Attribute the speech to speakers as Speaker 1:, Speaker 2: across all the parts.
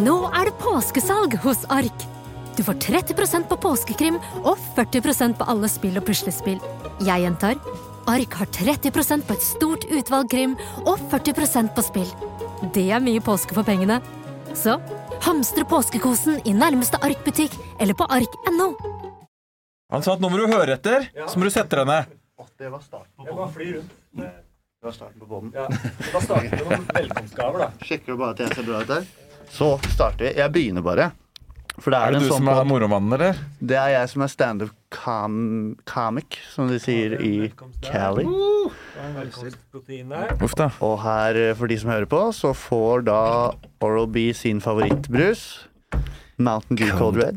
Speaker 1: Nå er det påskesalg hos Ark. Du får 30 på påskekrim og 40 på alle spill og puslespill. Jeg gjentar Ark har 30 på et stort utvalg krim og 40 på spill. Det er mye påske for pengene. Så hamstre påskekosen i nærmeste Ark-butikk eller på ark.no.
Speaker 2: Han sa at nå må du høre etter, så må du sette deg ned.
Speaker 3: Det var starten på
Speaker 4: Jeg bare flyr rundt.
Speaker 3: Det var starten på bånden.
Speaker 4: Ja. Da starter vi med noen velkomstgaver, da.
Speaker 3: Sjekker du bare at jeg ser bra ut der? Så starter vi. Jeg begynner bare. For det er,
Speaker 2: Er det
Speaker 3: en
Speaker 2: du
Speaker 3: sånn
Speaker 2: som er
Speaker 3: podd-
Speaker 2: moromannen, eller?
Speaker 3: Det er jeg som er standup-comic, som de sier i Cali.
Speaker 4: Det er Velkomstprotein der.
Speaker 2: Uff da.
Speaker 3: Og her, eh, for de som hører på, så får da Oral-B sin favorittbrus. Mountain Dew Cold Red.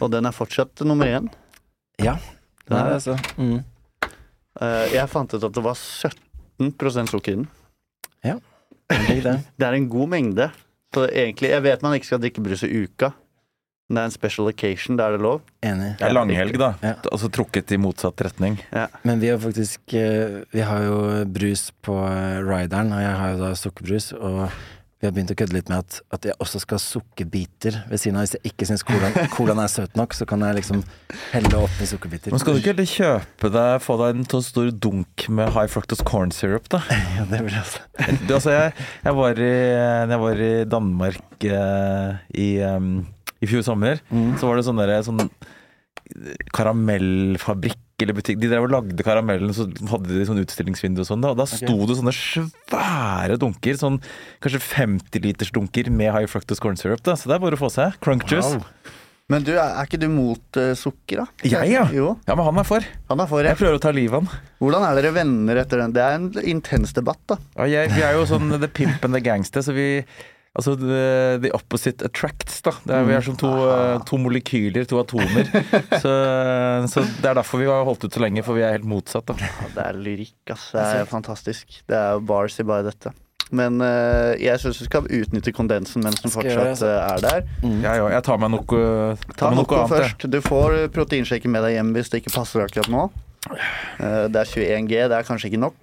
Speaker 3: Og den er fortsatt nummer én.
Speaker 5: Ja.
Speaker 3: Den er,
Speaker 5: altså. Mm.
Speaker 3: eh, jeg fant ut at det var 17 sukker i den.
Speaker 5: Digg det.
Speaker 3: Det er en god mengde. Så egentlig, Jeg vet man ikke skal drikke brus i uka, men det er en special occasion. Da er det lov.
Speaker 5: Enig.
Speaker 2: Det er langhelg, da.
Speaker 5: Ja.
Speaker 2: Altså trukket i motsatt retning.
Speaker 5: Men vi har faktisk eh, Vi har jo brus på eh, rideren, og jeg har jo da sukkerbrus. Og vi har begynt å kødde litt med at, at jeg også skal ha sukkerbiter ved siden av. Hvis jeg ikke syns colaen, colaen er søt nok, så kan jeg liksom helle oppi sukkerbiter.
Speaker 2: Men skal du ikke heller kjøpe deg få deg en så stor dunk med high fructose corn syrup, da?
Speaker 5: Ja, det blir altså.
Speaker 2: Du, altså, jeg, jeg, var i, når jeg var i Danmark eh, i, em, i fjor sommer. Så var det sånn derre sånn karamellfabrikk eller butikk. De drev og lagde karamellen, så hadde de sånn utstillingsvindu og sånn. da, Og da sto det sånne svære dunker, sånn kanskje 50-litersdunker med high fructose corn syrup. da, Så det er bare å få seg. Crunk juice.
Speaker 3: Men du, er er ikke du mot eh, sukker, da?
Speaker 2: Jeg, ja.
Speaker 3: Jo,
Speaker 2: Ja, men han er for.
Speaker 3: han er for
Speaker 2: Jeg
Speaker 3: det.
Speaker 2: prøver å ta livet av han.
Speaker 3: Hvordan er dere venner etter den? Det er en intens debatt, da.
Speaker 2: Ja, jeg, vi er jo sånn the pimp and the gangster, så vi Altså the, the opposite attracts, da. Det er, vi er som to,
Speaker 3: Mm.
Speaker 2: eh, to molekyler, to atomer. så, eh, så det er derfor vi har holdt ut så lenge, for vi er helt motsatt, da.
Speaker 3: Ja, det er lyrikk, ass. Det er fantastisk. Det er jo bars i bare dette. Men eh, jeg syns du skal utnytte kondensen mens den
Speaker 5: Skal jeg gjøre det,
Speaker 3: fortsatt eh, er der.
Speaker 2: Jeg, òg. jeg tar meg noe,
Speaker 3: Ta
Speaker 2: tar meg Mm. noe
Speaker 3: Noco
Speaker 2: annet. jeg.
Speaker 3: først. Du får eh, proteinshaken med deg hjem hvis det ikke passer akkurat nå. Eh, det er 21 G, det er kanskje ikke nok.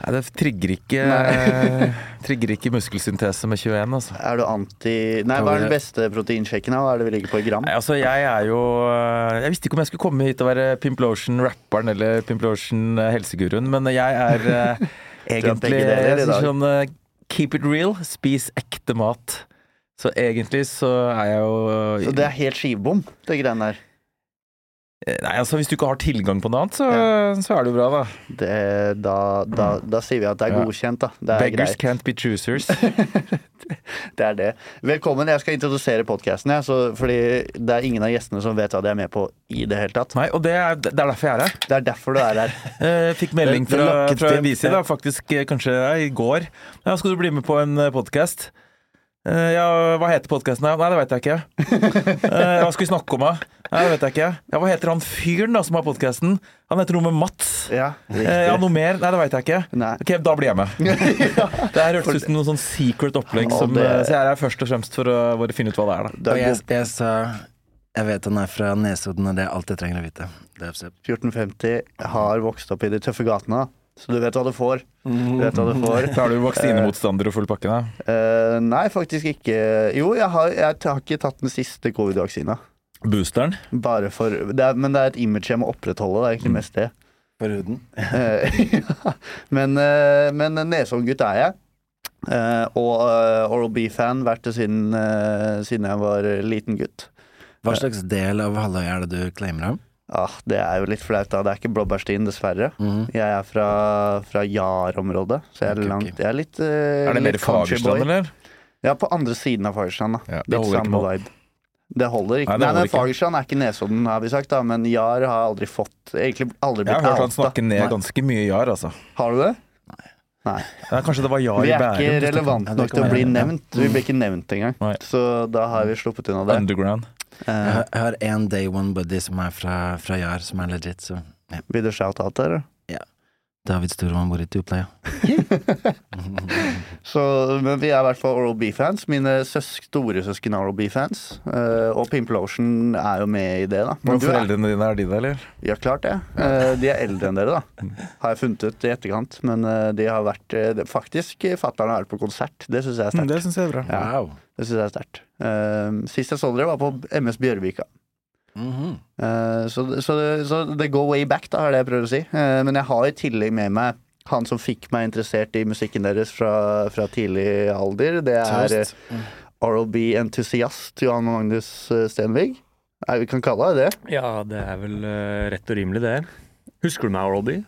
Speaker 2: Nei, det trigger ikke, trigger ikke muskelsyntese med 21, altså.
Speaker 3: Er du anti Nei, hva er den beste proteinshaken? da? Hva er det vi ligger på i gram?
Speaker 2: Nei, altså jeg er jo eh, Jeg visste ikke om jeg skulle komme hit og være Pimplotion-rapperen eller Pimplotion-helseguruen, men jeg er eh,
Speaker 3: Du er
Speaker 2: egentlig
Speaker 3: begge deler i
Speaker 2: jeg synes
Speaker 3: dag.
Speaker 2: sånn eh, Keep it real, spis ekte mat. Så egentlig så er jeg jo
Speaker 3: Så det er helt skivbom, det greiene der.
Speaker 2: Nei, altså Hvis du ikke har tilgang på noe annet, så, så er det jo bra, da.
Speaker 3: Det, da, da, da sier vi at det
Speaker 2: Ja.
Speaker 3: er godkjent, da. Det er
Speaker 2: Beggars
Speaker 3: greit.
Speaker 2: can't be choosers.
Speaker 3: Det er det. Velkommen. Jeg skal introdusere podkasten, jeg. så- Fordi det er ingen av gjestene som vet hva de er med på i det hele tatt.
Speaker 2: Nei, og det er, det er derfor jeg er her.
Speaker 3: Det er derfor du er her.
Speaker 2: Eh, fikk melding
Speaker 5: Det- det
Speaker 2: fra,
Speaker 5: lokket
Speaker 2: fra
Speaker 5: til-
Speaker 2: Visi da, faktisk eh, kanskje ja, i går. Ja, 'Skal du bli med på en podkast?' ja, hva heter podkasten? Nei, det veit jeg ikke. Eh, hva skal vi snakke om, da? Nei, det vet jeg ikke. Ja, hva heter han fyren da som har podkasten? Han heter noe med Mats.
Speaker 3: Ja,
Speaker 2: Eh, ja, noe mer? Nei, det veit jeg ikke.
Speaker 3: Nei.
Speaker 2: Ok, da blir jeg med. Det her hørtes ut som noe sånn secret opplegg,
Speaker 3: Ja,
Speaker 2: som,
Speaker 3: det-
Speaker 2: eh, så jeg er her først og fremst for å, for å finne ut hva det er, da.
Speaker 3: Du
Speaker 5: Og
Speaker 3: er
Speaker 5: jeg,
Speaker 3: god.
Speaker 5: jeg sa Jeg vet han er fra Nesodden, og det er alt jeg trenger å vite. Det er absolutt.
Speaker 3: 1450 har vokst opp i de tøffe gatene, så du vet hva du får. Du
Speaker 2: Mm.
Speaker 3: vet hva du får.
Speaker 2: Da er du vaksinemotstander og full pakke, da.
Speaker 3: Eh, nei, faktisk ikke. Jo, jeg har, jeg har ikke tatt den siste covid-vaksina.
Speaker 2: Boosteren.
Speaker 3: Bare for det er, Men det er et image jeg må opprettholde. Det er egentlig mest det.
Speaker 5: For huden.
Speaker 3: Eh, ja. men, eh, men Nesodden-gutt er jeg. Eh, og Oral B-fan vært det siden, eh, siden jeg var eh, liten gutt.
Speaker 5: Hva slags del av halvøya er det du claimer om?
Speaker 3: Ah, det er jo litt flaut, da. Det er ikke blåbærstien, dessverre.
Speaker 2: Mm.
Speaker 3: Jeg er fra, fra Jar-området, så jeg
Speaker 5: Ok,
Speaker 3: er
Speaker 5: ok.
Speaker 3: langt Jeg er litt uh,
Speaker 2: Er det mer Fagerstrand, eller?
Speaker 3: Ja, på andre siden av Fagerstrand, da.
Speaker 2: Ja, det
Speaker 3: litt
Speaker 2: holder ikke
Speaker 3: samme
Speaker 2: mål.
Speaker 3: vibe. Det holder ikke.
Speaker 2: Nei,
Speaker 3: Nei,
Speaker 2: det holder
Speaker 3: men
Speaker 2: ikke.
Speaker 3: Fagerstrand er ikke Nesodden, har vi sagt, da. Men Jar har aldri fått Egentlig aldri
Speaker 2: Jeg
Speaker 3: blitt
Speaker 2: har hørt han
Speaker 3: outa.
Speaker 2: snakke ned
Speaker 3: Nei.
Speaker 2: ganske mye jar, altså.
Speaker 3: Har du det? Nei.
Speaker 2: Nei, kanskje det var jar
Speaker 3: Vi
Speaker 2: i
Speaker 3: er ikke
Speaker 2: Bærum.
Speaker 3: relevant
Speaker 5: Ja, det
Speaker 3: nok til
Speaker 5: kan
Speaker 3: å bli
Speaker 5: være, ja.
Speaker 3: nevnt. Vi ble ikke nevnt engang.
Speaker 2: Nei.
Speaker 3: Så da har vi sluppet unna det.
Speaker 2: Underground.
Speaker 5: Jeg
Speaker 3: Eh,
Speaker 5: har- jeg har en day one buddy som er fra, fra Jar, som er legit, så
Speaker 3: vil du shout-out, eller?
Speaker 5: David Stormann bor i Tupleia.
Speaker 3: Så, men vi er i hvert fall Oral B-fans. Mine søs store søsken er Oral B-fans. eh, og Pimplotion er jo med i det, da. Men
Speaker 2: Men
Speaker 3: du er-
Speaker 2: foreldrene dine er de der, eller?
Speaker 3: Ja, klart det. Eh, de er eldre enn dere, da. Har jeg funnet ut i etterkant. Men eh, de har vært eh, det- Faktisk, eh, fatter'n har vært på konsert. Det syns jeg er sterkt.
Speaker 2: Mm, Det syns jeg er bra.
Speaker 5: Wow.
Speaker 3: Det synes jeg er sterkt. Eh, sist jeg så dere, var på MS Bjørvika.
Speaker 5: Mhm.
Speaker 3: Eh, så, så, så the go way back, da, er det jeg prøver å si. Eh, men jeg har i tillegg med meg han som fikk meg interessert i musikken deres fra, fra tidlig alder. Det er eh,
Speaker 5: Toast.
Speaker 3: R&B-entusiast Johan Magnus eh, Stenvig. Nei, vi kan kalle deg det.
Speaker 4: Ja, det er vel eh, rett og rimelig, det. Husker du meg, Oralby?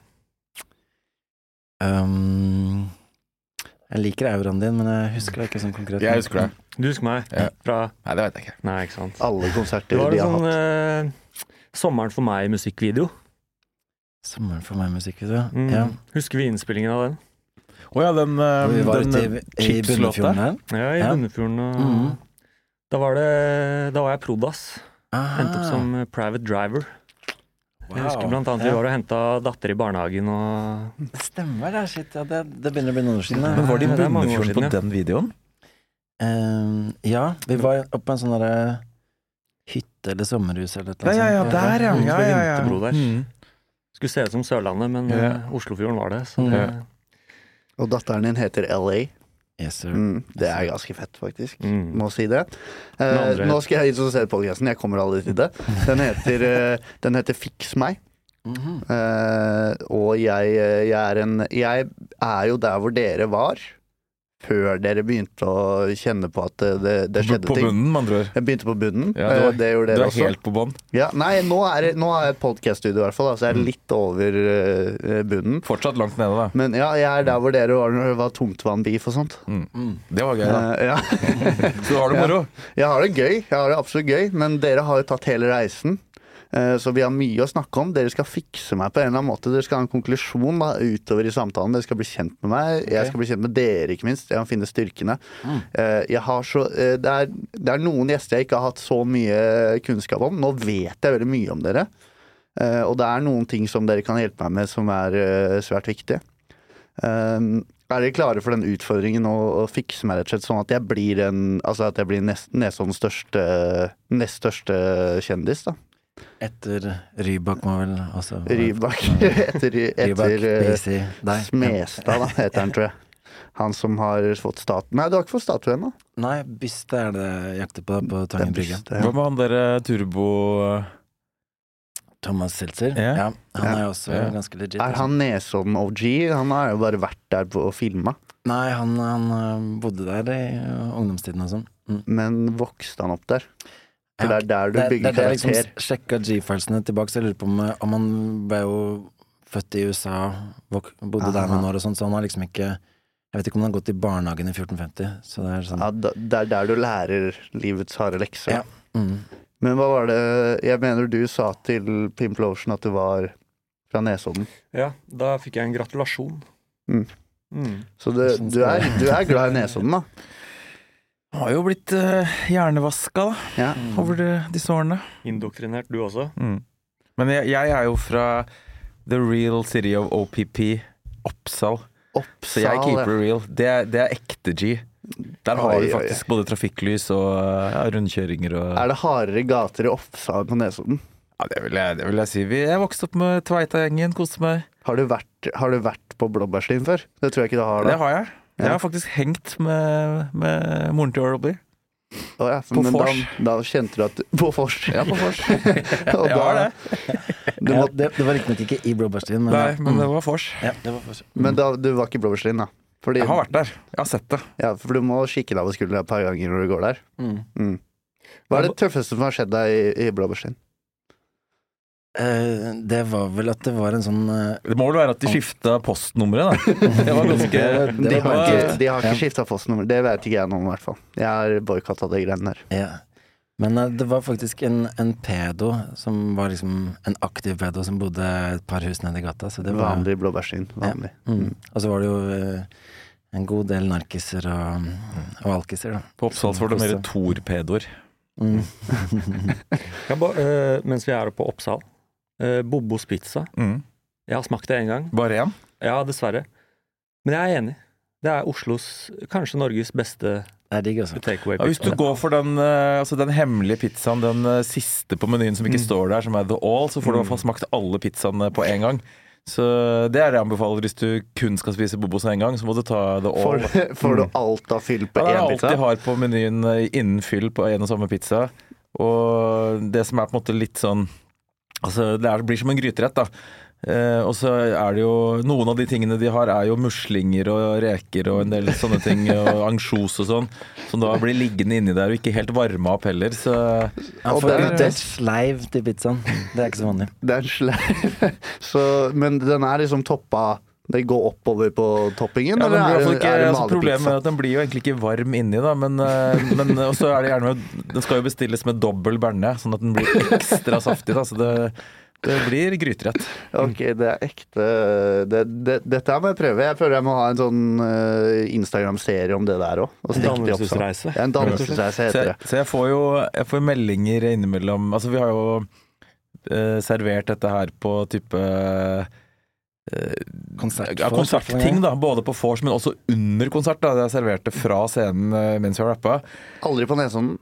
Speaker 5: Um, jeg liker euroen din, men jeg husker deg ikke sånn konkret.
Speaker 2: Jeg husker det.
Speaker 4: Du husker meg?
Speaker 2: Ja.
Speaker 4: Fra
Speaker 2: Nei, det veit jeg ikke.
Speaker 4: Nei, ikke sant.
Speaker 3: Alle
Speaker 4: Det
Speaker 3: konserter
Speaker 4: var
Speaker 3: de
Speaker 4: en
Speaker 3: har
Speaker 4: sånn
Speaker 3: hatt.
Speaker 4: eh, Sommeren for meg musikkvideo.
Speaker 5: Sommeren for meg musikk, vet du.
Speaker 4: Mm.
Speaker 5: Ja.
Speaker 4: Husker vi innspillingen av den?
Speaker 2: Å ja, den, eh,
Speaker 5: Vi var ute
Speaker 2: den
Speaker 5: i, i
Speaker 2: chipslåta.
Speaker 5: Bunnefjorden der.
Speaker 4: Ja, i
Speaker 5: Ja.
Speaker 4: Bunnefjorden. Og...
Speaker 5: Mhm.
Speaker 4: Da var det Da var jeg prodas.
Speaker 5: Ah,
Speaker 4: Endte opp som eh, private driver. Jeg husker blant annet vi
Speaker 5: Ja.
Speaker 4: var og henta datter i barnehagen og
Speaker 5: Det stemmer, det. Shit, ja, det, det begynner å bli noen år siden.
Speaker 2: Men var de i
Speaker 4: Ja, det er mange år
Speaker 2: Bunnefjorden
Speaker 4: siden,
Speaker 2: på den videoen?
Speaker 5: Um, ja, vi var oppe på en sånn derre hytte eller sommerhus eller et
Speaker 2: Ja, ja, ja,
Speaker 5: sånt.
Speaker 2: der, ja.
Speaker 5: Mm.
Speaker 2: ja, ja, ja.
Speaker 4: Vinterbro der.
Speaker 2: Mm.
Speaker 4: Skulle se ut som Sørlandet, men
Speaker 2: Ja.
Speaker 4: eh, Oslofjorden var det. Så det,
Speaker 3: Og datteren din heter LA.
Speaker 5: Yes, sir.
Speaker 3: Mm, det er ganske fett, faktisk.
Speaker 4: mm.
Speaker 3: Må si det. Eh,
Speaker 4: Den andre-
Speaker 3: nå skal jeg introdusere podkasten. Jeg kommer aldri til det. Den heter, eh, den heter Fiks meg.
Speaker 5: Mhm.
Speaker 3: Eh, og jeg, eh, jeg, er en, jeg er jo der hvor dere var før dere begynte å kjenne på at det, det, det
Speaker 2: På
Speaker 3: skjedde
Speaker 2: på
Speaker 3: ting.
Speaker 2: bunnen, med andre ord.
Speaker 3: Jeg begynte på bunnen.
Speaker 2: Ja, du var-
Speaker 3: eh, det
Speaker 2: Du
Speaker 3: gjorde dere
Speaker 2: er
Speaker 3: også.
Speaker 2: helt på bånn.
Speaker 3: Ja, nei, nå er, det- nå har jeg et podkaststudio, i hvert fall. da, Så jeg er litt over eh, bunnen.
Speaker 2: Fortsatt langt nede, da.
Speaker 3: Men ja, jeg er der hvor dere var når det var tungtvannbeef og sånt.
Speaker 5: Mm.
Speaker 2: Det var gøy, da.
Speaker 3: Eh, ja.
Speaker 2: Så du har det
Speaker 3: Ja.
Speaker 2: moro.
Speaker 3: Jeg har det gøy, jeg har det absolutt gøy, men dere har jo tatt hele reisen. Eh, Så vi har mye å snakke om. Dere skal fikse meg på en eller annen måte. Dere skal ha en konklusjon da, utover i samtalen. Dere skal bli kjent med meg. Jeg skal bli kjent med dere, ikke minst. Jeg må finne styrkene. Eh, Jeg har så, eh, det, er, det er noen gjester jeg ikke har hatt så mye kunnskap om. Nå vet jeg veldig mye om dere. Eh, Og det er noen ting som dere kan hjelpe meg med, som er eh, svært viktig. Um, er dere klare for den utfordringen å, å fikse meg rett og slett sånn at jeg blir, en, altså at jeg blir nest, Nesodens største, nest største kjendis? da?
Speaker 5: Etter Rybak må vel også
Speaker 3: Rybak etter,
Speaker 5: Rybak,
Speaker 3: etter eh,
Speaker 5: BC, deg.
Speaker 3: Smestad, da, heter han, tror jeg. Han som har fått statuen Nei, du har ikke fått statue ennå.
Speaker 5: Nei, byste er det jeg jakter på på
Speaker 3: Det er
Speaker 5: Tangen brygge.
Speaker 3: byste, ja.
Speaker 2: Hva med han derre turbo... eh?
Speaker 5: Thomas Seltzer.
Speaker 2: Ja.
Speaker 5: Ja, han er jo også
Speaker 2: Ja.
Speaker 5: ganske legit. altså.
Speaker 3: Er han Nesodden-OG? Han har jo bare vært der på, og filma.
Speaker 5: Nei, han, han øh, bodde der i øh, ungdomstiden og sånn. Mm.
Speaker 3: Men vokste han opp der? For det
Speaker 5: Ja.
Speaker 3: er der du
Speaker 5: Det er-
Speaker 3: bygger
Speaker 5: det er
Speaker 3: karakter.
Speaker 5: liksom sjekka G-filesene tilbake, så jeg lurer på om, øh, om han ble jo født i USA, vok bodde der
Speaker 3: Aha.
Speaker 5: noen år og sånn, så han har liksom ikke Jeg vet ikke om han har gått i barnehagen i 1450, så det er sånn
Speaker 3: Ja, da- det er der du lærer livets harde lekser.
Speaker 5: Ja. mm.
Speaker 3: Men hva var det Jeg mener du sa til Pimplotion at du var fra Nesodden.
Speaker 4: ja, da fikk jeg en gratulasjon.
Speaker 3: Mm.
Speaker 4: Mm.
Speaker 3: Så det, du, er, du er glad i Nesodden, da.
Speaker 2: Han har jo blitt uh, hjernevaska, da,
Speaker 3: Ja.
Speaker 2: over de, disse årene.
Speaker 4: Indoktrinert, du også?
Speaker 2: Mm. Men jeg, jeg er jo fra the real city of OPP, Oppsal. Så jeg
Speaker 3: Oppsal.
Speaker 2: keeper
Speaker 3: ja.
Speaker 2: it real. Det er, det er ekte G. Der har
Speaker 3: Oi,
Speaker 2: du
Speaker 3: oi,
Speaker 2: faktisk både trafikklys og ja, rundkjøringer og
Speaker 3: Er det hardere gater i Oppsal enn på Nesodden?
Speaker 2: Ja, det vil jeg, det vil jeg si. Vi, jeg vokste opp med Tveita-gjengen, koste meg.
Speaker 3: Har du vært, har du vært på Blåbærslien før? Det tror jeg ikke du har.
Speaker 2: Det
Speaker 3: da
Speaker 2: har jeg. Jeg har faktisk hengt med, med moren til Orlby.
Speaker 3: Å, ja.
Speaker 2: På
Speaker 3: Men da,
Speaker 2: Fors.
Speaker 3: da kjente du at du- På Fors.
Speaker 2: Ja, på vors.
Speaker 3: Og
Speaker 2: Jeg har
Speaker 3: da,
Speaker 2: det.
Speaker 3: du
Speaker 5: ja,
Speaker 3: må,
Speaker 5: det, det var riktignok ikke i Blåbærstien, men,
Speaker 2: Nei, men
Speaker 5: mm.
Speaker 2: det var vors.
Speaker 5: ja, det var forskjell.
Speaker 3: men da, du var ikke i Blåbærslien, da? Fordi,
Speaker 2: Jeg har vært der. Jeg har sett det.
Speaker 3: ja, for du må kikke deg over skuldra et par ganger når du går der.
Speaker 5: Mm.
Speaker 3: Mm. Hva er det tøffeste som har skjedd deg i, i Blåbærslien?
Speaker 5: Eh, det var vel at det var en sånn eh,
Speaker 2: Det må vel være at de skifta postnummeret, da. Det var ganske
Speaker 5: Det
Speaker 3: De
Speaker 5: var
Speaker 3: har
Speaker 5: bare-
Speaker 3: ikke, de har
Speaker 5: Ja.
Speaker 3: ikke skifta postnummer. Det vet ikke jeg noe om, i hvert fall. Jeg har boikotta de greiene der.
Speaker 5: Ja. Men eh, det var faktisk en, en pedo som var liksom en aktiv pedo som bodde et par hus nedi gata. Så det var,
Speaker 3: Vanlig blåbærsyn. Vanlig.
Speaker 5: mm. Og så var det jo eh, en god del narkiser og, og alkiser, da.
Speaker 2: På Oppsal så var det mer torpedoer.
Speaker 5: Mm.
Speaker 4: Kan ba, eh, mens vi er oppe på Oppsal. eh, Bobos pizza.
Speaker 2: Mm.
Speaker 4: Jeg har smakt det én gang.
Speaker 2: Bare én?
Speaker 4: Ja, dessverre. Men jeg er enig. Det er Oslos, kanskje Norges beste
Speaker 5: Det er digg, altså.
Speaker 2: Ja, hvis du
Speaker 4: takeaway-pizza.
Speaker 2: går for den, eh, altså den hemmelige pizzaen, den eh, siste på menyen som ikke står der, som er The All, så får du i hvert fall smakt alle pizzaene på en gang. Så det er det jeg anbefaler hvis du kun skal spise Bobos en gang, så må du ta The All.
Speaker 3: Får, får du alt av fyll på
Speaker 2: Mm. Ja, det
Speaker 3: én
Speaker 2: er alt
Speaker 3: pizza?
Speaker 2: de har på menyen eh, innen fyll på en og samme pizza. Og det som er på en måte litt sånn Altså, det er, blir som en gryterett, da. Eh, og så er det jo Noen av de tingene de har, er jo muslinger og reker og en del sånne ting. Og ansjos og sånn. Som da blir liggende inni der og ikke helt varma opp heller. Så
Speaker 5: Han
Speaker 3: Og
Speaker 5: får
Speaker 3: den-
Speaker 5: en liten sleiv til pizzaen. Det er ikke så vanlig.
Speaker 3: Det er en slei- så, men den er liksom toppa Det går oppover på toppingen,
Speaker 2: ja, den blir i hvert
Speaker 3: eller
Speaker 2: fall
Speaker 3: er,
Speaker 2: ikke,
Speaker 3: er det
Speaker 2: altså, Problemet
Speaker 3: malerpizza?
Speaker 2: er at den blir jo egentlig ikke varm inni, da. Men, eh, men og så er det gjerne med Den skal jo bestilles med dobbel berne, sånn at den blir ekstra saftig. Da, så det, det blir gryterett.
Speaker 3: Ok, det er ekte det, det, Dette her må jeg prøve. Jeg føler jeg må ha en sånn eh, Instagram-serie om det der òg.
Speaker 4: Dannelsesreise.
Speaker 3: En dannelsesreise
Speaker 2: Så
Speaker 3: heter det.
Speaker 2: jeg, så jeg får jo jeg får meldinger innimellom Altså, vi har jo eh, servert dette her på type eh, ja, konsertting, da. Både på vors, men også under konsert. da Jeg serverte fra scenen eh, mens jeg rappa.
Speaker 3: Aldri på Nesodden.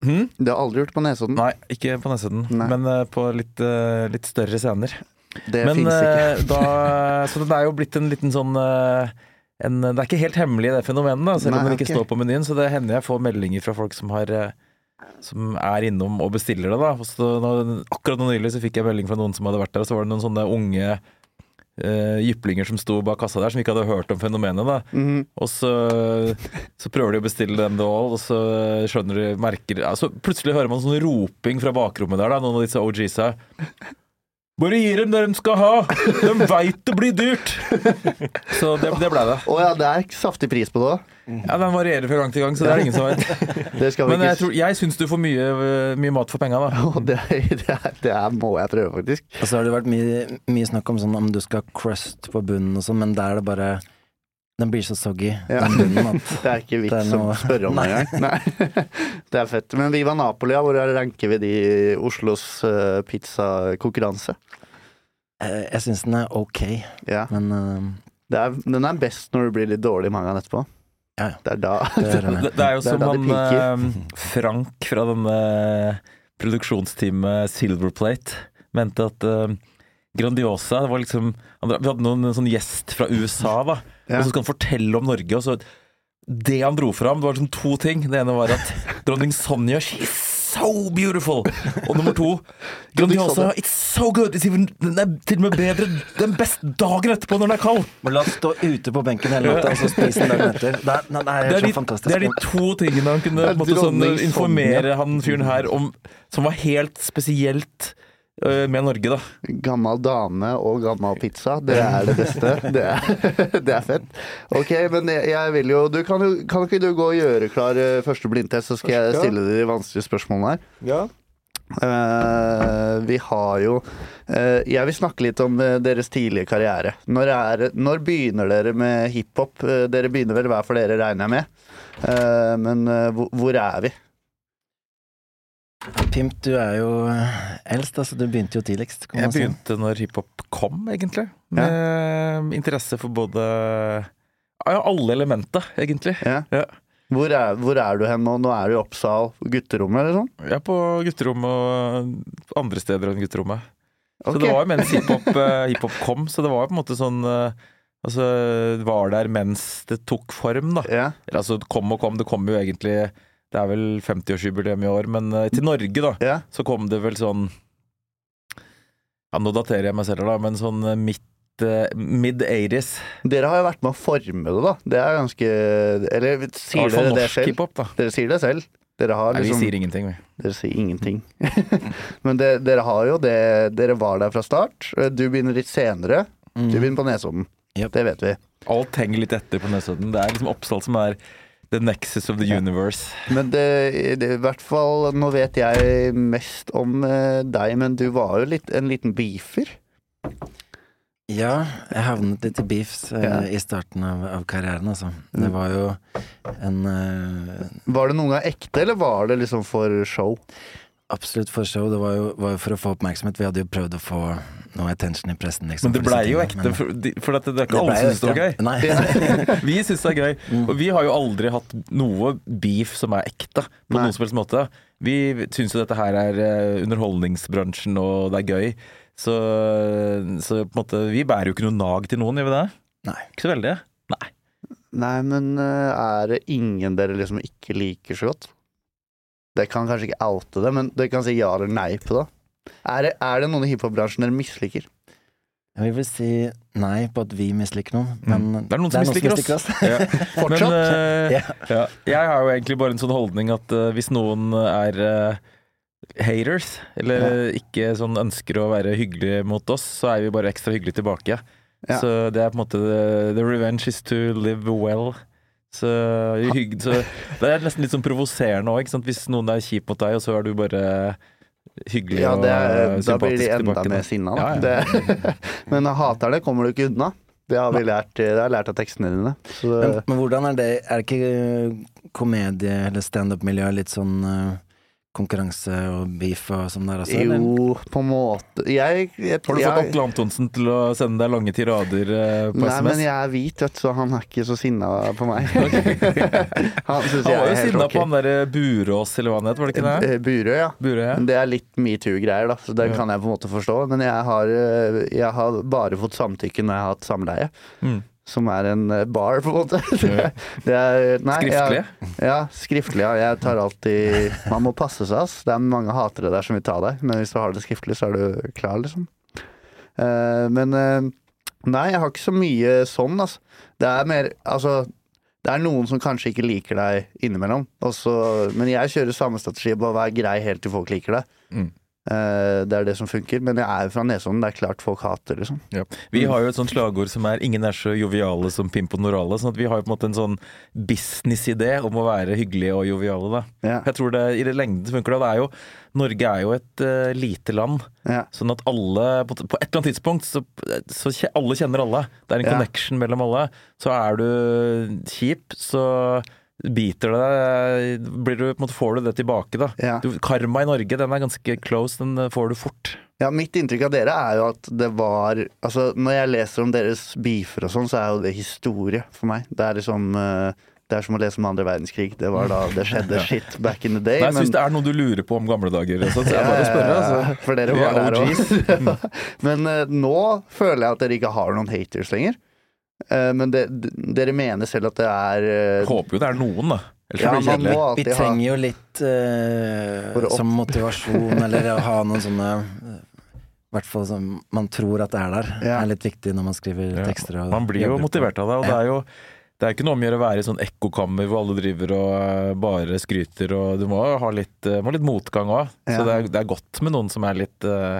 Speaker 2: Hm?
Speaker 3: Det har jeg aldri gjort på Nesodden.
Speaker 2: Nei, ikke på Nesodden,
Speaker 3: Mhm. Nei.
Speaker 2: men eh, på litt, eh, litt større scener.
Speaker 3: Det
Speaker 2: men
Speaker 3: fins ikke.
Speaker 2: eh, da Så den er jo blitt en liten sånn eh, en, det er ikke helt hemmelig, det fenomenet, da, selv om
Speaker 3: Nei,
Speaker 2: det ikke
Speaker 3: ok.
Speaker 2: står på menyen. Så det hender jeg får meldinger fra folk som, har, eh, som er innom og bestiller det. Da. Og Så nå, akkurat nå nylig så fikk jeg melding fra noen som hadde vært der, og så var det noen sånne unge eh, jyplinger som sto bak kassa der, som ikke hadde hørt om fenomenet. da
Speaker 3: Mhm.
Speaker 2: og så, så prøver de å bestille den The All, og så skjønner de, merker ja, Så plutselig hører man sånn roping fra bakrommet der, da, noen av disse OGs-a. Bare gi dem det de skal ha! De veit det blir dyrt! Så det, det blei det.
Speaker 3: Å ja, det er saftig pris på det òg.
Speaker 2: Ja, Den varierer fra gang til gang, så det er det ingen som vet.
Speaker 3: Det skal vi
Speaker 2: Men jeg,
Speaker 3: ikke
Speaker 2: tror- jeg syns du får mye, mye mat for penga, da.
Speaker 3: Å, det, det, er, det er, må jeg prøve, faktisk.
Speaker 5: Og så har det vært mye, mye snakk om sånn om du skal ha crust på bunnen og sånn, men der er det bare Den blir så soggy,
Speaker 3: Ja.
Speaker 5: den bunnen, at
Speaker 3: Det er ikke
Speaker 5: Det
Speaker 3: vits
Speaker 5: er
Speaker 3: å
Speaker 5: noe-
Speaker 3: spørre om det
Speaker 5: Nei.
Speaker 3: engang. Nei. Det er fett. Men Viva Napolia, hvor er- ranker vi de i Oslos eh, pizzakonkurranse?
Speaker 5: eh, Jeg syns den er ok,
Speaker 3: Ja.
Speaker 5: men eh,
Speaker 3: Det er, den er best når du blir litt dårlig i magen etterpå.
Speaker 5: Ja, ja.
Speaker 3: Det er da
Speaker 5: det hører med.
Speaker 2: Det, det er jo
Speaker 3: Det er
Speaker 2: som
Speaker 3: da det
Speaker 2: han eh, Frank fra denne produksjonsteamet Silverplate mente at eh, Grandiosa det var liksom han dra- Vi hadde noen en sånn gjest fra USA, da.
Speaker 3: Ja.
Speaker 2: Og så skal han fortelle om Norge. Og så Det han dro fram, det var liksom to ting. Det ene var at dronning Sonja She's so beautiful! Og nummer to Grandiosa, it's so good! It's even, den er til og med bedre den beste dagen etterpå når den er kald!
Speaker 5: Men la oss stå ute på benken hele natta og så spise den dagen etter. Det er, nei, det er
Speaker 2: Det
Speaker 5: helt
Speaker 2: er,
Speaker 5: sånn
Speaker 2: de,
Speaker 5: fantastisk.
Speaker 2: det er de to tingene han kunne
Speaker 3: Det
Speaker 2: på
Speaker 3: er
Speaker 2: en måte, sånn,
Speaker 3: dronning Sonja.
Speaker 2: informere han fyren her om, som var helt spesielt øh, med Norge, da.
Speaker 3: Gammel dame og gammel pizza, det er det beste. Det er, det er fett. Ok, men jeg, jeg vil jo du kan, jo- kan ikke du gå og gjøre klar eh, første blindtest, så skal jeg stille de vanskelige spørsmålene her?
Speaker 4: Ja.
Speaker 3: Eh, vi har jo eh, Jeg vil snakke litt om eh, deres tidlige karriere. Når, er, når begynner dere med hiphop? Eh, dere begynner vel hver for dere, regner jeg med. Eh, men eh, hvor, hvor er vi?
Speaker 5: Pimp, du er jo eldst, altså. Du begynte jo tidligst. Kan
Speaker 2: Jeg
Speaker 5: man si.
Speaker 2: begynte når hiphop kom, egentlig. Med interesse for både ja, alle elementet, egentlig.
Speaker 3: Ja.
Speaker 2: Ja.
Speaker 3: Hvor er, hvor er du hen nå? Nå er du i Oppsal, gutterommet eller sånn?
Speaker 2: Jeg er på gutterommet og andre steder enn gutterommet. Så
Speaker 3: Ok.
Speaker 2: det var jo mens hiphop eh, hiphop kom, så det var jo på en måte sånn eh, Altså, det var der mens det tok form, da.
Speaker 3: Ja.
Speaker 2: Eller, Altså, det kom og kom, det kom jo egentlig Det er vel 50-årsjubileum i år, men eh, til Norge, da,
Speaker 3: ja.
Speaker 2: så kom det vel sånn Ja, nå daterer jeg meg selv, da, men sånn eh, midt eh, Mid-80s.
Speaker 3: Dere har jo vært med å forme det, da. Det er ganske Eller
Speaker 2: I
Speaker 3: sier
Speaker 2: hvert fall
Speaker 3: dere det
Speaker 2: norsk
Speaker 3: selv?
Speaker 2: hiphop, da.
Speaker 3: Dere sier det selv. Dere har
Speaker 2: Nei, vi
Speaker 3: liksom
Speaker 2: sier ingenting, vi.
Speaker 3: Dere sier ingenting. Men det, dere har jo det Dere var der fra start. Eh, Du begynner litt senere.
Speaker 5: Mm.
Speaker 3: Du begynner på Nesodden.
Speaker 5: Yep.
Speaker 3: Det vet vi.
Speaker 2: Alt henger litt etter på Nesodden. Det er liksom Oppsal som er the nexus of the universe.
Speaker 3: Men det, det i hvert fall Nå vet jeg mest om eh, deg, men du var jo litt, en liten beefer.
Speaker 5: Ja, jeg havnet litt i beefs eh,
Speaker 3: Ja.
Speaker 5: i starten av, av karrieren, altså. Det var jo en eh,
Speaker 3: Var det noen gang ekte, eller var det liksom for show?
Speaker 5: absolutt for show. Det var jo, var jo for å få oppmerksomhet. Vi hadde jo prøvd å få Nå er tension i pressen, liksom.
Speaker 2: Men det
Speaker 5: for
Speaker 2: blei
Speaker 5: disse
Speaker 2: jo
Speaker 5: tingene,
Speaker 2: ekte,
Speaker 5: men-
Speaker 2: for, de- for at det er ikke
Speaker 5: ble
Speaker 2: alle
Speaker 5: jo
Speaker 2: som syns det var
Speaker 5: ekte.
Speaker 2: gøy.
Speaker 5: Nei.
Speaker 2: Vi syns det er gøy. Og vi har jo aldri hatt noe beef som er ekte, på
Speaker 3: Nei.
Speaker 2: noen som helst måte. Vi syns jo dette her er eh, underholdningsbransjen, og det er gøy. Så, så på en måte, vi bærer jo ikke noe nag til noen, gjør vi det?
Speaker 5: Nei.
Speaker 2: Ikke så veldig. Nei.
Speaker 3: Nei, men eh, er det ingen dere liksom ikke liker så godt? Dere kan kanskje ikke oute det, men dere kan si ja eller nei på det. Er det, er det noen i hiphop-bransjen dere misliker?
Speaker 5: Jeg vil si nei på at vi misliker noen, men
Speaker 2: Mm. Det er noen som misliker oss. Ja.
Speaker 3: Fortsatt?
Speaker 2: Men, eh,
Speaker 5: Ja.
Speaker 2: ja. Jeg har jo egentlig bare en sånn holdning at eh, hvis noen er eh, haters, eller ikke sånn ønsker å være hyggelig mot oss, så er vi bare ekstra hyggelige tilbake.
Speaker 3: Ja.
Speaker 2: Så det er på en måte eh, The, the revenge is to live well. Så, hygg, så Det er nesten litt sånn provoserende òg, hvis noen er kjip mot deg, og så er du bare hyggelig
Speaker 3: Ja, det er,
Speaker 2: og
Speaker 3: da blir
Speaker 2: sympatisk
Speaker 3: de enda
Speaker 2: tilbake.
Speaker 3: mer sinna, da.
Speaker 2: Ja, ja.
Speaker 3: Det, men haterne kommer du ikke unna. Det har vi lært, det har jeg lært av tekstene dine. Så, eh,
Speaker 5: Men, men hvordan er det Er det ikke eh, komedie- eller standup-miljøet litt sånn eh, konkurranse og beef og sånn der også? eller?
Speaker 3: jo, på en måte Jeg,
Speaker 2: Har
Speaker 3: jeg
Speaker 2: du fått
Speaker 3: jeg-
Speaker 2: Atle Antonsen til å sende deg lange tirader eh, på
Speaker 3: Nei,
Speaker 2: SMS?
Speaker 3: men jeg er hvit, vet du, så han er ikke så sinna på meg. han syns
Speaker 2: Han
Speaker 3: jeg
Speaker 2: var
Speaker 3: er
Speaker 2: jo
Speaker 3: helt
Speaker 2: sinna
Speaker 3: ok.
Speaker 2: på han derre Burås, eller hva han het, var det ikke det?
Speaker 3: Eh, mm. Burøe, ja.
Speaker 2: Burøe, ja.
Speaker 3: Men det er litt metoo-greier, da, så den
Speaker 2: Ja.
Speaker 3: kan jeg på en måte forstå. Men jeg har, eh, jeg har bare fått samtykke når jeg har hatt samleie.
Speaker 2: Mm.
Speaker 3: Som er en eh, bar, på en måte. Det er, nei, jeg-
Speaker 2: Skriftlig.
Speaker 3: Ja, skriftlig. Ja. Jeg tar alltid Man må passe seg, ass. Det er mange hatere der som vil ta deg, men hvis du har det skriftlig, så er du klar, liksom. Eh, men eh, nei, jeg har ikke så mye sånn, altså. Det er mer Altså, det er noen som kanskje ikke liker deg innimellom, og så- men jeg kjører samme strategi, bare vær grei helt til folk liker deg.
Speaker 2: Mm.
Speaker 3: Eh, det er det som funker. Men jeg er jo fra Nesodden, det er klart folk hater, liksom.
Speaker 2: Ja. Vi har jo et sånt slagord som er 'ingen er så joviale som Pimp og Norale'. sånn at vi har jo på en måte en sånn businessidé om å være hyggelige og joviale. da.
Speaker 3: Ja.
Speaker 2: Jeg tror det i det lengden så funker det. det er jo, Norge er jo et eh, lite land,
Speaker 3: ja.
Speaker 2: sånn at alle På, på et eller annet tidspunkt så, så kje- alle kjenner alle. Det er en
Speaker 3: Ja.
Speaker 2: connection mellom alle. Så er du kjip, så biter det deg. Blir du, på en måte får du det tilbake, da.
Speaker 3: Ja.
Speaker 2: Du, karma i Norge, den er ganske close. Den eh, får du fort.
Speaker 3: Ja, Mitt inntrykk av dere er jo at det var Altså, når jeg leser om deres beefer og sånn, så er jo det historie for meg. Det er liksom eh, Det er som å lese om andre verdenskrig. Det var da det skjedde shit back in the day.
Speaker 2: Nei, så
Speaker 3: men-
Speaker 2: Hvis det er noe du lurer på om gamle dager, og sånt, så er det bare å spørre. Altså.
Speaker 3: For dere
Speaker 2: Vi er
Speaker 3: var der
Speaker 2: OGs.
Speaker 3: òg. men eh, nå føler jeg at dere ikke har noen haters lenger. Eh, men det, d- dere mener selv at det er eh,
Speaker 2: Jeg håper jo det er noen, da. Ellers blir det
Speaker 3: Ja, man
Speaker 2: kjedelig.
Speaker 3: må
Speaker 5: Vi
Speaker 3: alltid ha
Speaker 5: trenger jo litt eh,
Speaker 3: For å opp-
Speaker 5: som motivasjon, eller å ha noen sånne eh, hvert fall som man tror at det er der. Det
Speaker 3: Ja.
Speaker 5: er litt viktig når man skriver tekster. Og
Speaker 2: Man blir jo
Speaker 5: jobber på-
Speaker 2: motivert av det, og det er jo det er ikke noe om å gjøre å være i sånn ekkokammer hvor alle driver og eh, bare skryter, og du må jo ha litt, eh, må ha litt motgang òg.
Speaker 3: Ja.
Speaker 2: Så det er, det er godt med noen som er litt eh,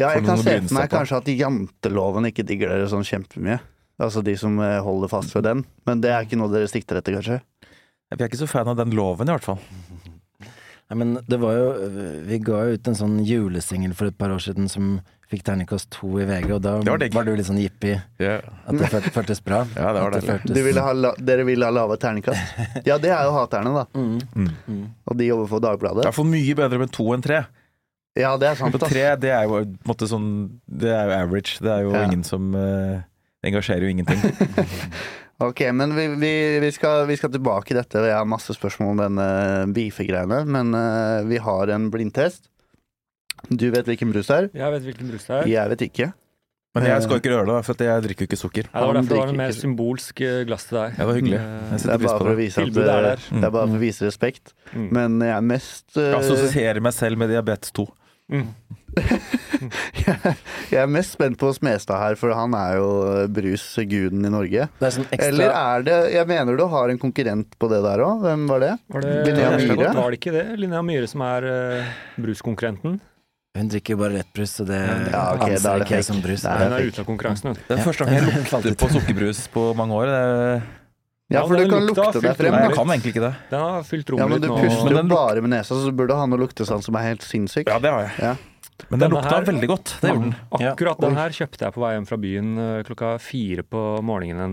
Speaker 3: Ja,
Speaker 2: for
Speaker 3: jeg kan
Speaker 2: noen å
Speaker 3: se
Speaker 2: bryne
Speaker 3: for meg
Speaker 2: seg på.
Speaker 3: kanskje at janteloven ikke digger dere sånn kjempemye. Altså de som eh, holder fast ved den. Men det er ikke noe dere sikter etter, kanskje?
Speaker 2: Jeg er ikke så fan av den loven, i hvert fall.
Speaker 5: Nei, men det var jo Vi ga jo ut en sånn julesingel for et par år siden som fikk terningkast to i VG, og da
Speaker 2: Det var
Speaker 5: var,
Speaker 2: digg.
Speaker 5: du litt sånn jippi at det følt- føltes bra.
Speaker 2: Ja, det var
Speaker 5: At
Speaker 2: deilig.
Speaker 5: føltes-
Speaker 3: Du ville ha la, dere ville ha lave terningkast? Ja, det er jo haterne, da.
Speaker 5: Mm.
Speaker 3: Og de jobber for
Speaker 2: Det er i
Speaker 3: Dagbladet.
Speaker 2: hvert fall mye bedre med to enn tre.
Speaker 3: Ja, det er sant.
Speaker 2: På
Speaker 3: ass.
Speaker 2: tre, det er jo på en måte sånn Det er jo average. Det er jo
Speaker 3: Ja.
Speaker 2: ingen som eh, engasjerer jo ingenting.
Speaker 3: Ok, men vi, vi, vi, skal, vi skal tilbake i dette. og Jeg har masse spørsmål om denne beefegreiene, men eh, vi har en blindtest. Du vet hvilken brus det er.
Speaker 4: Jeg vet hvilken brus det er.
Speaker 3: Jeg vet ikke.
Speaker 2: Men jeg skal ikke røre det, for at jeg drikker jo ikke sukker.
Speaker 4: Ja, det
Speaker 3: Han
Speaker 4: var derfor det var
Speaker 3: drikker
Speaker 4: en mer
Speaker 3: ikke så-
Speaker 4: symbolsk eh, glass til deg.
Speaker 2: Ja, det var hyggelig.
Speaker 4: Eh,
Speaker 2: Mm. Jeg
Speaker 3: Det
Speaker 2: setter
Speaker 3: er
Speaker 2: pris
Speaker 3: bare
Speaker 2: på
Speaker 3: for å
Speaker 2: det.
Speaker 3: vise at
Speaker 4: Tilbudet
Speaker 3: eh,
Speaker 4: er der.
Speaker 3: det er bare for å vise respekt.
Speaker 4: Mm.
Speaker 3: Men jeg er mest eh,
Speaker 2: Jeg assosierer meg selv med diabetes 2.
Speaker 4: Mm.
Speaker 3: Jeg er mest spent på Smestad her, for han er jo eh, brusguden i Norge.
Speaker 5: Det er sånn ekstra
Speaker 3: Eller er det Jeg mener du har en konkurrent på det der òg. Hvem var det?
Speaker 4: Var det,
Speaker 3: Linnea Myhre?
Speaker 4: Var det ikke det? Linnea Myhre som er eh, bruskonkurrenten.
Speaker 5: Hun drikker jo bare rett brus, så det
Speaker 3: Ja, ok, da er
Speaker 5: anser
Speaker 3: det
Speaker 5: ikke jeg
Speaker 3: fake.
Speaker 5: som brus.
Speaker 3: Da er det
Speaker 4: Hun er ute av konkurransen, hun.
Speaker 2: Det er første gang jeg
Speaker 5: Falt
Speaker 2: lukter
Speaker 5: ut.
Speaker 2: på sukkerbrus på mange år. Det-
Speaker 3: Ja,
Speaker 4: Ja,
Speaker 3: for
Speaker 4: men
Speaker 3: du kan
Speaker 4: lukta
Speaker 3: lukte deg
Speaker 4: fylte
Speaker 3: frem.
Speaker 2: Nei, jeg
Speaker 3: Da.
Speaker 2: kan egentlig ikke det.
Speaker 4: Den har fylt
Speaker 3: Ja,
Speaker 4: rommet
Speaker 3: men
Speaker 4: litt
Speaker 3: du
Speaker 4: nå.
Speaker 3: puster jo
Speaker 2: den luk-
Speaker 3: bare med nesa, så burde du ha noe luktesans som er helt sinnssyk.
Speaker 2: Ja, det har jeg.
Speaker 3: Ja.
Speaker 2: Men den
Speaker 4: Denne
Speaker 2: lukta
Speaker 4: her-
Speaker 2: veldig godt. Det gjorde den.
Speaker 4: Akkurat den her kjøpte jeg på vei hjem fra byen eh, klokka fire på morgenen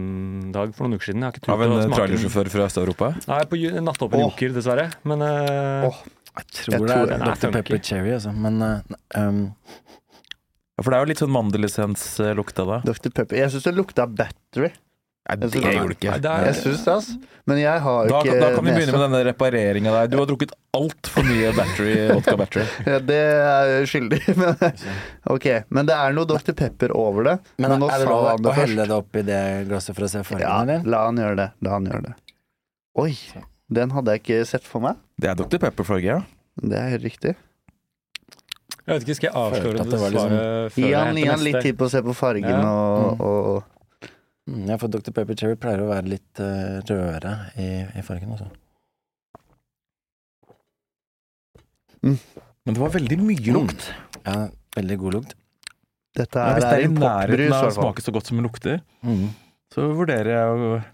Speaker 4: en dag for noen uker siden. Jeg har ikke
Speaker 2: Av
Speaker 4: turt
Speaker 2: en
Speaker 4: å
Speaker 2: eh,
Speaker 4: smake den.
Speaker 2: trailersjåfør fra Øst-Europa.
Speaker 4: Nei, på ju- nattåpen
Speaker 3: Åh.
Speaker 4: Joker, dessverre. Men eh,
Speaker 3: Åh.
Speaker 5: Jeg tror
Speaker 3: Jeg
Speaker 5: det
Speaker 3: tror
Speaker 5: er
Speaker 4: den er
Speaker 5: Dr. Pepper
Speaker 4: funky.
Speaker 5: Cherry, altså. Men eh, um,
Speaker 2: Ja, for det er jo litt sånn mandelessens-lukta da.
Speaker 3: Dr. Pepper. Jeg syns det lukta battery.
Speaker 2: Nei,
Speaker 3: det gjorde
Speaker 2: det ikke.
Speaker 4: det
Speaker 3: Jeg
Speaker 4: er,
Speaker 3: synes det, ass. Men jeg har jo
Speaker 2: Da,
Speaker 3: ikke
Speaker 2: da kan vi begynne
Speaker 3: nese.
Speaker 2: med denne repareringa der. Du har drukket altfor mye battery, vodka battery.
Speaker 3: Ja, det er jeg skyldig, men Ok, men det er noe Dr. Pepper over det.
Speaker 5: Men,
Speaker 3: nå
Speaker 5: er det
Speaker 3: sa
Speaker 5: lov
Speaker 3: han det
Speaker 5: å
Speaker 3: først.
Speaker 5: helle det oppi det glasset for å se fargen,
Speaker 3: Ja,
Speaker 5: eller?
Speaker 3: la han gjøre det. La han gjøre det. Oi, den hadde jeg ikke sett for meg.
Speaker 2: Det er Dr. Pepper-farge, ja.
Speaker 3: Det er helt riktig.
Speaker 4: jeg vet ikke, skal jeg avsløre
Speaker 5: Følte at
Speaker 4: det
Speaker 5: det var
Speaker 4: svaret
Speaker 5: liksom-
Speaker 4: før
Speaker 3: Gi
Speaker 4: jeg
Speaker 3: han,
Speaker 4: henter
Speaker 3: gi han litt
Speaker 4: neste?
Speaker 3: tid på å se på fargen
Speaker 4: Ja.
Speaker 3: og, og
Speaker 5: Mm, Ja, for Dr. Pepper Cherry pleier å være litt eh, rødere i, i fargen, altså.
Speaker 2: Men det var veldig mye
Speaker 5: Mm.
Speaker 2: lukt.
Speaker 5: Ja, veldig god lukt.
Speaker 3: Dette
Speaker 2: Men
Speaker 3: her
Speaker 2: hvis det er
Speaker 3: er
Speaker 2: i
Speaker 3: importbrus, i
Speaker 2: nærheten av å
Speaker 3: hvert fall.
Speaker 2: smake så godt som det lukter,
Speaker 5: Mm.
Speaker 2: så vurderer jeg å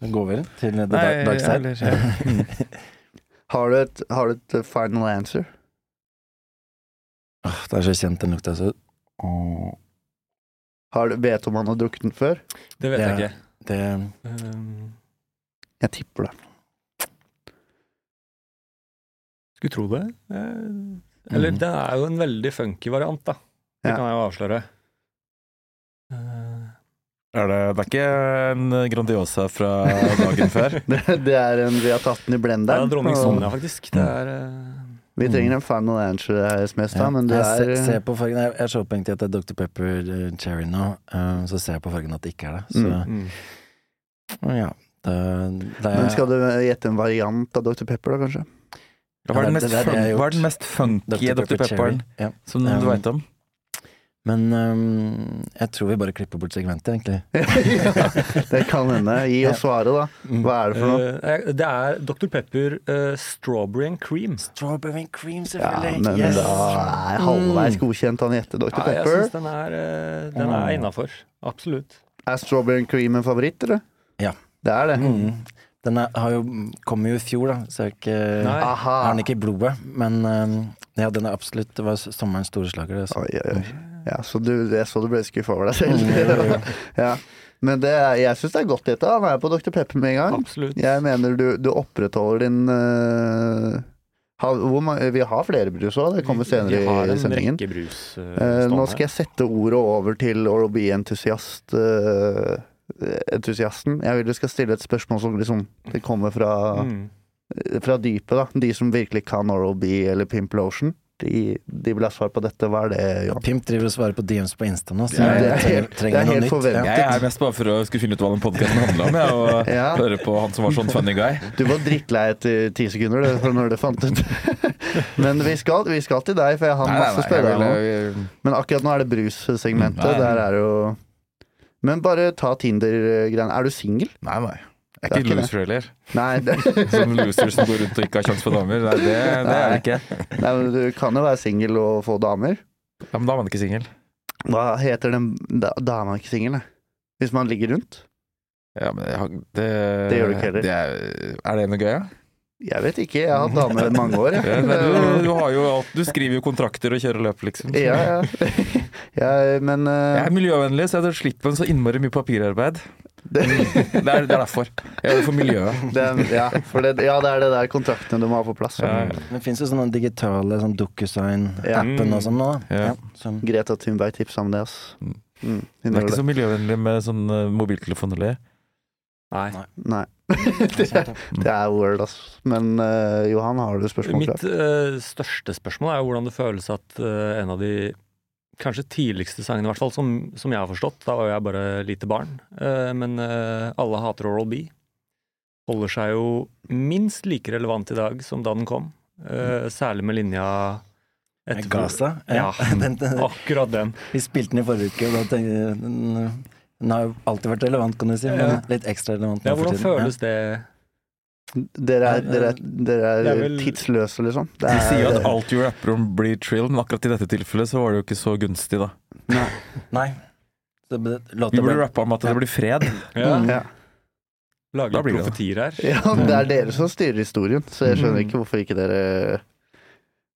Speaker 5: Det går vel til
Speaker 2: Nei,
Speaker 5: the dark, dark side.
Speaker 2: eller- ja.
Speaker 3: Har du, et, har du et final answer?
Speaker 5: Åh, det er så kjent den lukta. Så Åh,
Speaker 3: Har du, vet om han har drukket den før?
Speaker 4: Det vet jeg
Speaker 5: Ja.
Speaker 4: ikke.
Speaker 5: det
Speaker 4: Um,
Speaker 3: Jeg tipper det.
Speaker 4: skulle tro det. Eh, Eller
Speaker 5: Mhm.
Speaker 4: det er jo en veldig funky variant, da. Det
Speaker 3: Ja.
Speaker 4: kan jeg jo avsløre. Eh,
Speaker 2: er det, det er ikke en Grandiosa fra dagen før.
Speaker 3: Det, det er en, vi har tatt den i
Speaker 4: det
Speaker 3: blenderen.
Speaker 4: er dronning
Speaker 3: og
Speaker 4: Sonja, faktisk. Det er eh,
Speaker 3: Vi trenger en final answer her, Smestad,
Speaker 5: ja.
Speaker 3: men det
Speaker 5: jeg
Speaker 3: er eh,
Speaker 5: se- ser på fargen. Jeg jeg er så opphengt i at det er Dr. Pepper eh, Cherry nå, eh, så ser jeg på fargen at det ikke er det. Så
Speaker 4: mm.
Speaker 5: ja. Da, da
Speaker 3: Men skal du gjette en variant av Dr. Pepper, da, kanskje?
Speaker 2: Hva er den
Speaker 5: Ja, det-
Speaker 2: mest,
Speaker 5: det er det
Speaker 2: fun
Speaker 5: jeg har
Speaker 2: hva er den
Speaker 5: gjort.
Speaker 2: mest funky Dr. Pepperen
Speaker 5: Cherry, Ja.
Speaker 2: som du
Speaker 5: Um,
Speaker 2: veit om?
Speaker 5: Men eh, jeg tror vi bare klipper bort segmentet, egentlig.
Speaker 3: ja, det kan hende. Gi oss svaret, da.
Speaker 5: Mm.
Speaker 3: Hva er det for noe?
Speaker 4: Eh, det er Dr. Pepper eh, strawberry and cream.
Speaker 5: Strawberry and cream,
Speaker 3: Ja,
Speaker 5: selvfølgelig.
Speaker 3: men
Speaker 5: yes.
Speaker 3: da er halvveis godkjent han gjetter Dr.
Speaker 4: Ja, jeg
Speaker 3: Pepper. Mm.
Speaker 4: syns den er, eh, den er innafor. Absolutt.
Speaker 3: Er strawberry and cream en favoritt, eller?
Speaker 5: Ja.
Speaker 3: Det er det.
Speaker 5: Mm. Den er, har jo, kom jo i fjor, da, så jeg ikke,
Speaker 4: Nei.
Speaker 3: Aha.
Speaker 5: har den ikke i blodet. Men eh, ja, den er absolutt Det var sommerens store slager. Det, altså.
Speaker 3: Oi, oi, oi. Ja, så du, jeg så du ble skuffa over deg
Speaker 5: Mm.
Speaker 3: selv. ja. Men det, er- jeg syns det er godt gjetta. Han er på Dr. Pepper med en gang.
Speaker 4: Absolutt.
Speaker 3: Jeg mener du, du opprettholder din øh, ha, hvor mange, Vi har flere brus òg, det kommer
Speaker 4: Vi har
Speaker 3: senere i
Speaker 4: en
Speaker 3: sendingen.
Speaker 4: rekke brus. eh,
Speaker 3: Eh, nå
Speaker 4: stående.
Speaker 3: skal jeg sette ordet over til Oral-B-entusiast. eh, entusiasten. Jeg vil du skal stille et spørsmål som liksom det kommer fra,
Speaker 4: Mm.
Speaker 3: fra dypet. da De som virkelig kan Oral-B eller Pimplotion. De, de vil ha svar på dette. Hva er det, Johan?
Speaker 5: Pimp driver og svarer på DMs på Insta nå, så
Speaker 3: Ja, det er
Speaker 5: jeg trenger,
Speaker 3: helt- det er
Speaker 5: trenger noe
Speaker 3: helt
Speaker 5: nytt.
Speaker 3: forventet.
Speaker 2: Jeg er mest bare for å skulle finne ut hva den podkasten handla om, jeg, og
Speaker 3: Ja.
Speaker 2: høre på han som var sånn funny guy.
Speaker 3: Du var drittlei etter ti sekunder det, for når det fant ut. Men vi skal, vi skal til deg, for jeg har
Speaker 2: Nei, nei,
Speaker 3: masse
Speaker 2: nei, jeg
Speaker 3: spørsmål.
Speaker 2: vil-
Speaker 3: Men akkurat nå er det brussegmentet.
Speaker 2: Mm, nei.
Speaker 3: Der er det jo Men bare ta Tinder-greiene. Er du singel?
Speaker 2: Nei, nei. Jeg
Speaker 3: Det
Speaker 2: er
Speaker 3: er ikke
Speaker 2: ikke loser heller.
Speaker 3: Nei, det,
Speaker 2: Sånn loser som går rundt og ikke har kjangs på damer. Nei, det, det er jeg ikke.
Speaker 3: nei, men du kan jo være singel og få damer.
Speaker 2: Ja, men da var man ikke singel.
Speaker 3: Hva heter den Da, da er man ikke singel, nei. Hvis man ligger rundt?
Speaker 2: Ja, men jeg har- det,
Speaker 3: Det gjør du ikke heller.
Speaker 2: det er, er det noe gøy, ja?
Speaker 3: Jeg vet ikke, jeg har hatt damer i mange år.
Speaker 2: Ja,
Speaker 3: jeg.
Speaker 2: nei, du, du, har jo alt, du skriver jo kontrakter og kjører løp, liksom.
Speaker 3: Ja, ja. ja men
Speaker 2: Jeg
Speaker 3: eh,
Speaker 2: er miljøvennlig, så jeg slipper så innmari mye papirarbeid.
Speaker 3: det,
Speaker 2: Det er, det er derfor. Jeg gjør det for miljøet.
Speaker 3: det, ja, for det, ja, det er det der kontraktene du må ha på plass.
Speaker 2: Ja, ja.
Speaker 5: Det fins jo sånne digitale sånn DocuSign-appen
Speaker 4: Mm. Ja.
Speaker 5: og sånn nå. da.
Speaker 2: Ja.
Speaker 5: Ja, som,
Speaker 3: Greta Thunberg tipsa om det, ass.
Speaker 2: Mm.
Speaker 3: Mm, hun
Speaker 2: Det er
Speaker 3: gjorde
Speaker 2: ikke
Speaker 3: det.
Speaker 2: så miljøvennlig med sånn eh, mobiltelefon eller
Speaker 4: Nei.
Speaker 3: Nei. Det er word, ass. Men eh, Johan, har du spørsmål klart?
Speaker 4: Mitt eh, største spørsmål er jo hvordan det føles at eh, en av de kanskje tidligste sangene, i hvert fall, som, som jeg har forstått, da var jeg bare lite barn, eh, men eh, alle hater Oral B, holder seg jo minst like relevant i dag som da den kom,
Speaker 3: Mm.
Speaker 4: eh, særlig med linja etterpå.
Speaker 5: Gaza.
Speaker 4: Ja,
Speaker 5: Den, den,
Speaker 4: akkurat den.
Speaker 5: vi spilte den i forrige uke, og da tenkte jeg den, den har jo alltid vært relevant, kan du si, men
Speaker 4: Ja.
Speaker 5: litt ekstra relevant
Speaker 4: Ja,
Speaker 5: nå for
Speaker 4: hvordan
Speaker 5: tiden.
Speaker 4: føles det?
Speaker 3: Dere er, dere er, dere er,
Speaker 4: Det er vel-
Speaker 3: tidsløse, liksom. Det
Speaker 2: De
Speaker 3: er,
Speaker 2: sier jo at alt du rapper om blir trill, men akkurat i dette tilfellet så var det jo ikke så gunstig, da.
Speaker 5: Ja. Nei. Det, det,
Speaker 2: Vi
Speaker 5: låta
Speaker 2: burde
Speaker 5: ble-
Speaker 2: rappe om at det blir fred.
Speaker 4: Ja,
Speaker 5: Mm.
Speaker 3: ja.
Speaker 4: lager
Speaker 2: Da
Speaker 4: litt
Speaker 2: blir det
Speaker 4: profetier her.
Speaker 3: ja, det er dere som styrer historien, så jeg skjønner
Speaker 4: Mm.
Speaker 3: ikke hvorfor ikke dere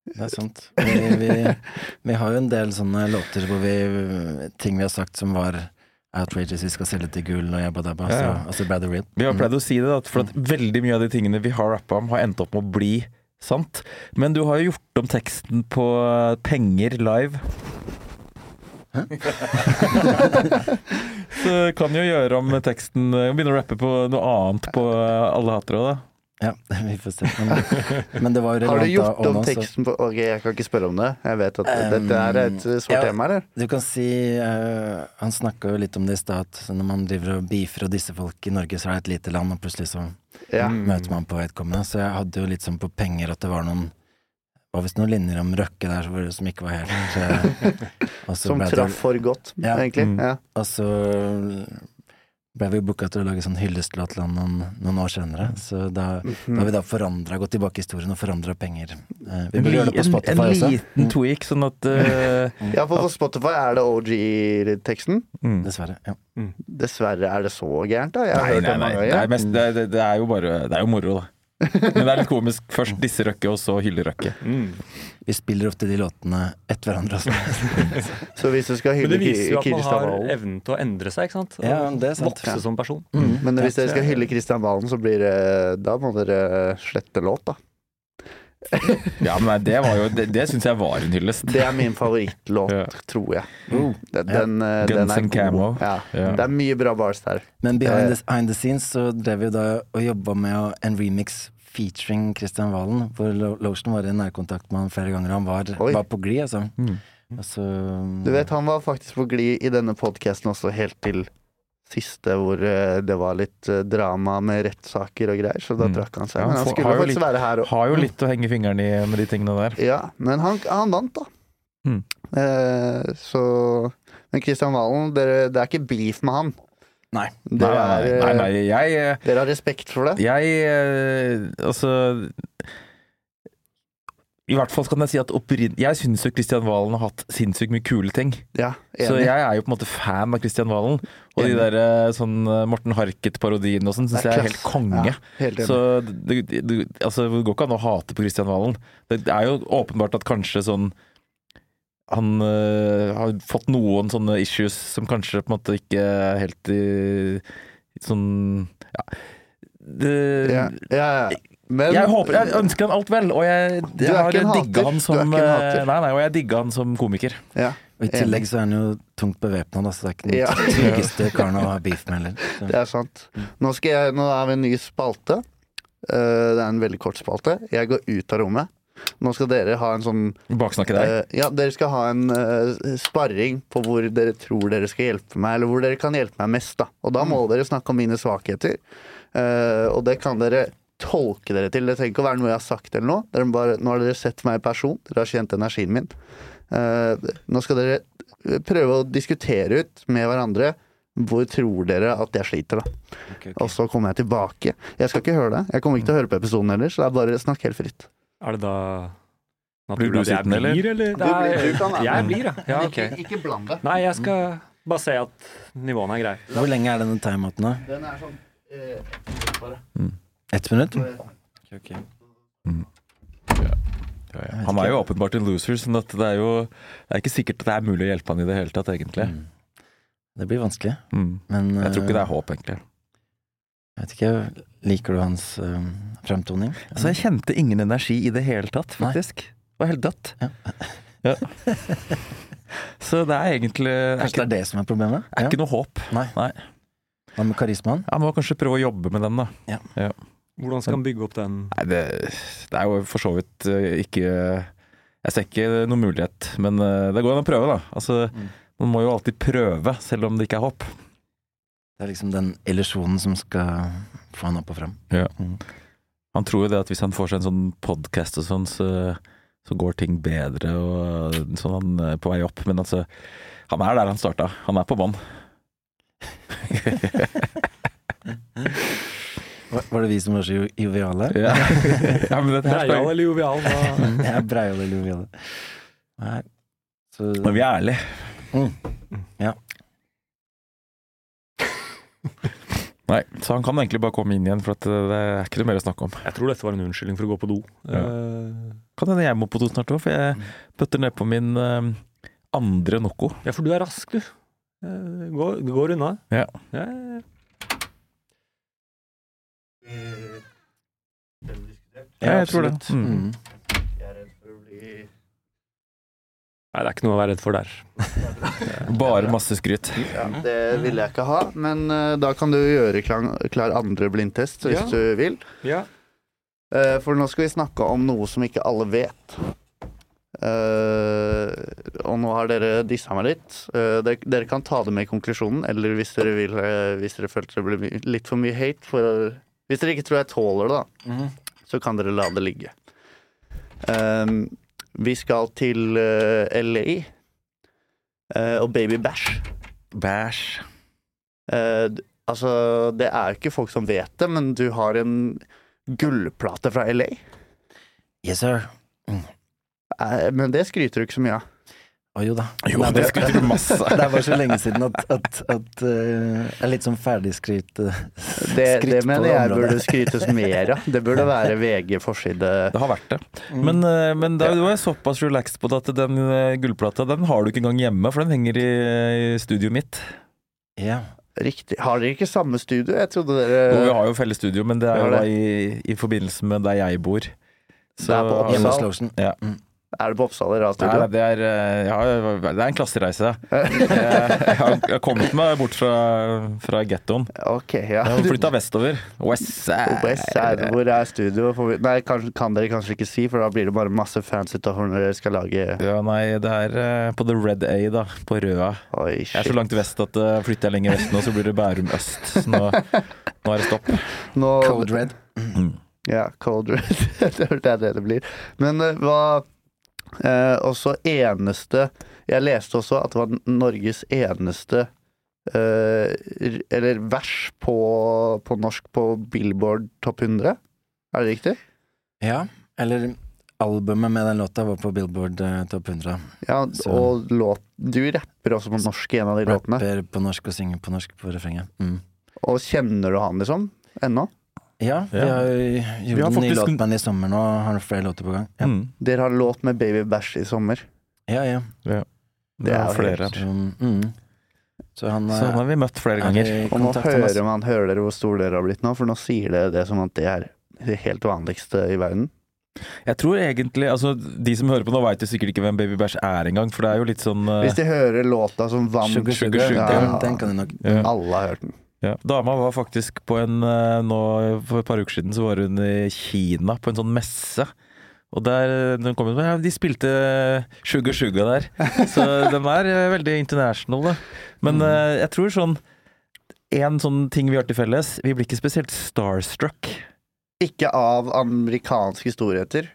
Speaker 5: Det er sant. Vi, vi, vi har jo en del sånne låter hvor vi Ting vi har sagt som var outrageous, vi skal selge til gull og jabba dabba.
Speaker 2: Ja,
Speaker 5: Så,
Speaker 2: ja.
Speaker 5: altså Brad Reed.
Speaker 2: Vi har pleid å si det, da, for at veldig mye av de tingene vi har rappa om, har endt opp med å bli sant. Men du har jo gjort om teksten på eh, penger live. Så kan jo gjøre om teksten eh, Begynne å rappe på noe annet på eh, Alle hater det, da.
Speaker 5: Ja, vi får se. Men, men det var jo
Speaker 3: Har du
Speaker 5: relevant da,
Speaker 3: gjort om
Speaker 5: nå, så-
Speaker 3: teksten på Ok, jeg kan ikke spørre om det. Jeg vet at
Speaker 5: Um,
Speaker 3: dette er et eh, svårt
Speaker 5: ja.
Speaker 3: tema, eller?
Speaker 5: Du kan si eh, Han snakka jo litt om det i stad, at når man driver og beefer og disser folk i Norge, så er det et lite land, og plutselig så
Speaker 3: Ja.
Speaker 4: Mm.
Speaker 5: møter man på vedkommende. Så jeg hadde jo litt sånn på penger at det var noen var visst noen linjer om Røkke der hvor- som ikke var helt eh, og så
Speaker 3: Som
Speaker 5: ble det-
Speaker 3: traff for godt,
Speaker 5: Ja.
Speaker 3: egentlig.
Speaker 2: Mm.
Speaker 3: Ja.
Speaker 5: Og så ble vi booka til å lage sånn hyllestlåt til han noen, noen år senere. Så da, da har vi da forandra, gått tilbake i historien og forandra penger. Eh, vi burde gjøre det på
Speaker 2: en,
Speaker 5: Spotify også. Mm.
Speaker 2: liten tweak, sånn at eh,
Speaker 3: ja, for på Spotify er det OG-teksten.
Speaker 2: mm.
Speaker 5: Dessverre. Ja.
Speaker 3: Dessverre er det så gærent, da. Jeg har
Speaker 2: Nei,
Speaker 3: hørt
Speaker 2: nei, nei.
Speaker 3: det mange
Speaker 2: Det er,
Speaker 3: ganger.
Speaker 2: mest, det, er, det er jo bare Det er jo moro, da. Men det er litt komisk. Først disse Røkke, og så hylle Røkke.
Speaker 4: Mm.
Speaker 5: Vi spiller ofte de låtene etter hverandre også.
Speaker 3: Så hvis du skal
Speaker 4: Men det
Speaker 3: hylle
Speaker 4: viser jo at man
Speaker 3: Kristian
Speaker 4: har
Speaker 3: Valen
Speaker 4: evnen til å endre seg, ikke sant?
Speaker 5: Ja, det er sant.
Speaker 4: Vokse som person.
Speaker 3: Men hvis
Speaker 5: Ja,
Speaker 3: dere
Speaker 5: så-
Speaker 3: skal hylle Kristian Valen, så blir det Da må dere eh, slette låt, da.
Speaker 2: Ja, men nei, det var jo Det, det syns jeg var en hyllest.
Speaker 3: Det er min favorittlåt,
Speaker 2: Ja. Mm.
Speaker 3: tror jeg.
Speaker 5: Oh.
Speaker 3: Den,
Speaker 5: Ja.
Speaker 3: den, eh,
Speaker 2: Guns
Speaker 3: den er
Speaker 2: and
Speaker 3: god.
Speaker 2: Camo.
Speaker 3: Ja.
Speaker 2: Ja.
Speaker 3: Det er mye bra bars der.
Speaker 5: Men behind
Speaker 3: Eh.
Speaker 5: the, behind the scenes så drev vi jo da og jobba med å- en remix featuring Christian Valen, hvor Lo- Lotion var i nærkontakt med han flere ganger. Han var,
Speaker 3: Oi.
Speaker 5: var på glid, altså.
Speaker 2: Mm.
Speaker 5: Og så
Speaker 3: Du vet, han var faktisk på glid i denne podkasten også, helt til siste, hvor eh, det var litt eh, drama med rettssaker og greier, så da
Speaker 2: Mm.
Speaker 3: drakk han seg.
Speaker 2: Ja, han
Speaker 3: Men
Speaker 2: får-
Speaker 3: han
Speaker 2: har
Speaker 3: skulle
Speaker 2: jo
Speaker 3: faktisk være her òg.
Speaker 2: Har jo litt å henge fingeren i med de tingene der.
Speaker 3: Ja, men han, han vant, da.
Speaker 2: Mm.
Speaker 3: Eh, så Men Kristian Valen, dere, det er ikke beef med han.
Speaker 5: Nei.
Speaker 2: Nei,
Speaker 3: Dere,
Speaker 2: nei,
Speaker 3: er,
Speaker 2: nei,
Speaker 3: eh,
Speaker 2: nei jeg eh,
Speaker 3: dere har respekt for det.
Speaker 2: Jeg eh, Altså I hvert fall kan jeg si at opprinn... Jeg syns jo Kristian Valen har hatt sinnssykt mye kule ting.
Speaker 3: Ja,
Speaker 2: Så
Speaker 3: enig.
Speaker 2: jeg er jo på en måte fan av Kristian Valen. Og de
Speaker 3: Enig.
Speaker 2: der eh, sånn eh, Morten Harket-parodiene og sånn syns
Speaker 3: Det er
Speaker 2: jeg er
Speaker 3: klasse.
Speaker 2: helt konge.
Speaker 3: Ja, helt enig.
Speaker 2: Så det, det, det- altså, det går ikke an å hate på Kristian Valen. Det det er jo åpenbart at kanskje sånn han eh, har fått noen sånne issues som kanskje på en måte ikke er helt i Sånn Ja. Det,
Speaker 3: ja, ja, ja. Men
Speaker 2: jeg, håper, jeg ønsker han alt vel, og jeg,
Speaker 3: Du er
Speaker 2: jeg har
Speaker 3: ikke en hater.
Speaker 2: digga han
Speaker 3: Du er
Speaker 2: som
Speaker 3: ikke en hater.
Speaker 2: eh, Nei, nei, og jeg digga han som komiker.
Speaker 3: ja.
Speaker 5: Og I tillegg så er han jo tungt bevæpna, da, så det er ikke den
Speaker 3: Ja.
Speaker 5: tryggeste karen å ha beef med heller. Så-
Speaker 3: Det er sant. Nå, skal jeg, nå er vi en ny spalte. Eh, det er en veldig kort spalte. Jeg går ut av rommet. Nå skal dere ha en sånn
Speaker 2: Baksnakke deg.
Speaker 3: eh, Ja, dere skal ha en eh, sparring på hvor dere tror dere skal hjelpe meg, eller hvor dere kan hjelpe meg mest, da. Og da må dere snakke om mine svakheter. Eh, og det kan dere tolke dere til. Det trenger ikke å være noe jeg har sagt eller noe. Dere må bare, nå har dere sett meg i person. Dere har kjent energien min. Eh, nå skal dere eh, prøve å diskutere ut med hverandre hvor tror dere at jeg sliter, da.
Speaker 5: Ok, ok.
Speaker 3: Og så kommer jeg tilbake. Jeg skal ikke høre det. Jeg kommer ikke til å høre på episoden heller, så det er bare snakk helt fritt.
Speaker 4: Er det da
Speaker 2: Blir du
Speaker 4: naturlig at jeg
Speaker 2: sulten, eller?
Speaker 4: blir, eller? Nei,
Speaker 3: blir- du kan være
Speaker 4: jeg
Speaker 3: med.
Speaker 4: blir, ja. ja ok.
Speaker 3: bland deg.
Speaker 4: Nei, jeg skal bare se at nivåene er greie.
Speaker 5: Hvor lenge er denne timeouten, da?
Speaker 3: Den er sånn
Speaker 5: Ett minutt?
Speaker 2: Han er jo åpenbart en loser, sånn at det er jo Det er ikke sikkert at det er mulig å hjelpe han i det hele tatt, egentlig.
Speaker 5: Mm. Det blir vanskelig,
Speaker 2: Mm.
Speaker 5: men
Speaker 2: Jeg tror ikke det
Speaker 5: eh,
Speaker 2: er håp, egentlig.
Speaker 5: Jeg vet ikke, liker du hans eh, fremtoning?
Speaker 2: Altså, jeg kjente ingen energi i det hele tatt, faktisk. Det var helt dødt.
Speaker 5: Ja.
Speaker 2: Ja. Så det er egentlig det er
Speaker 5: Kanskje det
Speaker 2: ikke,
Speaker 5: er det som er problemet?
Speaker 2: er ikke noe håp.
Speaker 5: Nei.
Speaker 2: Nei.
Speaker 5: Hva med karismaen?
Speaker 2: Jeg må kanskje prøve å jobbe med den, da.
Speaker 4: Hvordan skal man bygge opp den?
Speaker 2: Nei, det, det er jo for så vidt eh, ikke Jeg ser ikke noen mulighet, men eh, det går an å prøve, da. Altså,
Speaker 5: Mm.
Speaker 2: man må jo alltid prøve, selv om det ikke er håp.
Speaker 5: Det er liksom den illusjonen som skal få han opp og frem.
Speaker 2: Han tror jo det at hvis han får seg en sånn podkast og sånn, så, så går ting bedre og sånn han er på vei opp. Men altså, han er der han starta. Han er på bånn.
Speaker 5: Var var det vi som var så jo- joviale?
Speaker 2: Ja. Mm. ja, men dette her
Speaker 4: Breial
Speaker 2: skal
Speaker 4: eller jovial? hva-
Speaker 5: Jeg er breial eller jovial. Nei. Så
Speaker 2: Men vi er ærlige. Mm.
Speaker 5: Ja.
Speaker 2: Nei, så han kan egentlig bare komme inn igjen, for at det det er ikke noe mer å snakke om.
Speaker 4: Jeg tror dette var en unnskyldning for å gå på do.
Speaker 2: Ja.
Speaker 4: Eh,
Speaker 2: Kan hende jeg må på do snart òg, for jeg bøtter ned på min eh, andre Noco.
Speaker 4: Ja, for du er rask, du. Eh, Går, det går unna.
Speaker 2: Ja.
Speaker 4: Ja, ja, ja.
Speaker 2: Ja, jeg tror det.
Speaker 5: absolutt. Mm.
Speaker 3: Jeg er redd for å bli
Speaker 4: Nei, det er ikke noe å være redd for der.
Speaker 2: Bare masse skryt.
Speaker 3: Ja, det ville jeg ikke ha, men eh, da kan du gjøre klar, klar andre blindtest hvis
Speaker 4: Ja.
Speaker 3: du vil.
Speaker 4: Ja.
Speaker 3: Eh, for nå skal vi snakke om noe som ikke alle vet. Eh, og nå har dere dissa meg litt. Eh, dere, dere kan ta det med i konklusjonen, eller hvis dere, vil, eh, hvis dere følte det ble my- litt for mye hate for, Hvis dere ikke tror jeg tåler det, da, så kan dere la det ligge. Eh, vi skal til eh, LA eh, og Baby Bash.
Speaker 2: Bæsj.
Speaker 3: Eh, d- altså, det er jo ikke folk som vet det, men du har en gullplate fra LA.
Speaker 5: Yes, sir.
Speaker 3: Eh, Men det skryter du ikke så mye av.
Speaker 5: Å jo da.
Speaker 2: Jo,
Speaker 5: Nei,
Speaker 2: det skryter du masse av.
Speaker 5: Det er bare så lenge siden at, at, at eh, jeg er litt sånn ferdigskryt eh,
Speaker 3: Det,
Speaker 5: skryt
Speaker 3: det
Speaker 5: på
Speaker 3: mener jeg
Speaker 5: området.
Speaker 3: burde skrytes mer av. Det burde være VG-forside.
Speaker 2: Det har vært det.
Speaker 3: Mm.
Speaker 2: Men, eh, men da, du er såpass relaxed på det at den eh, gullplata den har du ikke engang hjemme, for den henger i, i studioet mitt.
Speaker 5: Ja.
Speaker 3: Riktig. Har dere ikke samme studio? Jeg trodde
Speaker 2: Jo, vi
Speaker 3: dere
Speaker 2: har jo felles studio, men det er jo
Speaker 3: Vi Eh. har
Speaker 2: da i, i forbindelse med der jeg bor. Så,
Speaker 3: Det er på
Speaker 5: Hjemme hos
Speaker 3: Oppsal.
Speaker 5: Lotion.
Speaker 3: Er det på Oppsal eller
Speaker 2: Nei, nei,
Speaker 3: A-studio?
Speaker 2: det er, eh, ja, det er en klassereise. Jeg, jeg har jeg har kommet meg bort fra, fra gettoen.
Speaker 3: Ok, ja.
Speaker 2: Jeg har flytta vestover. West Side.
Speaker 3: OBS er hvor er studio? Får vi- Nei, kanskje, kan dere kanskje ikke si, for da blir det bare masse fans utenfor når dere skal lage
Speaker 2: Ja, nei, det er eh, på The Red A, da. På Røa.
Speaker 3: Oi,
Speaker 2: Jeg er
Speaker 3: shit.
Speaker 2: så langt vest at eh, flytter jeg lenger vest nå, så blir det Bærum øst. Så nå, nå er det stopp.
Speaker 3: Nå-
Speaker 5: Code Red.
Speaker 3: Ja, Cold Red. det er det det blir. Men eh, hva eh, Også eneste Jeg leste også at det var Norges eneste eh, r- Eller vers på, på norsk på Billboard topp 100. Er det riktig?
Speaker 5: Ja. Eller albumet med den låta var på Billboard eh, Topp 100.
Speaker 3: Ja,
Speaker 5: Så-
Speaker 3: og låt Du rapper også på norsk i en av de låtene.
Speaker 5: Rapper på norsk og synger på norsk på refrenget. Mm.
Speaker 3: Og kjenner du han, liksom? Ennå?
Speaker 5: Ja, vi
Speaker 2: Ja.
Speaker 5: har jo
Speaker 2: Vi
Speaker 5: gjort
Speaker 2: har
Speaker 5: en ny
Speaker 2: faktisk-
Speaker 5: låt med den i sommer nå, og har flere låter på gang. Ja,
Speaker 2: Mm.
Speaker 3: Dere har låt med Baby Bash i sommer.
Speaker 5: ja. ja.
Speaker 2: Det
Speaker 3: er
Speaker 2: er
Speaker 3: jo
Speaker 2: flere.
Speaker 5: Så, mm. så han eh,
Speaker 2: Sånn har vi møtt flere ganger.
Speaker 5: er i
Speaker 3: Og nå
Speaker 5: kontakt, han,
Speaker 3: hører
Speaker 5: altså.
Speaker 3: man hører dere hvor stor dere har blitt nå, for nå sier dere det som at det er det helt vanligste i verden.
Speaker 2: Jeg tror egentlig, altså De som hører på nå, veit jo sikkert ikke hvem Baby Bæsj er engang, for det er jo litt sånn eh,
Speaker 3: Hvis de hører låta som vant
Speaker 5: Sugar Sugar,
Speaker 2: Sugar,
Speaker 5: Den,
Speaker 3: ja.
Speaker 5: den kan jeg nok
Speaker 2: eh, ja.
Speaker 3: Alle har hørt den.
Speaker 2: Ja. Dama var faktisk på en eh, nå, For et par uker siden så var hun i Kina på en sånn messe. Og der den kom hun med, ja, de spilte eh, Sugar Sugar der. Så de er eh, veldig international, da. Men eh, jeg tror sånn En sånn ting vi har til felles, vi blir ikke spesielt starstruck.
Speaker 3: Ikke av amerikanske storheter.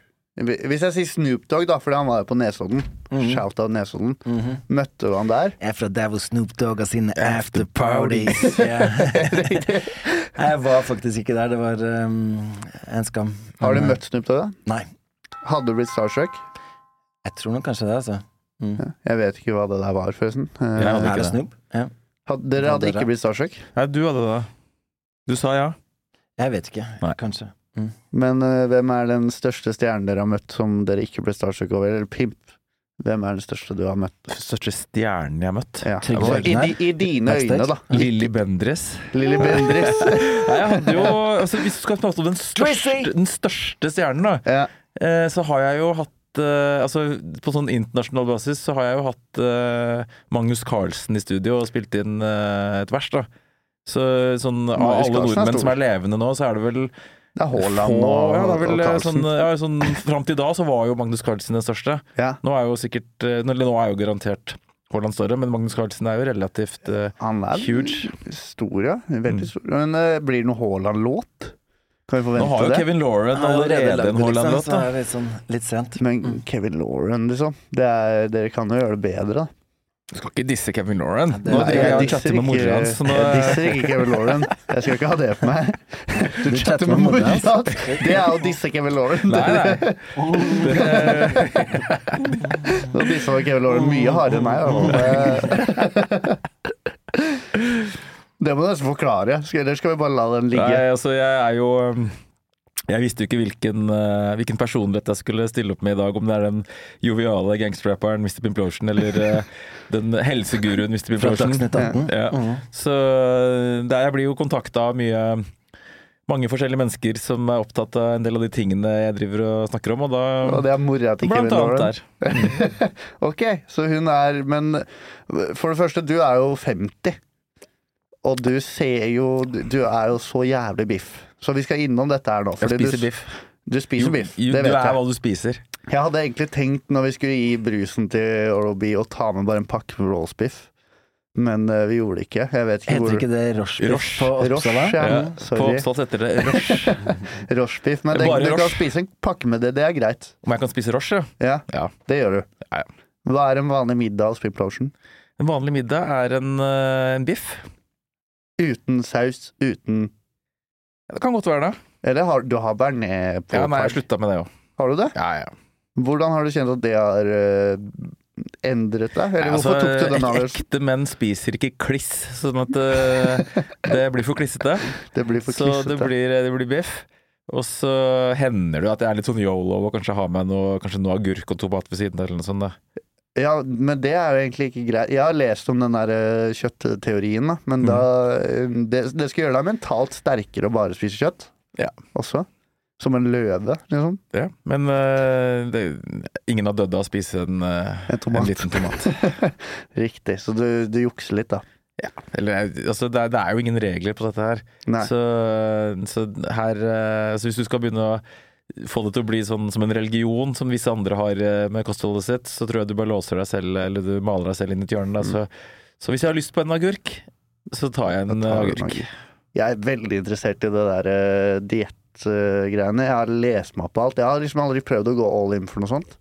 Speaker 3: Hvis jeg sier Snoop Dogg, da, fordi han var jo på Nesodden.
Speaker 5: Mhm.
Speaker 3: Shout out Nesodden.
Speaker 5: Mhm.
Speaker 3: Møtte du han der?
Speaker 5: Jeg er fra Devil Snoop Dogg altså, og sine afterparties. Ja. jeg var faktisk ikke der, det var um, en skam.
Speaker 3: Har du
Speaker 5: Men, eh,
Speaker 3: møtt Snoop Dogg, da?
Speaker 5: Nei.
Speaker 3: Hadde du blitt starstruck?
Speaker 5: Jeg tror nok kanskje det, altså. Mm.
Speaker 3: Jeg vet ikke hva det der var, forresten. Eh,
Speaker 2: Jeg hadde
Speaker 5: Er
Speaker 2: ikke
Speaker 5: det
Speaker 2: det.
Speaker 5: Snoop? Ja.
Speaker 3: had- Dere hadde ikke blitt starstruck,
Speaker 2: Nei, du hadde det. Du sa ja.
Speaker 5: Jeg vet ikke.
Speaker 2: Nei.
Speaker 5: Kanskje.
Speaker 3: men eh, hvem er den største stjernen dere har møtt som dere ikke ble starstruck over? Eller pimp? Hvem er den største du har møtt?
Speaker 2: Største stjernen jeg har møtt.
Speaker 3: Ja.
Speaker 5: Trygve
Speaker 3: Altså, I,
Speaker 5: Hegnar.
Speaker 3: di- I dine øyne,
Speaker 5: Backstage.
Speaker 3: da.
Speaker 2: Lilly Bendriss.
Speaker 3: Lilly Bendriss.
Speaker 2: Nei, jeg hadde jo altså, Hvis du skal prate om den største,
Speaker 5: Twizzy!
Speaker 2: den største stjernen, da,
Speaker 3: ja.
Speaker 2: eh, så har jeg jo hatt eh, altså På sånn internasjonal basis så har jeg jo hatt eh, Magnus Carlsen i studio og spilt inn eh, et vers, da. Så sånn, av
Speaker 3: Magnus
Speaker 2: alle
Speaker 3: Carlsen er
Speaker 2: nordmenn
Speaker 3: stor.
Speaker 2: som er levende nå, så er det vel
Speaker 3: Det er Haaland
Speaker 2: få-
Speaker 3: og,
Speaker 2: ja, det er vel,
Speaker 3: og
Speaker 2: eh,
Speaker 3: Carlsen.
Speaker 2: sånn, ja, sånn, Fram til da så var jo Magnus Carlsen den største.
Speaker 3: Ja.
Speaker 2: Nå er jo sikkert eh, Eller nå er jo garantert Haaland større, men Magnus Carlsen er jo relativt eh,
Speaker 3: Han er
Speaker 2: huge. Mm.
Speaker 3: stor, ja. Veldig stor. Men eh, blir det noe Haaland-låt? Kan vi
Speaker 2: Nå har
Speaker 3: forvente
Speaker 2: jo
Speaker 3: det?
Speaker 2: Kevin Lauren allerede en Haaland-låt.
Speaker 5: Så
Speaker 2: da.
Speaker 5: er det litt, sånn, litt sent.
Speaker 3: Men
Speaker 2: Mm.
Speaker 3: Kevin Lauren, liksom. Det er, dere kan jo gjøre det bedre, da.
Speaker 2: Du skal ikke disse Kevin Lauren.
Speaker 5: det-
Speaker 2: Nå
Speaker 5: Nei,
Speaker 2: driver jeg og
Speaker 3: disser
Speaker 2: chatter med
Speaker 3: ikke-
Speaker 2: mora hans. så nå-
Speaker 3: jeg disser ikke Kevin Lauren. Jeg skal ikke ha det på meg. Du, chatter med mora hans. Det er å disse Kevin Lauren.
Speaker 2: Nei, nei.
Speaker 3: Nå disser han Kevin Lauren mye hardere enn meg.
Speaker 2: Mm.
Speaker 3: da. Det må du nesten forklare. Skal- Eller skal vi bare la den
Speaker 2: nei
Speaker 3: ligge?
Speaker 2: altså, jeg er jo um, Jeg visste jo ikke hvilken, eh, hvilken personlighet jeg skulle stille opp med i dag. Om det er den joviale gangsterrapperen Mr. Pimplotion eller eh, den helseguruen Mr.
Speaker 5: Fra
Speaker 2: Pimplotion.
Speaker 3: Mm.
Speaker 5: Dagsnytt 18.
Speaker 2: uh, Ja. Så det, jeg blir jo kontakta av mye mange forskjellige mennesker som er opptatt av en del av de tingene jeg driver og snakker om, og da
Speaker 3: Og det er mora til Kevin
Speaker 2: Blant annet
Speaker 3: Lauren.
Speaker 2: der.
Speaker 3: Ok, så hun er Men for det første, du er jo 50. Og du ser jo Du er jo så jævlig biff. Så vi skal innom dette her nå.
Speaker 2: Jeg
Speaker 3: fordi
Speaker 2: spiser
Speaker 3: du,
Speaker 2: biff.
Speaker 3: Du spiser
Speaker 2: Jo,
Speaker 3: biff,
Speaker 2: jo,
Speaker 3: det vet
Speaker 2: du er
Speaker 3: jeg.
Speaker 2: hva du spiser.
Speaker 3: Jeg hadde egentlig tenkt, når vi skulle gi brusen til Oral-B, å ta med bare en pakke med roastbiff. Men eh, vi gjorde det ikke. Jeg vet ikke
Speaker 5: Heter
Speaker 3: hvor
Speaker 5: ikke det rochebiff
Speaker 2: Roche.
Speaker 5: på
Speaker 3: Roche,
Speaker 5: Oppsala?
Speaker 3: ja.
Speaker 2: Ja, på
Speaker 3: Sorry.
Speaker 2: Oppsal heter det roche.
Speaker 3: Rochebiff. Men det,
Speaker 2: Bare
Speaker 3: du kan
Speaker 2: roche.
Speaker 3: spise en pakke med det. Det er greit.
Speaker 2: Om jeg kan spise roche, ja.
Speaker 3: Ja,
Speaker 2: Ja.
Speaker 3: det gjør du.
Speaker 2: Ja, ja.
Speaker 3: Hva er en vanlig middag hos Piplotion?
Speaker 2: En vanlig middag er en, eh, en biff.
Speaker 3: Uten saus, uten
Speaker 2: Ja, Det kan godt være det.
Speaker 3: Eller har, du har bearnés på
Speaker 2: Ja, nei, jeg
Speaker 3: par.
Speaker 2: slutta med det òg.
Speaker 3: Har du det?
Speaker 2: Ja, ja.
Speaker 3: Hvordan har du kjent at det har eh, endret deg? Eller
Speaker 2: Nei, altså,
Speaker 3: hvorfor tok du den
Speaker 2: ek-
Speaker 3: avgjørelsen?
Speaker 2: Ekte menn spiser ikke kliss, sånn at eh, det blir for klissete.
Speaker 3: Det blir for
Speaker 2: Så det
Speaker 3: klissete.
Speaker 2: blir, det blir biff. Og så hender det jo at jeg er litt sånn yolo og kanskje har med noe, kanskje noe agurk og tomat ved siden av. eller noe sånt. da.
Speaker 3: Ja, men det er jo egentlig ikke greit. Jeg har lest om den der eh, kjøttteorien, da. Men da eh,
Speaker 2: Mm.
Speaker 3: det, det skal gjøre deg mentalt sterkere å bare spise kjøtt.
Speaker 2: Ja.
Speaker 3: Også. Som en løve, liksom.
Speaker 2: Ja. Men eh, det, ingen har dødd av å spise en, eh,
Speaker 3: En tomat.
Speaker 2: en liten tomat.
Speaker 3: Riktig. Så du, du jukser litt, da.
Speaker 2: Eller, altså, det, er, det er jo ingen regler på dette her.
Speaker 3: Nei.
Speaker 2: Så, så her eh, Så hvis du skal begynne å få det til å bli sånn som en religion som visse andre har eh, med kostholdet sitt, så tror jeg du bare låser deg selv, eller du maler deg selv inn i et hjørne. da.
Speaker 3: Mm.
Speaker 2: Så, så hvis jeg har lyst på en agurk, så tar jeg en eh,
Speaker 3: Da tar du en
Speaker 2: agurk.
Speaker 3: agurk. Jeg er veldig interessert i det der uh, diettgreiene. Jeg har lest meg opp på alt. Jeg har liksom aldri prøvd å gå all in for noe sånt.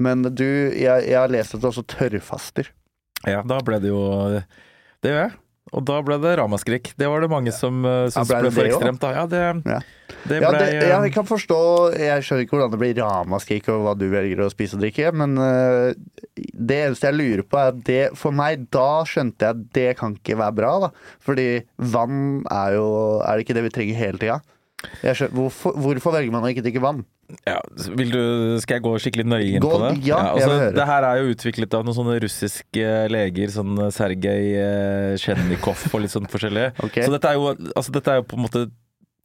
Speaker 3: Men du, jeg, jeg har lest at du også tørrfaster.
Speaker 2: Ja, da ble det jo Det gjør jeg. Og da ble det ramaskrik. Det var det mange som eh, syntes
Speaker 3: Ja,
Speaker 2: ble,
Speaker 3: ble det
Speaker 2: for
Speaker 3: det også?
Speaker 2: ekstremt. Da. Ja, det,
Speaker 3: Ja.
Speaker 2: det
Speaker 3: Ja,
Speaker 2: ble
Speaker 3: det,
Speaker 2: eh,
Speaker 3: jeg kan forstå Jeg skjønner ikke hvordan det blir ramaskrik over hva du velger å spise og drikke, men eh, det eneste jeg lurer på, er at det For meg, da skjønte jeg at det kan ikke være bra, da. Fordi vann er jo Er det ikke det vi trenger hele tida? Jeg skjønner, hvorfor, hvorfor velger man å ikke drikke vann?
Speaker 2: Ja, vil du, skal jeg gå skikkelig nøye inn
Speaker 3: Gå-
Speaker 2: på det? altså,
Speaker 3: ja, jeg vil høre.
Speaker 2: Det her er jo utviklet av noen sånne russiske leger, sånn Sergej eh, Sjennikov og litt sånn forskjellige.
Speaker 3: Ok.
Speaker 2: Så dette er, jo, altså, dette er jo på en måte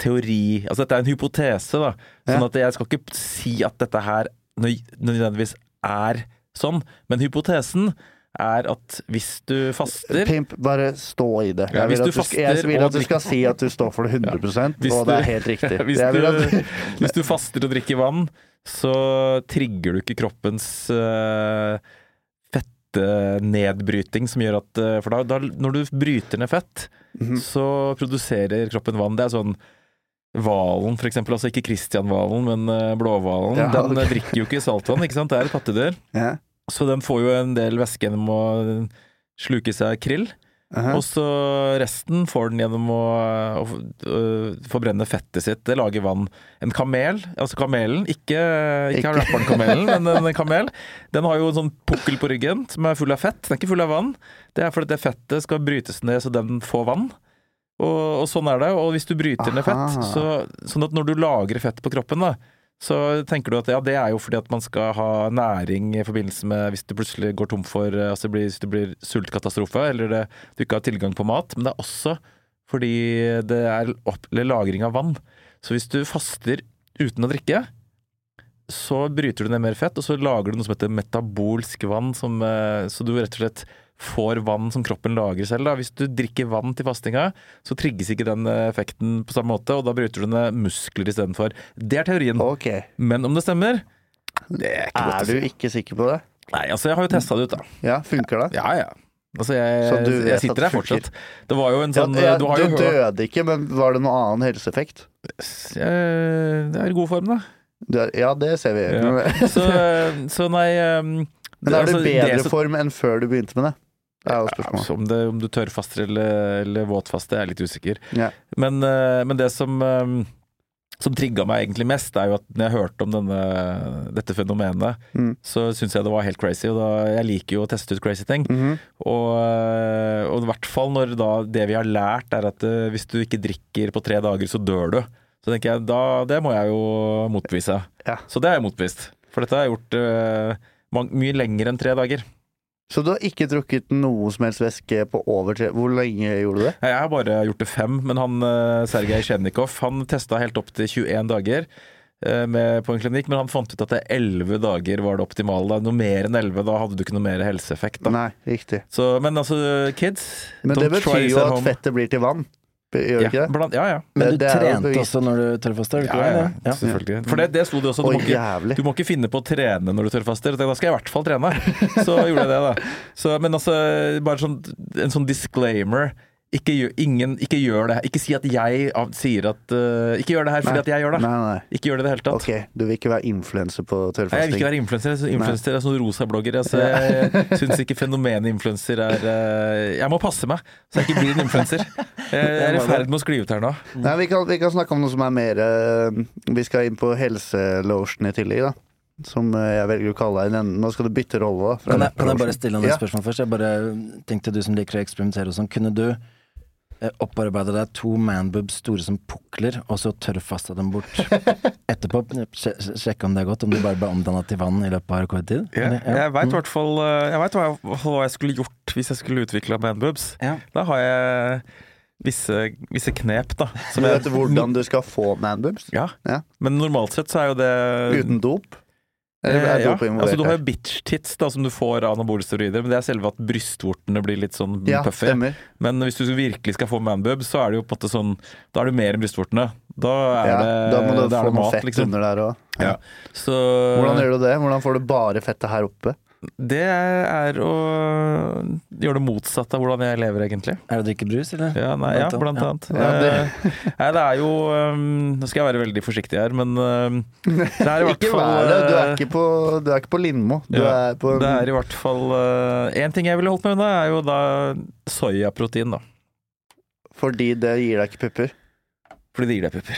Speaker 2: teori Altså dette er en hypotese, da. Sånn
Speaker 3: Ja.
Speaker 2: at jeg skal ikke si at dette her nøy- nødvendigvis er sånn, men hypotesen er at hvis du faster
Speaker 3: Pimp, bare stå i det.
Speaker 2: Ja,
Speaker 3: Jeg vil
Speaker 2: hvis
Speaker 3: at
Speaker 2: du
Speaker 3: du, skal- jeg
Speaker 2: faster
Speaker 3: vil
Speaker 2: og
Speaker 3: at du skal si at du står for det 100
Speaker 2: Hvis
Speaker 3: og det er
Speaker 2: du-
Speaker 3: helt riktig.
Speaker 2: Hvis
Speaker 3: Jeg vil at,
Speaker 2: du, hvis du faster og drikker vann, så trigger du ikke kroppens eh, fettenedbryting, som gjør at eh, For da, da, når du bryter ned fett,
Speaker 3: Mm.
Speaker 2: så produserer kroppen vann. Det er sånn Hvalen, for eksempel. Altså ikke Kristianvalen, men eh, blåhvalen.
Speaker 3: Ja,
Speaker 2: den eh,
Speaker 3: ok.
Speaker 2: drikker jo ikke saltvann, ikke sant. Det er et pattedyr.
Speaker 3: ja.
Speaker 2: Så den får jo en del væske gjennom å sluke i seg krill.
Speaker 3: aha.
Speaker 2: Og så resten får den gjennom å, å øh, forbrenne fettet sitt. Det lager vann. En kamel, altså kamelen, ikke, ikke,
Speaker 3: Ikke.
Speaker 2: rapperen kamelen, men en kamel, den har jo en sånn pukkel på ryggen som er full av fett. Den er ikke full av vann. Det er fordi det fettet skal brytes ned så den får vann. Og, og sånn er det. Og hvis du bryter ned fett,
Speaker 3: Aha.
Speaker 2: så, sånn at når du lagrer fett på kroppen, da, så tenker du at ja, det er jo fordi at man skal ha næring i forbindelse med hvis du plutselig går tom for eh, altså det blir, Hvis det blir sultkatastrofe, eller det, du ikke har tilgang på mat. Men det er også fordi det er opp, eller lagring av vann. Så hvis du faster uten å drikke, så bryter du ned mer fett, og så lager du noe som heter metabolsk vann, som, eh, så du rett og slett får vann som kroppen lagrer selv. Da. Hvis du drikker vann til fastinga, så trigges ikke den eh, effekten på samme måte, og da bryter du ned muskler istedenfor. Det er teorien.
Speaker 3: Ok.
Speaker 2: Men om det stemmer Det er ikke
Speaker 3: Er
Speaker 2: godt å
Speaker 3: du
Speaker 2: si.
Speaker 3: ikke sikker på det?
Speaker 2: Nei, altså, jeg har jo testa det ut, da.
Speaker 3: Ja, funker det?
Speaker 2: Ja, ja. Altså,
Speaker 3: Så
Speaker 2: jeg,
Speaker 3: du vet
Speaker 2: jeg
Speaker 3: at
Speaker 2: sitter
Speaker 3: det
Speaker 2: der
Speaker 3: funker?
Speaker 2: fortsatt. Det var jo en
Speaker 3: Ja,
Speaker 2: sånn
Speaker 3: ja,
Speaker 2: Du har jo
Speaker 3: du
Speaker 2: hørt
Speaker 3: døde ikke, men var det noen annen helseeffekt?
Speaker 2: Eh, Det er i god form, da.
Speaker 3: Du er- Ja, det ser vi.
Speaker 2: Ja.
Speaker 3: Men,
Speaker 2: Så, eh, så nei um,
Speaker 3: men er du i
Speaker 2: altså, det
Speaker 3: bedre
Speaker 2: som-
Speaker 3: form enn før du begynte med det? Det er jo spørsmålet.
Speaker 2: Altså, om, det, om du tørrfaster eller, eller våtfaster, jeg er litt usikker.
Speaker 3: Ja.
Speaker 2: Men, eh, men det som, eh, som trigga meg egentlig mest, er jo at når jeg hørte om denne, dette fenomenet,
Speaker 3: Mm.
Speaker 2: så syns jeg det var helt crazy. Og da, jeg liker jo å teste ut crazy ting.
Speaker 3: Mhm.
Speaker 2: Og, eh, og i hvert fall når da det vi har lært, er at eh, hvis du ikke drikker på tre dager, så dør du. Så tenker jeg da, det må jeg jo motbevise.
Speaker 3: Ja.
Speaker 2: Så det har jeg motbevist. For dette har jeg gjort eh, mang- mye lenger enn tre dager.
Speaker 3: Så du har ikke drukket noe som helst væske på over tre Hvor lenge gjorde du det?
Speaker 2: Jeg har bare gjort det fem, men han eh, Sergej Sjernikov han testa helt opp til 21 dager eh, med, på en klinikk, men han fant ut at det 11 dager var det optimale. Da. Noe mer enn 11, da hadde du ikke noe mer helseeffekt. Da.
Speaker 3: Nei, riktig.
Speaker 2: Så, men altså, kids
Speaker 3: Men det betyr jo at fettet blir til vann. Gjør det ikke
Speaker 2: ja,
Speaker 3: det?
Speaker 2: blant, ja, ja.
Speaker 3: Det-
Speaker 5: Men du
Speaker 3: det er jo
Speaker 5: trente
Speaker 3: bevis.
Speaker 5: også når du tørrfasta? gjorde du
Speaker 2: Ja,
Speaker 5: ikke
Speaker 2: ja,
Speaker 5: det?
Speaker 2: ja, selvfølgelig. For det, det sto det også. Du
Speaker 3: Å,
Speaker 2: må, ikke,
Speaker 3: jævlig.
Speaker 2: du må ikke finne på å trene når du tørrfaster. Jeg tenkte, Da skal jeg i hvert fall trene. Så gjorde jeg det, da. Så, men altså, bare sånn, en sånn disclaimer. Ikke gjør, ingen, ikke gjør det her. Ikke si at jeg av- sier at eh, Ikke gjør det her fordi
Speaker 3: Nei.
Speaker 2: at jeg gjør det.
Speaker 3: Nei, nei.
Speaker 2: Ikke gjør det i det hele tatt.
Speaker 3: Ok, du vil ikke være influenser på
Speaker 2: Nei, jeg vil ikke
Speaker 3: tørrfasting?
Speaker 2: være influenser. Jeg synes Influenser er sånne rosa bloggere. Altså, jeg syns ikke fenomenet influenser er eh, Jeg må passe meg, så jeg ikke blir en influenser. Jeg er i ferd med å skli ut her nå.
Speaker 3: Nei, vi kan, vi kan snakke om noe som er mer eh, Vi skal inn på helselosjen i tillegg, da. Som eh, jeg velger å kalle deg. Nå skal du bytte rolle, da. fra
Speaker 5: Kan jeg, kan jeg
Speaker 3: lotion.
Speaker 5: bare stille noen
Speaker 3: Ja.
Speaker 5: spørsmål først? Jeg bare eh, tenkte du som liker å eksperimentere og sånn, kunne du eh, opparbeide deg to manboobs store som pukler, og så tørrfasta dem bort etterpå? Sje- sje- Sjekke om det er godt, om du bare ble omdanna til vann i løpet av rekordtid?
Speaker 2: Ja,
Speaker 5: Eller- ja. Mm.
Speaker 2: jeg
Speaker 3: Mm.
Speaker 2: veit i hvert fall eh, Jeg vet hva, jeg- hva jeg skulle gjort hvis jeg skulle utvikla manboobs.
Speaker 5: Ja.
Speaker 2: Da har jeg visse, visse knep, da. som
Speaker 3: Du
Speaker 2: jeg-
Speaker 3: vet hvordan du skal få manboobs?
Speaker 2: Ja.
Speaker 3: Ja.
Speaker 2: Men normalt sett så er jo det
Speaker 3: Uten dop? Eller
Speaker 2: Mm. Eh,
Speaker 3: er
Speaker 2: ja.
Speaker 3: dop involvert?
Speaker 2: altså, du har
Speaker 3: her?
Speaker 2: jo bitch tits da, som du får av anabole steroider, men det er selve at brystvortene blir litt sånn
Speaker 3: ja,
Speaker 2: puffy.
Speaker 3: stemmer.
Speaker 2: Men hvis du virkelig skal få manboobs, så er det jo på en måte sånn Da er det mer enn brystvortene. Da er
Speaker 3: Ja,
Speaker 2: det,
Speaker 3: da må du
Speaker 2: da er
Speaker 3: få
Speaker 2: det
Speaker 3: noe
Speaker 2: mat,
Speaker 3: fett
Speaker 2: liksom.
Speaker 3: under der òg.
Speaker 2: Ja. Så
Speaker 3: Hvordan gjør du det? Hvordan får du bare fettet her oppe?
Speaker 2: det er å gjøre det motsatte av hvordan jeg lever, egentlig.
Speaker 5: Er det å drikke brus, eller?
Speaker 2: Ja, nei, ja, blant annet.
Speaker 3: Ja,
Speaker 2: Eh, nei, det er jo ehm, Nå skal jeg være veldig forsiktig her, men ehm, det er i hvert
Speaker 3: Ikke
Speaker 2: fall
Speaker 3: vær det. Du er
Speaker 2: eh,
Speaker 3: ikke på, du er ikke på Lindmo. Du
Speaker 2: Ja,
Speaker 3: er på
Speaker 2: det er i hvert fall Én ting jeg ville holdt meg unna, er jo da soyaprotein, da.
Speaker 3: Fordi det gir deg ikke pupper.
Speaker 2: Fordi det gir deg pupper.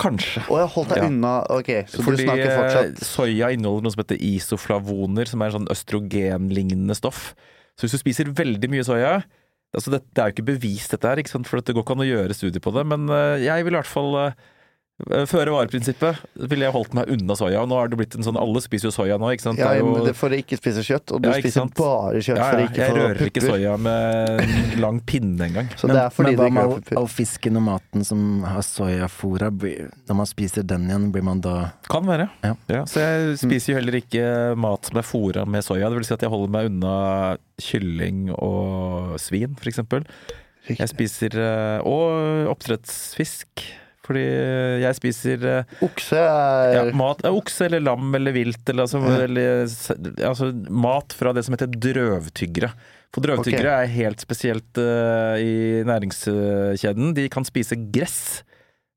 Speaker 2: Kanskje.
Speaker 3: Å, jeg holdt deg
Speaker 2: Ja.
Speaker 3: unna. Ok, så
Speaker 2: Fordi
Speaker 3: du snakker
Speaker 2: eh,
Speaker 3: fortsatt
Speaker 2: soya inneholder noe som heter isoflavoner, som er en sånn østrogenlignende stoff. Så hvis du spiser veldig mye soya altså det, det er jo ikke bevist, dette her, ikke sant? for det går ikke an å gjøre studier på det. Men eh, jeg vil i hvert fall eh, Føre var-prinsippet ville jeg holdt meg unna soya. Og nå har det blitt en sånn Alle spiser jo soya nå, ikke sant?
Speaker 3: ja,
Speaker 2: det er jo,
Speaker 3: men det- for å ikke spise kjøtt, og du
Speaker 2: Ja, ikke
Speaker 3: spiser
Speaker 2: sant?
Speaker 3: bare kjøtt
Speaker 2: ja,
Speaker 3: for
Speaker 2: ja,
Speaker 3: å ikke
Speaker 2: jeg
Speaker 3: få
Speaker 2: rører
Speaker 3: pupper.
Speaker 2: ikke soya med en lang pinne engang.
Speaker 3: Så det er fordi
Speaker 5: men
Speaker 3: du
Speaker 5: hva
Speaker 3: ikke
Speaker 5: med
Speaker 3: har
Speaker 5: all,
Speaker 3: pupper.
Speaker 5: all fisken og maten som har soyafora? Blir- Når man spiser den igjen, blir man da
Speaker 2: Kan være.
Speaker 5: Ja.
Speaker 2: så jeg spiser jo heller ikke mat som er fôra med soya. Det vil si at jeg holder meg unna kylling og svin, for eksempel. Jeg
Speaker 3: Riktig.
Speaker 2: spiser eh, Og oppdrettsfisk. Fordi jeg spiser eh,
Speaker 3: Okse
Speaker 2: ja,
Speaker 3: er
Speaker 2: mat ja, Okse eller lam eller vilt, eller, altså,
Speaker 3: Eh. Ja.
Speaker 2: eller s- altså mat fra det som heter drøvtyggere. For drøvtyggere er helt spesielt eh, i næringskjeden. De kan spise gress,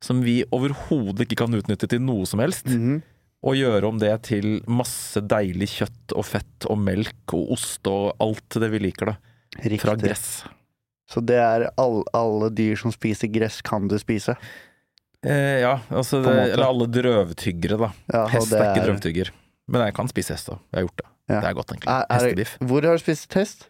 Speaker 2: som vi overhodet ikke kan utnytte til noe som helst
Speaker 3: Mhm.
Speaker 2: og gjøre om det til masse deilig kjøtt og fett og melk og ost og alt det vi liker, da. Fra
Speaker 3: Riktig.
Speaker 2: gress.
Speaker 3: Så det er all, alle dyr som spiser gress, kan du spise.
Speaker 2: Eh, ja, altså
Speaker 3: På
Speaker 2: det,
Speaker 3: en måte.
Speaker 2: Eller alle drøvtyggere, da.
Speaker 3: Ja, og
Speaker 2: Hest
Speaker 3: det
Speaker 2: er ikke drøvtygger. Men jeg kan spise hest, da. Jeg har gjort det.
Speaker 3: Ja.
Speaker 2: Det er godt, egentlig.
Speaker 3: Er- er-
Speaker 2: Hestebiff.
Speaker 3: Hvor har du spist hest?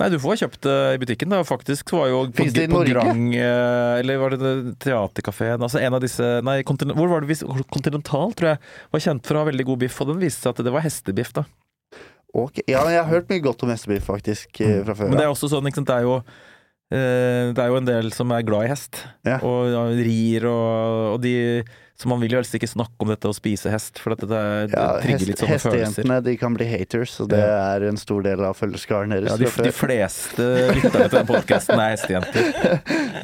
Speaker 2: Nei, du får kjøpt det i butikken. Da. Faktisk så var jo på,
Speaker 3: Finnes det i
Speaker 2: på
Speaker 3: Norge?
Speaker 2: Grang eh, Eller var det det teaterkafeen? Altså en av disse Nei, kontin hvor var det vi Continental, tror jeg. Var kjent for å ha veldig god biff, og den viste seg at det var hestebiff, da.
Speaker 3: Ok, Ja, jeg har hørt mye godt om hestebiff, faktisk, eh, fra før.
Speaker 2: Men det
Speaker 3: ja.
Speaker 2: er også sånn, ikke sant, det er jo eh, det er jo en del som er glad i hest,
Speaker 3: Ja.
Speaker 2: og ja, rir og, og de Så man vil jo helst ikke snakke om dette å spise hest, for at det, er- det
Speaker 3: Ja,
Speaker 2: trigger
Speaker 3: hest,
Speaker 2: litt sånne følelser.
Speaker 3: hestejentene de kan bli haters, og det er en stor del av følgeskaren deres.
Speaker 2: Ja, de,
Speaker 3: fra
Speaker 2: de
Speaker 3: før.
Speaker 2: fleste lytterne til den podkasten er hestejenter.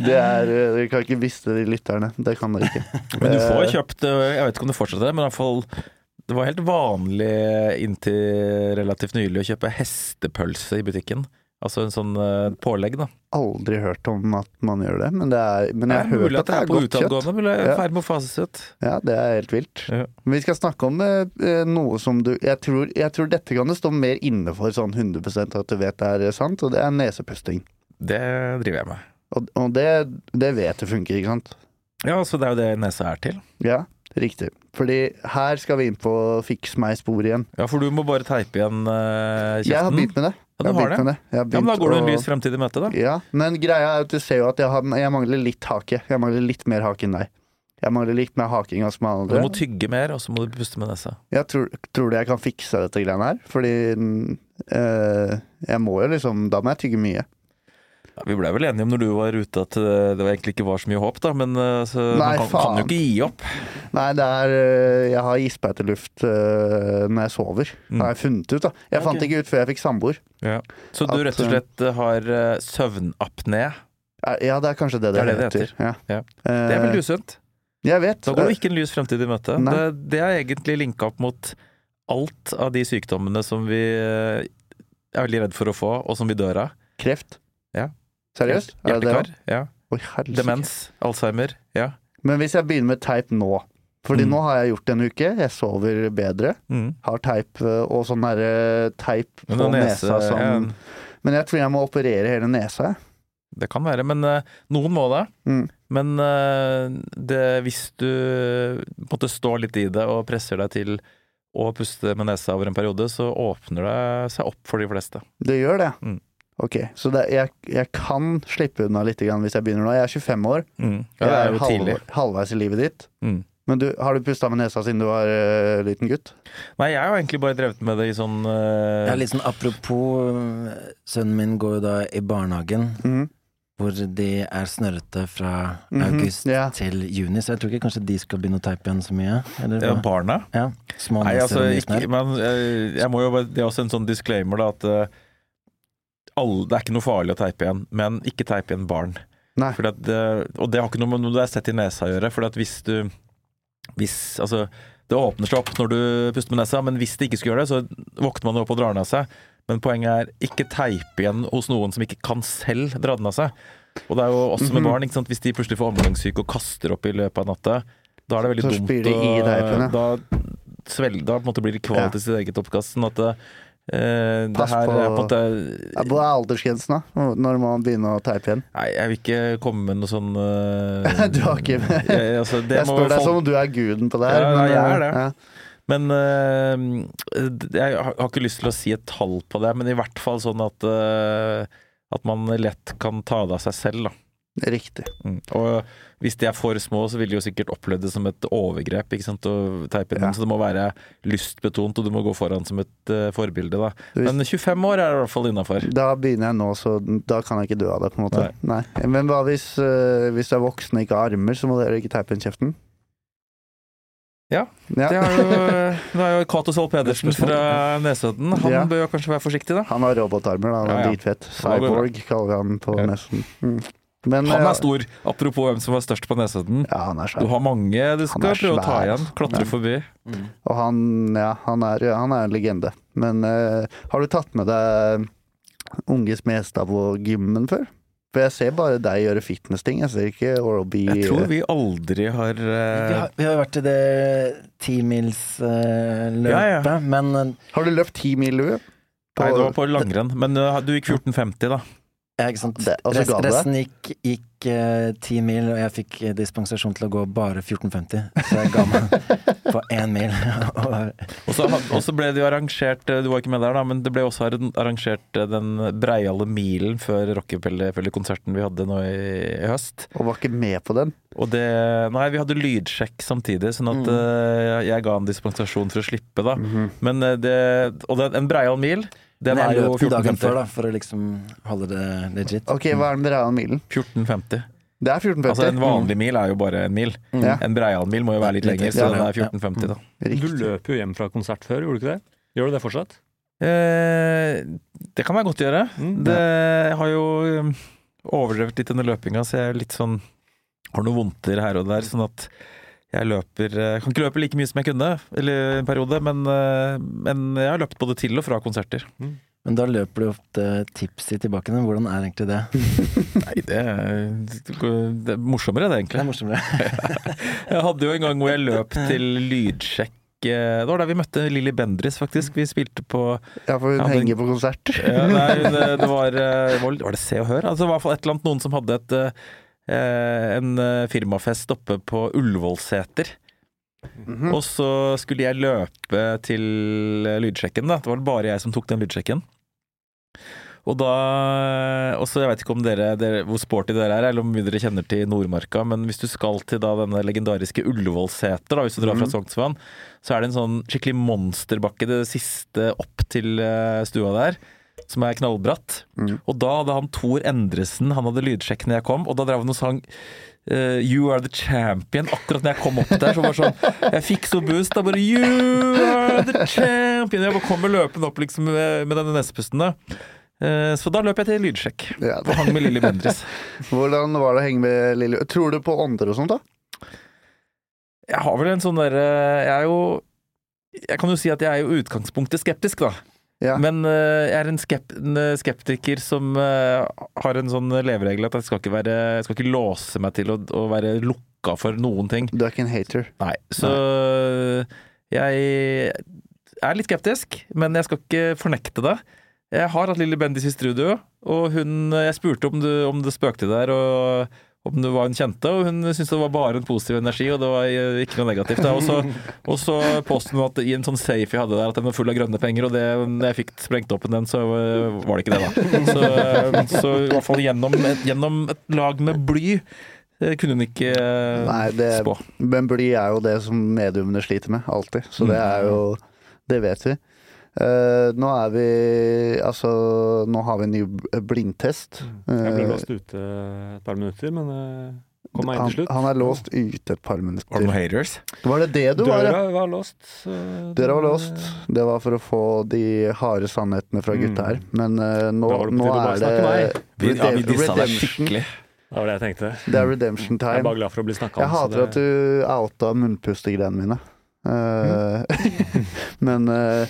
Speaker 3: Det er, eh, Dere kan ikke miste de lytterne. Det kan dere ikke.
Speaker 2: Men du får
Speaker 3: Eh,
Speaker 2: kjøpt eh, Jeg vet ikke om det fortsetter, men i hvert fall det var helt vanlig inntil relativt nylig å kjøpe hestepølse i butikken. Altså en sånn eh, pålegg, da.
Speaker 3: Aldri hørt om at man gjør det, men, det er, men jeg
Speaker 2: Det
Speaker 3: har
Speaker 2: er mulig
Speaker 3: hørt
Speaker 2: at det er på
Speaker 3: godt kjøtt.
Speaker 2: utadgående, men det er
Speaker 3: Ja.
Speaker 2: i ferd med å fases ut.
Speaker 3: Ja, det er helt vilt.
Speaker 2: Ja.
Speaker 3: Men vi skal snakke om eh, eh, noe som du jeg tror, jeg tror dette kan du stå mer inne for sånn 100 at du vet det er sant, og det er nesepusting.
Speaker 2: Det driver jeg med.
Speaker 3: Og, og det, det vet du funker, ikke sant?
Speaker 2: Ja, så det er jo det nesa er til.
Speaker 3: Ja, riktig. Fordi her skal vi inn på fiks meg spor igjen.
Speaker 2: Ja, for du må bare teipe igjen eh, kjeften.
Speaker 3: Jeg har begynt med det.
Speaker 2: Ja, du
Speaker 3: Jeg
Speaker 2: har
Speaker 3: begynt
Speaker 2: det.
Speaker 3: med det. Jeg har
Speaker 2: Ja, men da
Speaker 3: begynt
Speaker 2: går du en
Speaker 3: å-
Speaker 2: lys fremtid i møte, da.
Speaker 3: Ja, men greia er at du ser jo at jeg, har, jeg mangler litt hake. Jeg mangler litt mer hake enn deg. Jeg mangler likt med hakinga som alle
Speaker 2: Du
Speaker 3: andre.
Speaker 2: må tygge mer, og så må du puste med nesa.
Speaker 3: Jeg tror, tror du jeg kan fikse dette greiene her? Fordi mm, eh, jeg må jo liksom Da må jeg tygge mye.
Speaker 2: Ja, vi blei vel enige om når du var ute at eh, det egentlig ikke var så mye håp, da. Men eh, så,
Speaker 3: Nei,
Speaker 2: man kan, kan
Speaker 3: faen.
Speaker 2: jo ikke gi opp.
Speaker 3: Nei, det er eh, Jeg har isbeiteluft eh, når jeg sover.
Speaker 2: Mm.
Speaker 3: Har jeg funnet ut, da. Jeg
Speaker 2: Ja, ok.
Speaker 3: fant ikke ut før jeg fikk samboer.
Speaker 2: Så du
Speaker 3: At,
Speaker 2: rett og
Speaker 3: eh,
Speaker 2: slett eh, har eh, søvnapné.
Speaker 3: Eh, Ja, det er kanskje det det,
Speaker 2: Det er det det
Speaker 3: heter. Ja.
Speaker 2: Det er
Speaker 3: Eh,
Speaker 2: veldig usunt.
Speaker 3: Jeg vet. Eh,
Speaker 2: Da går du ikke en lys fremtid i møte.
Speaker 3: Nei.
Speaker 2: Det, det er egentlig linka opp mot alt av de sykdommene som vi eh, er veldig redd for å få, og som vi dør av.
Speaker 3: Kreft.
Speaker 2: Ja.
Speaker 3: Seriøst? Er det det?
Speaker 2: Hjertekar. Ja.
Speaker 3: Oi, helsike.
Speaker 2: Demens. Alzheimer. Ja.
Speaker 3: Men hvis jeg begynner med teip nå Fordi
Speaker 2: Mm.
Speaker 3: nå har jeg gjort det en uke, jeg sover bedre,
Speaker 2: Mm.
Speaker 3: har teip øh, og sånn derre teip på
Speaker 2: Men noen
Speaker 3: nesa sånn-
Speaker 2: nese-
Speaker 3: som
Speaker 2: ja,
Speaker 3: Men jeg tror jeg må operere hele nesa. jeg.
Speaker 2: Det kan være, men eh, noen må det.
Speaker 3: Mm.
Speaker 2: Men eh, det, hvis du på en måte står litt i det og presser deg til å puste med nesa over en periode, så åpner det seg opp for de fleste.
Speaker 3: Det gjør det.
Speaker 2: Mm.
Speaker 3: Ok, så det, jeg, jeg kan slippe unna litt grann hvis jeg begynner nå. Jeg er 25 år,
Speaker 2: Ja, det
Speaker 3: jeg
Speaker 2: er jo
Speaker 3: halv-
Speaker 2: tidlig.
Speaker 3: halvveis i livet ditt.
Speaker 2: Mm.
Speaker 3: Men du, har du pusta med nesa siden du var øh, liten gutt?
Speaker 2: Nei, jeg har egentlig bare drevet med det i sånn
Speaker 5: Ja,
Speaker 2: eh,
Speaker 5: litt sånn apropos øh, Sønnen min går jo da i barnehagen,
Speaker 3: Mhm.
Speaker 5: hvor de er snørrete fra
Speaker 3: Mhm,
Speaker 5: august
Speaker 3: ja.
Speaker 5: til juni, så jeg tror ikke kanskje de skal begynne å teipe igjen så mye. Eller
Speaker 2: ja,
Speaker 5: hva?
Speaker 2: barna.
Speaker 5: Ja, små
Speaker 2: Nei,
Speaker 5: neser
Speaker 2: altså,
Speaker 5: og mye
Speaker 2: ikke,
Speaker 5: snørr.
Speaker 2: men eh, jeg må jo bare, det er også en sånn disclaimer, da, at eh, alle, det er ikke noe farlig å teipe igjen, men ikke teipe igjen barn.
Speaker 3: Nei.
Speaker 2: Fordi at det, og det har ikke noe med noe det er sett i nesa å gjøre, for at hvis du hvis, altså, Det åpner seg opp når du puster med nesa, men hvis det ikke skulle gjøre det, så våkner man jo opp og drar den av seg. Men poenget er ikke teipe igjen hos noen som ikke kan selv dra den av seg. Og det er jo også med
Speaker 3: Mhm.
Speaker 2: barn, ikke sant? hvis de plutselig får omgangssyke og kaster opp i løpet av natta, da er det veldig
Speaker 3: Så
Speaker 2: dumt eh,
Speaker 3: spyr de i teipen, ja.
Speaker 2: Da svelger Da på en måte blir det kvalt
Speaker 3: Ja.
Speaker 2: til sitt eget oppkast. Sånn at det, eh, det
Speaker 3: Pass
Speaker 2: her
Speaker 3: på-
Speaker 2: er på en måte
Speaker 3: Ja, Hvor er aldersgrensen, da? Når må man begynne å teipe igjen?
Speaker 2: Nei, jeg vil ikke komme med noe sånn eh,
Speaker 3: Du har ikke-
Speaker 2: jeg, altså, det
Speaker 3: jeg
Speaker 2: må
Speaker 3: spør deg
Speaker 2: folk-
Speaker 3: som om du er guden på det her. eh,
Speaker 2: Ja, ja, jeg er det.
Speaker 3: Ja.
Speaker 2: Men eh, jeg har har ikke lyst til å si et tall på det, men i hvert fall sånn at eh, at man lett kan ta det av seg selv, da.
Speaker 3: Riktig.
Speaker 2: Mm. Og hvis de er for små, så vil de jo sikkert oppleve det som et overgrep ikke sant, å teipe inn.
Speaker 3: Ja.
Speaker 2: Så det må være lystbetont, og du må gå foran som et eh, forbilde, da.
Speaker 3: Hvis-
Speaker 2: Men 25 år er det i hvert fall innafor.
Speaker 3: Da begynner jeg nå, så da kan jeg ikke dø av det, på en måte. Nei. Men hva hvis, øh, hvis du er voksen og ikke har armer, så må dere ikke teipe inn kjeften?
Speaker 2: Ja,
Speaker 3: Ja.
Speaker 2: Det er jo, det er jo Cato Zahl Pedersen fra Nesodden. Han
Speaker 3: Ja.
Speaker 2: bør jo kanskje være forsiktig, da.
Speaker 3: Han har robotarmer, da. Han er
Speaker 2: Ja, ja.
Speaker 3: dritfett.
Speaker 2: Da går det bra.
Speaker 3: Cyborg kaller vi han på
Speaker 2: Ja.
Speaker 3: nesten. Mm. Men,
Speaker 2: Han
Speaker 3: øh,
Speaker 2: er stor. Apropos hvem som var størst på Nesodden.
Speaker 3: Ja, han er
Speaker 2: Du
Speaker 3: svær.
Speaker 2: har mange du
Speaker 3: Han
Speaker 2: skal
Speaker 3: er
Speaker 2: prøve å ta
Speaker 3: svær,
Speaker 2: igjen. Klatre
Speaker 3: Ja.
Speaker 2: forbi.
Speaker 5: Mm.
Speaker 3: Og han, ja, han, er, han er en legende. Men øh, har du tatt med deg eh, Unge Smestad på gymmen før? For jeg ser bare deg gjøre fitness-ting. Jeg ser ikke Oral-B
Speaker 2: Jeg tror vi aldri har
Speaker 5: Vi
Speaker 2: eh,
Speaker 5: har, vi har jo vært i det timilsløpet,
Speaker 2: Ja,
Speaker 5: løpet men eh,
Speaker 3: Har du løpt ti mil, Lue?
Speaker 2: Nei, det var på langrenn. Men eh, du gikk 14,50, da.
Speaker 5: ja, ikke sant?
Speaker 3: Det- og så
Speaker 5: Rest,
Speaker 3: ga du deg.
Speaker 5: resten gikk, gikk eh, 10 mil, og jeg fikk eh, dispensasjon til å gå bare 14,50. Så jeg ga meg på én mil. og,
Speaker 2: Og så had- og så ble det jo arrangert eh, Du var ikke med der, da, men det ble også arran- arrangert eh, den breiale milen før Rockefeller-konserten vi hadde nå i, i høst.
Speaker 3: Og var ikke med på den.
Speaker 2: Og det Nei, vi hadde lydsjekk samtidig, sånn
Speaker 3: Mm.
Speaker 2: at eh, jeg ga en dispensasjon for å slippe, da. Men eh, det Og den, en breial mil, den
Speaker 5: men
Speaker 2: er
Speaker 5: jeg
Speaker 2: jo
Speaker 5: løp jo dagen før,
Speaker 2: 14,50.
Speaker 5: da, for å liksom holde det legit.
Speaker 3: Ok, hva er den breiale milen?
Speaker 2: 14,50.
Speaker 3: Det er 14,50.
Speaker 2: Altså, en vanlig mil er jo bare en mil.
Speaker 5: Mm.
Speaker 3: Ja.
Speaker 2: En breial mil må jo være litt lenger, så
Speaker 5: Ja,
Speaker 2: den
Speaker 5: ja,
Speaker 2: er 14,50, da.
Speaker 4: Du
Speaker 3: Riktig.
Speaker 4: løp jo hjem fra konsert før, gjorde du ikke det? Gjør du det fortsatt?
Speaker 2: Eh, det kan jeg godt gjøre.
Speaker 4: Mm.
Speaker 2: Det jeg har jo um, overdrevet litt under løpinga, så jeg er litt sånn Har noen vondter her og der, sånn at jeg løper eh, Kan ikke løpe like mye som jeg kunne eller en periode, men, eh, men jeg har løpt både til og fra konserter.
Speaker 5: Men da løper du ofte tipsy tilbake. Men hvordan er egentlig det?
Speaker 2: Nei, det er, det er morsommere, det,
Speaker 5: Det
Speaker 2: egentlig.
Speaker 5: er morsommere.
Speaker 2: Jeg hadde jo en gang hvor jeg løp til lydsjekk. eh, Det var der vi møtte Lilly Bendriss, faktisk. Vi spilte på
Speaker 3: Ja, for hun
Speaker 2: Ja, den-
Speaker 3: henger på konsert.
Speaker 2: Ja, nei, det, det var eh, Var var det Se og Hør? Altså, det var i hvert fall et eller annet noen som hadde et eh, en eh, firmafest oppe på Ullevålseter.
Speaker 4: Mm.
Speaker 3: Mhm.
Speaker 2: Og så skulle jeg løpe til eh, lydsjekken, da. Det var bare jeg som tok den lydsjekken. Og da også, Jeg vet ikke om dere, dere, hvor sporty dere er, eller om mye dere kjenner til Nordmarka, men hvis du skal til da denne legendariske Ullevålseter, da, hvis du drar fra Sognsvann, så er det en sånn skikkelig monsterbakke det siste opp til eh, stua der. Som er knallbratt. Og da hadde han Tor Endresen, han hadde lydsjekk når jeg kom, og da drev han og sang eh, You are the champion. Akkurat når jeg kom opp der, så var det sånn Jeg fikk så boost. Da bare You are the champion. Jeg bare kommer løpende opp liksom med, med denne nespesten, da. Eh, Så da løp jeg til lydsjekk.
Speaker 3: Ja.
Speaker 2: Og hang med Lilly Bendriss.
Speaker 3: Hvordan var det å henge med Lilly? Tror du på ånder og sånt, da?
Speaker 2: Jeg har vel en sånn derre Jeg er jo Jeg kan jo si at jeg er jo i utgangspunktet skeptisk, da.
Speaker 3: Ja.
Speaker 2: Men eh, jeg er en, skep en eh, skeptiker som eh, har en sånn leveregel at jeg skal ikke, være, jeg skal ikke låse meg til å, å være lukka for noen ting.
Speaker 3: Du er ikke en hater.
Speaker 2: Nei, så jeg er litt skeptisk, men jeg skal ikke fornekte det. Jeg har hatt Lilly Bendis i studio, og hun, jeg spurte om, du, om det spøkte der, og om du var hun kjente, og hun syntes det var bare en positiv energi, og det var eh, ikke noe negativt. da. Og så, og så påstod hun at i en sånn safe jeg hadde der, at den var full av grønne penger, og det, når jeg fikk sprengt opp den, så eh, var det ikke det, da. Så, eh, så i hvert fall gjennom, et- gjennom et lag med bly eh, kunne hun ikke eh,
Speaker 3: Nei, det,
Speaker 2: spå.
Speaker 3: men bly er jo det som mediumene sliter med, alltid. Så det er jo Det vet vi. Eh, nå er vi Altså, nå har vi en ny b- blindtest.
Speaker 4: Jeg ble
Speaker 3: Eh,
Speaker 4: låst ute et par minutter, men eh, kom meg inn
Speaker 3: han,
Speaker 4: til slutt.
Speaker 3: han er låst ute et par
Speaker 2: Var det
Speaker 3: minutter.
Speaker 2: noen haters?
Speaker 3: Var det det du var, ja?
Speaker 4: Døra var låst. så-
Speaker 3: Dere var låst. Det var for å få de harde sannhetene fra gutta her. Men eh, nå,
Speaker 4: Mm. Da var det på
Speaker 3: nå
Speaker 4: tide å bare
Speaker 3: er det
Speaker 4: snakke
Speaker 2: Vi, ja, vi
Speaker 3: redem-
Speaker 2: dissa deg
Speaker 3: redemption.
Speaker 2: skikkelig.
Speaker 4: Det var det jeg tenkte.
Speaker 3: Det er redemption
Speaker 4: Jeg er
Speaker 3: time.
Speaker 4: bare glad for å bli snakka om.
Speaker 3: Jeg hater at du outa munnpustegreiene mine. Eh, Men eh,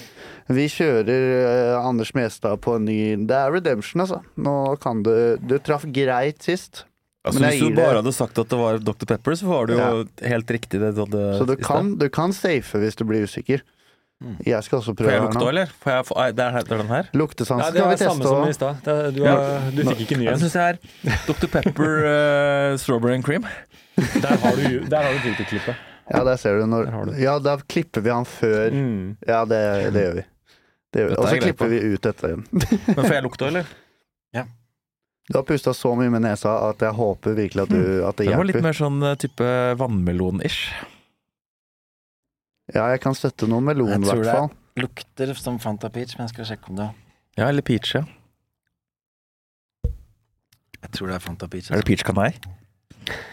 Speaker 3: vi kjører eh, Anders Mestad på en ny Det er redemption, altså. Nå kan du Du traff greit sist,
Speaker 2: Altså,
Speaker 3: Men jeg
Speaker 2: hvis du
Speaker 3: gir
Speaker 2: bare
Speaker 3: det-
Speaker 2: hadde sagt at det var Dr. Pepper, så var det jo helt riktig. Det du hadde
Speaker 3: så du
Speaker 2: i sted.
Speaker 3: kan, du kan safe hvis du blir usikker. Jeg skal også
Speaker 2: Får
Speaker 3: prøve
Speaker 2: jeg
Speaker 3: her
Speaker 2: lukte òg,
Speaker 3: nå.
Speaker 2: eller? Får jeg, få- Nei, det, er, det er den her.
Speaker 3: Luktesans
Speaker 4: ja, Det
Speaker 3: skal
Speaker 4: var
Speaker 3: vi
Speaker 4: det samme
Speaker 3: teste
Speaker 4: som i
Speaker 3: òg.
Speaker 4: stad. Det- Du,
Speaker 2: Ja.
Speaker 4: du fikk ikke ny
Speaker 2: Jeg
Speaker 4: en.
Speaker 2: syns jeg er Dr. Pepper eh, Strawberry and Cream.
Speaker 4: Der har du, der har du Twitter-klippet.
Speaker 3: Ja, der ser du når
Speaker 4: Der har du.
Speaker 3: Ja, da klipper vi han før
Speaker 4: Mm.
Speaker 3: Ja, det, det gjør vi. Det gjør
Speaker 2: Dette
Speaker 3: vi.
Speaker 2: er
Speaker 3: Og så
Speaker 2: jeg grei på.
Speaker 3: klipper vi ut dette.
Speaker 2: Men får jeg lukte òg, eller?
Speaker 3: Du har pusta så mye med nesa at jeg håper virkelig at, du, at det
Speaker 2: Den var litt
Speaker 3: hjelper.
Speaker 2: mer sånn eh, type vannmelon-ish.
Speaker 3: Ja, jeg kan støtte noe melon,
Speaker 5: Jeg
Speaker 3: i
Speaker 5: tror
Speaker 3: hvert
Speaker 5: det er-
Speaker 3: fall.
Speaker 5: Lukter som Fanta Peach, men jeg skal sjekke om det
Speaker 2: Ja, eller peach, ja.
Speaker 5: Jeg tror det er Fanta Peach. altså.
Speaker 2: Er det peach kanai?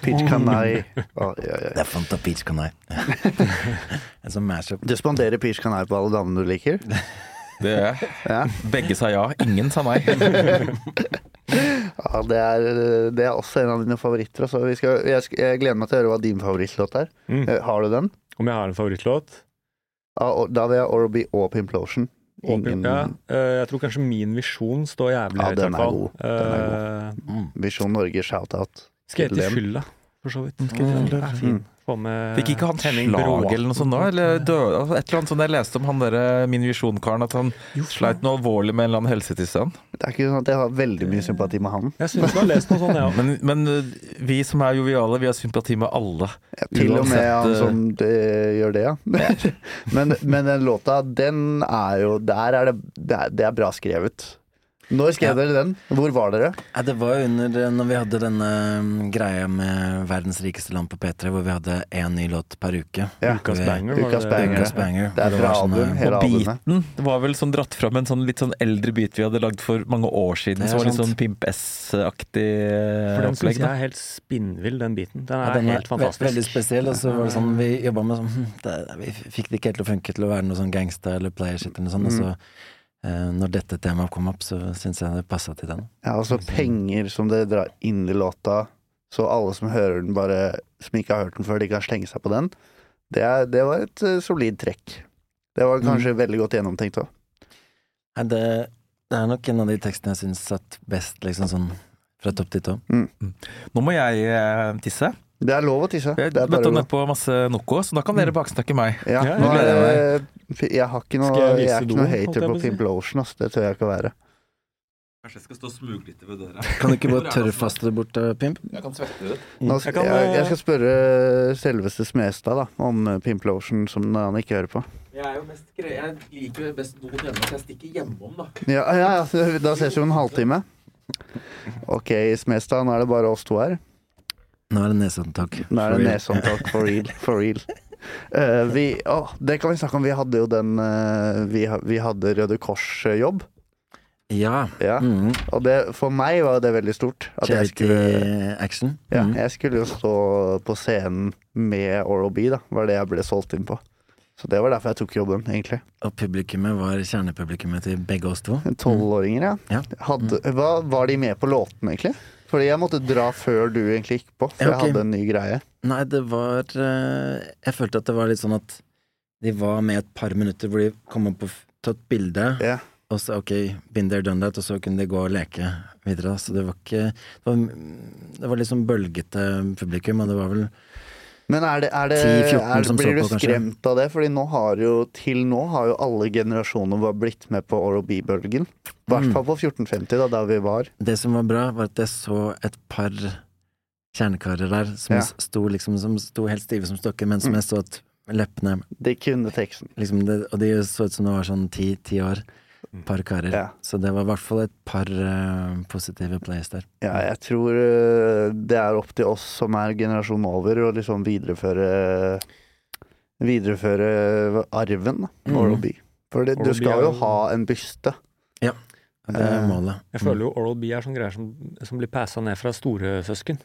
Speaker 3: Peach Canai. Å, ja, ja,
Speaker 5: Det
Speaker 3: ja.
Speaker 5: er Fanta Peach Kanai. en sånn mash-up.
Speaker 3: Du spanderer Peach Canai på alle damene du liker?
Speaker 2: Det gjør jeg.
Speaker 3: Ja,
Speaker 2: Begge sa ja, ingen sa nei.
Speaker 3: ja det, er, det er også en av dine favoritter. Altså. Vi skal, jeg, sk- jeg gleder meg til å høre hva din favorittlåt er.
Speaker 4: Mm.
Speaker 3: Eh, Har du den?
Speaker 4: Om jeg har en favorittlåt?
Speaker 3: Ja, og- Da vil jeg Orby og Pimplotion. Ingen
Speaker 4: Ja, eh, jeg tror kanskje min visjon står jævlig
Speaker 3: Ja,
Speaker 4: høyt. i
Speaker 3: den er
Speaker 4: hvert fall.
Speaker 3: god. Den er
Speaker 4: Eh,
Speaker 5: Mm.
Speaker 3: Visjon Norge shout-out.
Speaker 4: Skal jeg
Speaker 3: Til
Speaker 4: til
Speaker 3: den.
Speaker 4: fylla, for så vidt. Skal jeg til fylla? Er fin. Få med
Speaker 2: Fikk ikke han
Speaker 4: Henning
Speaker 2: slag
Speaker 4: Broa.
Speaker 2: eller noe sånt da? Eller døde, altså, et eller annet sånt jeg leste om han derre Min Visjon-karen, at han sleit noe alvorlig med en eller annen helsetilstand.
Speaker 3: Det er ikke sånn at jeg har veldig mye sympati med han.
Speaker 4: Jeg syns du har lest noe sånn, sånt, jeg òg.
Speaker 2: Men, men eh, vi som er joviale, vi har sympati med alle.
Speaker 3: Ja, til og med
Speaker 2: Uansett,
Speaker 3: han
Speaker 2: eh,
Speaker 3: som eh, gjør det, ja. men, men den låta, den er jo Der er det Det er, det er bra skrevet. Når skrev
Speaker 5: Ja.
Speaker 3: dere den? Hvor var dere?
Speaker 5: Ja, det var jo under eh, når vi hadde denne mm, greia med Verdens rikeste land på P3, hvor vi hadde én ny låt per uke.
Speaker 3: Ja.
Speaker 4: Ukas
Speaker 5: Vi-
Speaker 4: banger. var
Speaker 3: Ukas
Speaker 4: det-
Speaker 3: banger.
Speaker 5: Ukas banger.
Speaker 3: Det er
Speaker 5: hvor
Speaker 3: fra
Speaker 5: var sånn, eh, sånne-
Speaker 3: album, hele
Speaker 2: Og
Speaker 3: albumet.
Speaker 2: beaten var vel sånn dratt fram en sånn litt sånn eldre beat vi hadde lagd for mange år siden.
Speaker 5: Det er
Speaker 2: Som var litt
Speaker 5: sant.
Speaker 2: sånn Pimp S-aktig eh,
Speaker 4: For den syns
Speaker 2: opplegg.
Speaker 4: jeg
Speaker 2: Da.
Speaker 4: er helt spinnvill, den biten. Den er
Speaker 5: Ja, den var
Speaker 4: helt fantastisk.
Speaker 5: ve- Veldig spesiell. Og så var det sånn vi jobba med sånn hm, det, Vi fikk det ikke helt til å funke til å være noe sånn gangster eller player shit eller noe sånt. Og så, eh, når dette temaet kom opp, så syns jeg det passa til den.
Speaker 3: Ja, altså penger som dere drar inn i låta, så alle som hører den, bare som ikke har hørt den før, de kan slenge seg på den. Det, er, det var et eh, solid trekk. Det var kanskje veldig godt gjennomtenkt òg.
Speaker 5: Nei, det, det er nok en av de tekstene jeg syns satt best, liksom sånn fra topp til tå.
Speaker 2: Nå må jeg eh, tisse.
Speaker 3: Det er lov å tisse.
Speaker 2: Jeg
Speaker 3: Det er bare
Speaker 2: møtte
Speaker 3: lov.
Speaker 2: nedpå masse Noco, så da kan dere baksnakke meg.
Speaker 3: Ja,
Speaker 4: Ja,
Speaker 3: nå
Speaker 2: jeg
Speaker 3: er
Speaker 2: gleder
Speaker 3: det- jeg har ikke noe,
Speaker 4: Skal jeg vise
Speaker 3: jeg er ikke noe
Speaker 4: doen, holdt
Speaker 3: hater
Speaker 4: jeg på
Speaker 3: på
Speaker 4: å si?
Speaker 3: Pimple Ocean, ass. Det tør jeg ikke å være.
Speaker 2: Kanskje jeg skal stå og smuglitte ved døra.
Speaker 5: Kan du ikke bare tørrfaste det bort, eh, Pimp?
Speaker 2: Jeg kan svette ut.
Speaker 3: Nå,
Speaker 4: Jeg
Speaker 3: jeg,
Speaker 4: kan,
Speaker 3: jeg,
Speaker 4: eh,
Speaker 3: eh, skal spørre selveste Smestad da, om Pimple Ocean, som han ikke hører på.
Speaker 6: Jeg er jo mest gre- Jeg liker jo best noen hjemme, så jeg stikker hjemom, da.
Speaker 3: Ja, ja, ja, da ses vi om en halvtime. Ok, Smestad, nå er det bare oss to her.
Speaker 5: Nå er det nesehåndtak.
Speaker 3: Nå er det
Speaker 5: For-
Speaker 3: nesehåndtak for real. For real. Eh, vi, å, det kan vi snakke om. Vi hadde jo den eh, vi, ha- vi hadde Røde Kors-jobb.
Speaker 5: Ja.
Speaker 3: Ja.
Speaker 5: Mm.
Speaker 3: Og det, for meg var det veldig stort. At jeg
Speaker 5: Charity
Speaker 3: skulle,
Speaker 5: action.
Speaker 3: ja,
Speaker 5: Mm.
Speaker 3: jeg skulle jo stå på scenen med Oral-B, da. Var det jeg ble solgt inn på. Så det var derfor jeg tok jobben, egentlig.
Speaker 5: Og publikummet var kjernepublikummet til begge oss to.
Speaker 3: Tolvåringer, ja.
Speaker 5: Ja. Mm.
Speaker 3: Hadde, hva, var de med på låtene, egentlig? Fordi jeg måtte dra før du egentlig gikk på, for
Speaker 5: Ja,
Speaker 3: jeg
Speaker 5: ok.
Speaker 3: hadde en ny greie.
Speaker 5: Nei, det var eh, Jeg følte at det var litt sånn at de var med et par minutter hvor de kom opp og f- tatt bilde,
Speaker 3: Ja.
Speaker 5: og så ok, been there, done that, og så kunne de gå og leke videre. da. Så det var ikke Det var, det var litt sånn bølgete publikum, og det var vel
Speaker 3: Men er det, er det,
Speaker 5: 10-14
Speaker 3: er,
Speaker 5: som så
Speaker 3: blir du
Speaker 5: på, kanskje?
Speaker 3: skremt av det? Fordi nå har jo, til nå har jo alle generasjoner bare blitt med på Oral B-bølgen. I hvert
Speaker 5: Mm.
Speaker 3: fall på 1450, da, der vi var.
Speaker 5: Det som var bra, var at jeg så et par kjernekarer der som
Speaker 3: Ja. Mm.
Speaker 5: sto liksom som sto helt stive som stokker, men som jeg så at leppene
Speaker 3: De kunne teksten.
Speaker 5: liksom det, Og de så ut som det var sånn ti-ti år.
Speaker 2: Mm.
Speaker 5: Par karer.
Speaker 3: Ja.
Speaker 5: Så det var i hvert fall et par eh, positive plays der.
Speaker 3: Ja, jeg tror øh, det er opp til oss som er generasjonen over, å liksom videreføre Videreføre arven, da.
Speaker 5: Mm.
Speaker 3: Oral B. For det, du
Speaker 4: Oral-B er
Speaker 3: skal jo
Speaker 4: jo-
Speaker 3: ha en byste.
Speaker 5: Og Det er
Speaker 3: Eh,
Speaker 5: målet.
Speaker 4: Jeg føler jo Oral B er sånne greier som, som blir passa ned fra storesøsken.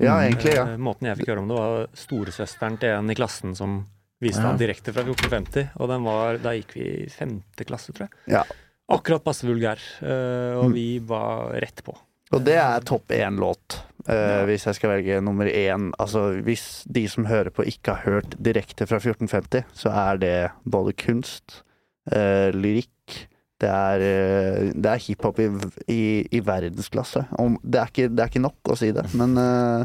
Speaker 3: Ja,
Speaker 5: Mm.
Speaker 3: egentlig, ja.
Speaker 4: Eh, Måten jeg fikk høre om det, var storesøsteren til en i klassen som viste
Speaker 5: Ja.
Speaker 4: ham direkte fra 1450. Og den var Da gikk vi i femte klasse, tror jeg.
Speaker 3: Ja.
Speaker 4: Akkurat passe vulgær. eh,
Speaker 3: Mm.
Speaker 4: Og vi var rett på.
Speaker 3: Og det er topp én-låt, hvis jeg skal velge nummer én. Altså, hvis de som hører på, ikke har hørt direkte fra 1450, så er det både kunst, eh, lyrikk Det er, eh, det er hiphop i, i, i verdensklasse. Om, det, er ikke, det er ikke nok å si det, men eh,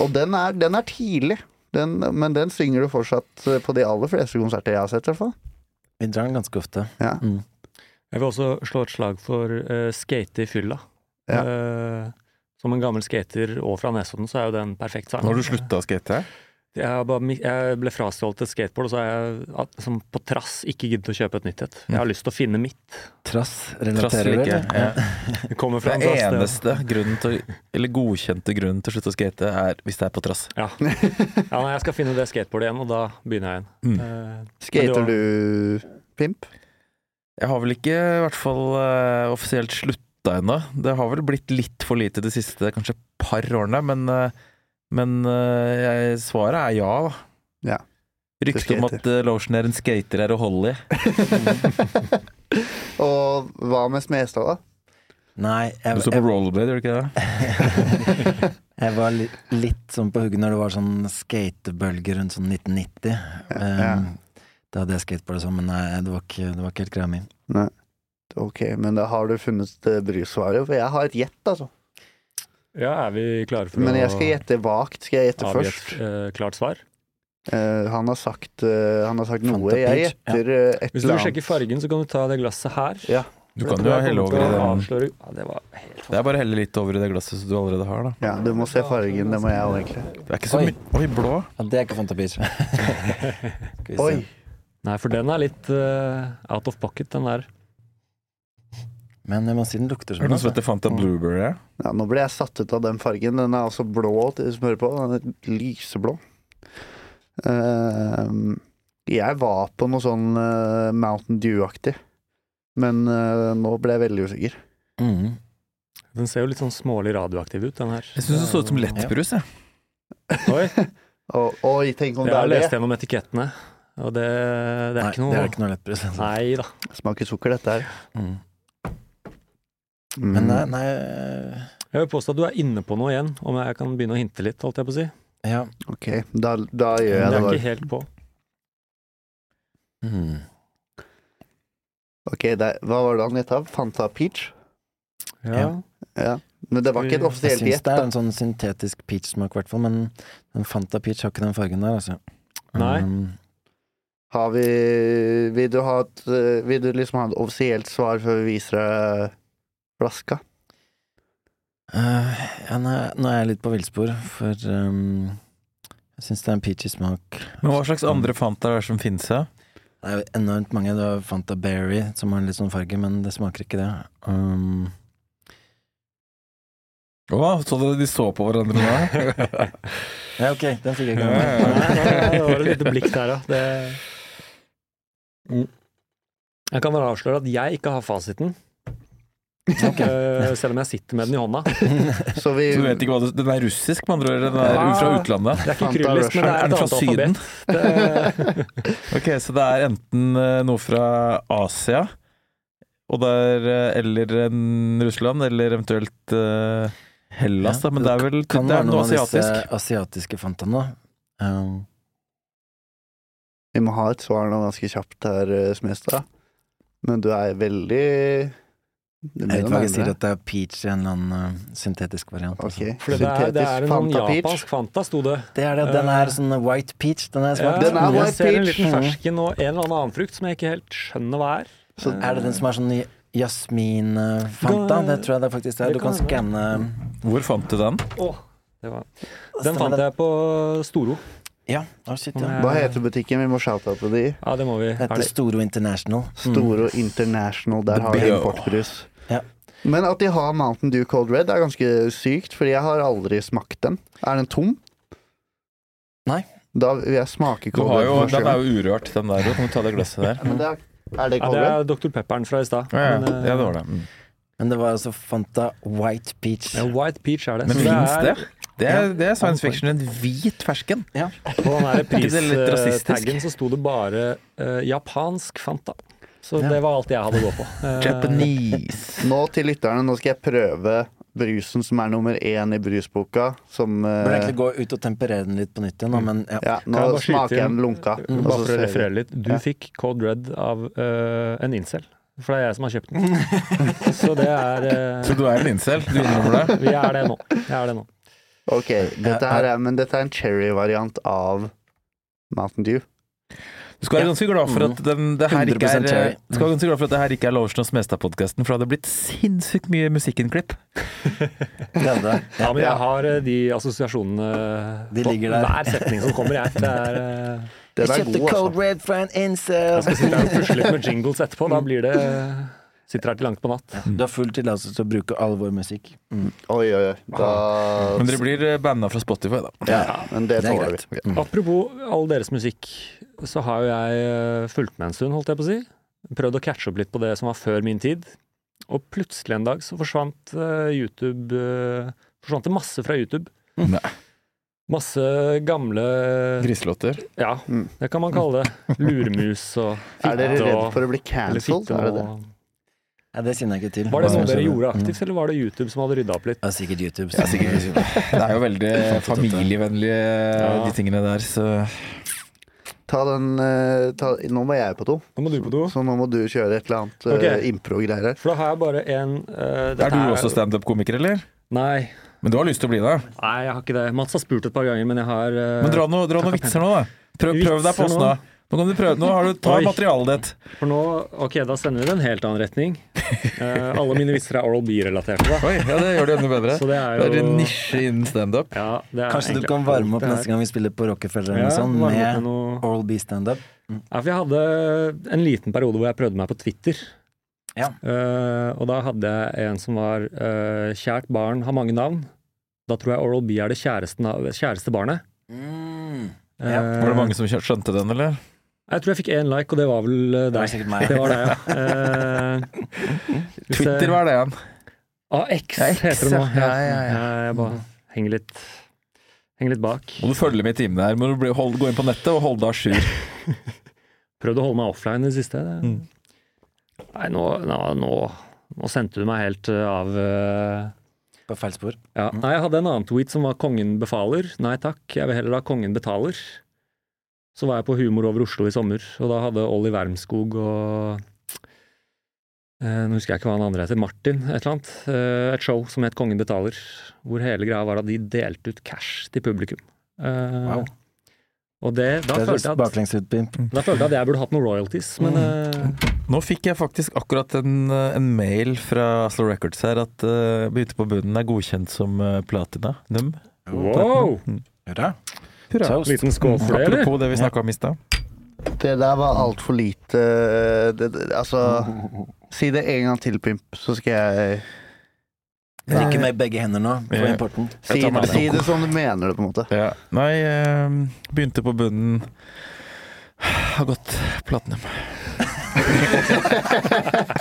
Speaker 3: Og den er, den er tidlig. Den, men den synger du fortsatt eh, på de aller fleste konserter jeg har sett, i hvert fall.
Speaker 5: Vi drar den ganske ofte.
Speaker 3: Ja.
Speaker 5: Mm.
Speaker 4: Jeg vil også slå et slag for eh, skate i fylla.
Speaker 3: Ja.
Speaker 4: Eh, som en gammel skater og fra Nesodden, så er jo det en perfekt sang.
Speaker 2: Nå har du slutta å skate?
Speaker 4: Jeg, har bare, mi- jeg ble frastjålet et skateboard, og så har jeg at, som på trass ikke giddet å kjøpe et nytt et. Jeg har
Speaker 3: Mm.
Speaker 4: lyst til å finne mitt.
Speaker 5: Trass
Speaker 2: Trass
Speaker 5: relaterer
Speaker 2: eller
Speaker 5: du,
Speaker 2: ikke?
Speaker 5: eller?
Speaker 2: Ja.
Speaker 4: Det kommer fra
Speaker 2: Den
Speaker 4: en trass. det-
Speaker 2: eneste grunnen til å, Eller godkjente grunnen til å slutte å skate, er hvis det er på trass.
Speaker 4: Ja. ja, nei, jeg skal finne det skateboardet igjen, og da begynner jeg igjen.
Speaker 2: Mm.
Speaker 4: Eh,
Speaker 3: Skater
Speaker 4: Men
Speaker 3: du
Speaker 4: det
Speaker 3: pimp?
Speaker 2: Jeg har vel ikke i hvert fall eh, offisielt slutta ennå. Det har vel blitt litt for lite de siste kanskje par årene, men, eh, men eh, jeg, svaret er ja, da.
Speaker 3: Ja.
Speaker 2: Ryktet om at eh, Lotion er en skater er uholdelig.
Speaker 3: Og hva med Smestad, da?
Speaker 5: Nei,
Speaker 2: Du
Speaker 5: jeg,
Speaker 2: så på
Speaker 5: jeg,
Speaker 2: rollerblade, gjorde du ikke det?
Speaker 5: jeg var li, litt sånn på hugget når det var sånn skatebølge rundt sånn 1990.
Speaker 3: Ja.
Speaker 4: Ehm,
Speaker 5: Eh, Da hadde jeg skateboardet sånn, men nei, det var ikke, det var ikke helt greia mi.
Speaker 3: Ok, men da har du funnet eh, brysvaret? For jeg har et gjett, altså.
Speaker 4: Ja, er vi klare for
Speaker 3: Men
Speaker 4: å
Speaker 3: jeg skal gjette vagt. Skal jeg gjette
Speaker 4: avgi
Speaker 3: først?
Speaker 4: et eh, klart svar?
Speaker 3: Eh, han har sagt, eh, han har sagt
Speaker 5: Fanta
Speaker 3: noe. Jeg
Speaker 5: Peach, ja.
Speaker 3: gjetter eh, et
Speaker 4: Hvis du
Speaker 3: eller
Speaker 4: vil
Speaker 3: annet.
Speaker 4: sjekke fargen, så kan du ta det glasset her.
Speaker 3: Ja.
Speaker 2: Du kan jo helle over i
Speaker 4: det.
Speaker 2: den.
Speaker 4: Avsløre... Ja, det var helt
Speaker 2: Det er bare å helle litt over i det glasset som du allerede har, da.
Speaker 3: Ja, du må se fargen. Det må jeg òg, egentlig.
Speaker 2: Det er ikke så
Speaker 5: Oi.
Speaker 2: mye Oi, blå!
Speaker 5: Ja, det er ikke Fanta Beach. Skal vi se.
Speaker 3: Oi!
Speaker 4: Nei, for den er litt eh, out of pocket, den der.
Speaker 5: Men jeg må si den lukter
Speaker 2: Er det
Speaker 5: som
Speaker 2: noen som heter Fanta Blueberry? ja?
Speaker 3: Ja, nå ble jeg satt ut av den fargen. Den er altså blå til smør på. Den er lyseblå. Eh, jeg var på noe sånn eh, Mountain Dew-aktig, men eh, nå ble jeg veldig usikker.
Speaker 5: Mm.
Speaker 4: Den ser jo litt sånn smålig radioaktiv ut, den her.
Speaker 2: Jeg syns det så ut som lettbrus, jeg.
Speaker 4: Oi,
Speaker 3: Og, oi, tenk om
Speaker 4: jeg
Speaker 3: det
Speaker 4: har
Speaker 3: er det!
Speaker 4: lest gjennom etikettene, og det, det er
Speaker 5: Nei,
Speaker 4: ikke
Speaker 5: det
Speaker 4: noe
Speaker 5: er ikke noe lettbrus. altså.
Speaker 4: Nei da.
Speaker 3: Smaker sukker, dette her.
Speaker 5: Mm.
Speaker 3: Mm.
Speaker 5: Men eh, nei, eh, nei
Speaker 4: Jeg vil påstå at du er inne på noe igjen, om jeg kan begynne å hinte litt, holdt jeg på å si.
Speaker 5: Ja.
Speaker 3: Ok, da, da gjør jeg
Speaker 4: det
Speaker 3: det.
Speaker 4: er
Speaker 3: bare.
Speaker 4: ikke helt på.
Speaker 5: Mm.
Speaker 3: Ok, det, er- Hva var det han gjetta? Fanta Peach?
Speaker 4: Ja.
Speaker 3: Ja. Men det var ikke et
Speaker 5: Jeg
Speaker 3: offisielt
Speaker 5: syns
Speaker 3: gjett.
Speaker 5: det er
Speaker 3: da.
Speaker 5: en sånn syntetisk peach-smak, i hvert fall, men den Fanta Peach har ikke den fargen der, altså.
Speaker 4: Nei.
Speaker 5: Um,
Speaker 3: Har vi vil du, ha et, eh, vil du liksom ha et offisielt svar før vi viser deg flaska?
Speaker 5: eh, ja, nå er- nå er jeg litt på villspor, for um, jeg syns det er en peachy smak.
Speaker 2: Men hva slags andre Fanta er det som finnes her?
Speaker 5: Det er jo enormt mange. Det var Fanta Berry som har en litt sånn farge, men det smaker ikke det. Um,
Speaker 2: Å, så dere de så på hverandre nå?
Speaker 5: ja, ok, den fikk jeg ikke
Speaker 2: Ja, ja,
Speaker 5: med
Speaker 2: ja.
Speaker 5: meg.
Speaker 4: det var et lite blikk der, ja. Det... Mm. Jeg kan bare avsløre at jeg ikke har fasiten. Eh, Selv om jeg sitter med den i hånda.
Speaker 3: Så vi
Speaker 2: Så du vet ikke hva det, Den er russisk, med andre ord? eller Den er
Speaker 4: Ja.
Speaker 2: fra utlandet?
Speaker 4: Det er ikke
Speaker 3: Fanta
Speaker 4: kryllisk, men det er
Speaker 2: Er
Speaker 4: et
Speaker 2: den fra
Speaker 4: annet
Speaker 2: Syden?
Speaker 4: alfabet. Det...
Speaker 2: Ok, så det er enten eh, noe fra Asia og der, eh, eller en Russland, eller eventuelt eh, Hellas, da,
Speaker 5: Ja,
Speaker 2: men det er vel
Speaker 5: Kan
Speaker 2: det
Speaker 5: være
Speaker 2: er noe
Speaker 5: noen av disse
Speaker 2: asiatisk.
Speaker 5: asiatiske fantaene. da. Um,
Speaker 3: Vi må ha et svar nå ganske kjapt her, eh, Smestad. Men du er veldig Du
Speaker 5: jeg
Speaker 3: begynner
Speaker 5: vet
Speaker 3: å
Speaker 5: hva
Speaker 3: nærme
Speaker 5: jeg sier,
Speaker 3: deg.
Speaker 5: at det er peach i en eller annen uh, syntetisk variant.
Speaker 3: Ok.
Speaker 5: altså.
Speaker 4: For det er, det er en sånn
Speaker 3: Fanta Peach.
Speaker 4: japansk Fanta, sto det.
Speaker 5: Det er det. Den
Speaker 2: Eh,
Speaker 5: er sånn white peach. Den er smart.
Speaker 3: Den er
Speaker 4: jeg
Speaker 3: white
Speaker 4: ser en
Speaker 3: peach.
Speaker 4: liten fersken og en eller annen annen frukt som jeg ikke helt skjønner hva er.
Speaker 3: Så
Speaker 5: Er det den som er sånn i- jasmin-fanta? Det tror jeg det faktisk er.
Speaker 4: Det
Speaker 5: Du kan
Speaker 4: kan
Speaker 5: skanne
Speaker 2: Hvor fant du den?
Speaker 4: Åh, det var. Den fant jeg på Storo.
Speaker 5: Ja. Å, shit,
Speaker 4: Den
Speaker 5: ja.
Speaker 4: er-
Speaker 3: Hva heter butikken? Vi må shout-oute de.
Speaker 4: Ja, det må vi. Er
Speaker 5: Heter
Speaker 4: det-
Speaker 5: Storo International.
Speaker 3: Store og international. Der
Speaker 2: The
Speaker 3: har de
Speaker 2: Big O.
Speaker 3: importbrus.
Speaker 5: Mm. Ja.
Speaker 3: Men at de har Mountain Dew Cold Red, er ganske sykt, Fordi jeg har aldri smakt den. Er den tom?
Speaker 5: Nei.
Speaker 3: Da vil jeg smake
Speaker 2: Du
Speaker 3: Cold
Speaker 2: har
Speaker 3: Red
Speaker 2: jo,
Speaker 3: for første
Speaker 2: den er
Speaker 3: gang.
Speaker 2: jo urørt, den der. Kan du ta det glasset der?
Speaker 3: Ja, men det er, er det
Speaker 4: Ja,
Speaker 3: Cold
Speaker 4: det
Speaker 3: Red?
Speaker 4: er Dr. Pepperen fra i stad.
Speaker 2: Ja, ja.
Speaker 4: Men, eh,
Speaker 2: ja det var det. Mm.
Speaker 5: Men det var altså Fanta White Peach.
Speaker 4: ja, White Peach er det.
Speaker 2: Men
Speaker 4: Så
Speaker 2: fins
Speaker 4: er-
Speaker 2: det? Det er,
Speaker 5: Ja.
Speaker 2: det er science fiction. En hvit fersken.
Speaker 4: På den der
Speaker 2: Er ikke det litt rasistisk?
Speaker 4: pristaggen så sto det bare eh, japansk Fanta. Så
Speaker 5: Ja.
Speaker 4: det var alt jeg hadde å gå på. Eh,
Speaker 2: Japanese.
Speaker 3: Nå til lytterne, nå skal jeg prøve brusen som er nummer én i brusboka. Som eh,
Speaker 5: Burde egentlig gå ut og temperere den litt på nytt igjen, da, men ja.
Speaker 3: Mm. ja,
Speaker 4: Kan
Speaker 3: Nå
Speaker 4: jeg bare skyte
Speaker 3: smaker jeg
Speaker 4: inn-
Speaker 3: den lunka. og
Speaker 4: Bare
Speaker 3: Altså, så
Speaker 4: for å
Speaker 3: ser vi.
Speaker 4: referere litt. Du
Speaker 3: Ja.
Speaker 4: fikk Code Red av eh, en incel. For det er jeg som har kjøpt den. Så det er eh,
Speaker 2: Så du er en incel? Du innrømmer det?
Speaker 4: Vi er det nå. Jeg er det nå.
Speaker 3: Ok, dette her er, men dette er en cherry-variant av Mountain Dew.
Speaker 2: Du skal være ganske glad for at den, det her ikke er
Speaker 5: 100% cherry.
Speaker 2: du skal være ganske glad for at det her ikke er Lotion og Smestad-podkasten, for det hadde blitt sinnssykt mye musikkinnklipp.
Speaker 5: Det er det.
Speaker 4: Ja, men
Speaker 3: Ja.
Speaker 4: jeg har eh, de assosiasjonene
Speaker 5: De
Speaker 4: på
Speaker 5: ligger der.
Speaker 4: hver setning som kommer, jeg. Det er, eh,
Speaker 3: Den er
Speaker 5: Jeg kjøpte
Speaker 3: god, altså.
Speaker 5: Code Red fra en incel.
Speaker 4: jeg skal sitte her og pusle litt med jingles etterpå. Da blir det eh, Sitter her til langt på natt.
Speaker 5: Du har full tillatelse til å bruke all vår musikk.
Speaker 2: Mm.
Speaker 3: Oi, oi, oi. Da,
Speaker 2: Men dere blir banda fra Spotify, da.
Speaker 5: Ja,
Speaker 3: men det
Speaker 5: det er
Speaker 3: tåler
Speaker 5: greit.
Speaker 3: vi.
Speaker 5: Mm.
Speaker 4: Apropos all deres musikk, så har jo jeg eh, fulgt med en stund, holdt jeg på å si. Prøvd å catche opp litt på det som var før min tid. Og plutselig en dag så forsvant eh, YouTube eh, Forsvant det masse fra YouTube.
Speaker 3: Mm.
Speaker 2: Nei.
Speaker 4: Masse gamle
Speaker 2: Griselåter.
Speaker 4: Ja,
Speaker 3: Mm.
Speaker 4: det kan man kalle det. Lurmus og
Speaker 3: Er dere
Speaker 4: fitte
Speaker 3: redd
Speaker 4: og
Speaker 3: for å bli
Speaker 4: eller
Speaker 3: cancelled?
Speaker 4: fitte
Speaker 3: Er det det?
Speaker 4: og-
Speaker 5: Ja, det kjenner jeg ikke til.
Speaker 4: Var det
Speaker 5: Hva
Speaker 4: noe
Speaker 5: som
Speaker 4: dere
Speaker 5: skjedde.
Speaker 4: gjorde
Speaker 5: Mm.
Speaker 4: aktivt, eller var det YouTube som hadde rydda opp litt?
Speaker 5: Ja, sikkert YouTube.
Speaker 2: Ja, sikkert
Speaker 5: YouTube.
Speaker 2: Det er jo veldig familievennlige, eh,
Speaker 4: Ja.
Speaker 2: de tingene der, så
Speaker 3: Ta den eh, ta, Nå må jeg på do,
Speaker 4: Nå må du på do.
Speaker 3: så nå må du kjøre et eller annet
Speaker 4: Ok.
Speaker 3: eh, impro-greier her.
Speaker 4: For da har jeg bare en eh, dette
Speaker 2: Er du
Speaker 4: er-
Speaker 2: også standup-komiker, eller?
Speaker 4: Nei.
Speaker 2: Men du har lyst til å bli det?
Speaker 4: Nei, jeg har ikke det. Mats har spurt et par ganger, men jeg har eh,
Speaker 2: Men dra noen dra noe vitser nå, da. Prøv, prøv deg på oss
Speaker 4: Vitser
Speaker 2: nå.
Speaker 4: nå?
Speaker 2: Nå kan du prøve, nå har du, ta
Speaker 4: Oi.
Speaker 2: materialet ditt.
Speaker 4: For nå, ok, da sender vi det en helt annen rektning. Eh, alle mine vitser er Oral B-relaterte, da.
Speaker 2: Oi, ja, det gjør det enda bedre.
Speaker 4: Så det er
Speaker 2: Det er
Speaker 4: jo
Speaker 2: en nisje innen standup.
Speaker 4: ja, det er
Speaker 5: Kanskje du
Speaker 4: egentlig
Speaker 5: kan varme
Speaker 4: alt
Speaker 5: opp
Speaker 4: det
Speaker 5: neste gang vi spiller på Rockefeller
Speaker 4: her.
Speaker 5: eller noe
Speaker 2: sånn
Speaker 4: Ja,
Speaker 5: sånt,
Speaker 4: varme opp
Speaker 5: med
Speaker 4: med noe.
Speaker 5: Oral B standup.
Speaker 4: Ja, for jeg hadde en liten periode hvor jeg prøvde meg på Twitter.
Speaker 5: Ja.
Speaker 4: Eh, og da hadde jeg en som var eh, 'Kjært barn har mange navn'. Da tror jeg Oral B er det kjæreste, nav- kjæreste barnet.
Speaker 2: Mm.
Speaker 4: Eh,
Speaker 5: Ja.
Speaker 2: Var det mange som kjø- skjønte den, eller?
Speaker 4: Jeg tror jeg fikk én like, og det var vel eh,
Speaker 5: Det var
Speaker 4: deg.
Speaker 5: sikkert meg.
Speaker 4: Det var deg, ja. Eh, hvis jeg-
Speaker 2: Twitter, hva er det igjen?
Speaker 4: AX
Speaker 2: Ja, X,
Speaker 4: heter det nå.
Speaker 2: ja. Ja, ja, ja.
Speaker 4: Jeg bare henger litt, henger litt bak.
Speaker 2: Må du følge med i timene her. Må du bli, hold, gå inn på nettet og holde deg à jour.
Speaker 4: Prøvd å holde meg offline i det siste.
Speaker 2: Mm.
Speaker 4: Nei, nå, nå, nå, nå sendte du meg helt eh, av eh,
Speaker 5: På feil spor.
Speaker 4: ja. Nei, jeg hadde en annen tweet som var 'Kongen befaler'. Nei takk, jeg vil heller ha 'Kongen betaler'. Så var jeg på Humor over Oslo i sommer, og da hadde Olli Wermskog og eh, Nå husker jeg ikke hva han andre heter. Martin, et eller annet. eh, et show som het 'Kongen betaler', hvor hele greia var at de delte ut cash til publikum. Eh,
Speaker 5: Wow.
Speaker 4: Og det, da,
Speaker 5: Det er
Speaker 4: følte jeg at,
Speaker 5: baklengsutpimp.
Speaker 4: da følte jeg at jeg burde hatt noen royalties, men
Speaker 5: Mm.
Speaker 4: eh,
Speaker 2: Nå fikk jeg faktisk akkurat en, eh, en mail fra Oslo Records her at uh, Bytte på bunnen er godkjent som eh, platina. Num.
Speaker 4: Wow!
Speaker 2: Mm.
Speaker 5: Hurra.
Speaker 2: Hurra.
Speaker 5: Toast.
Speaker 4: Liten skål for det, eller?
Speaker 2: Apropos det vi snakka om i stad.
Speaker 3: Det der var altfor lite eh, det, det, Altså Si det en gang til, Pimp, så skal jeg
Speaker 5: Drikke med begge hender nå, på
Speaker 2: Ja.
Speaker 5: importen.
Speaker 3: si,
Speaker 2: tar meg
Speaker 3: si det som du mener det, på en måte.
Speaker 2: Ja. Nei, eh, begynte på bunnen. Har gått platinum.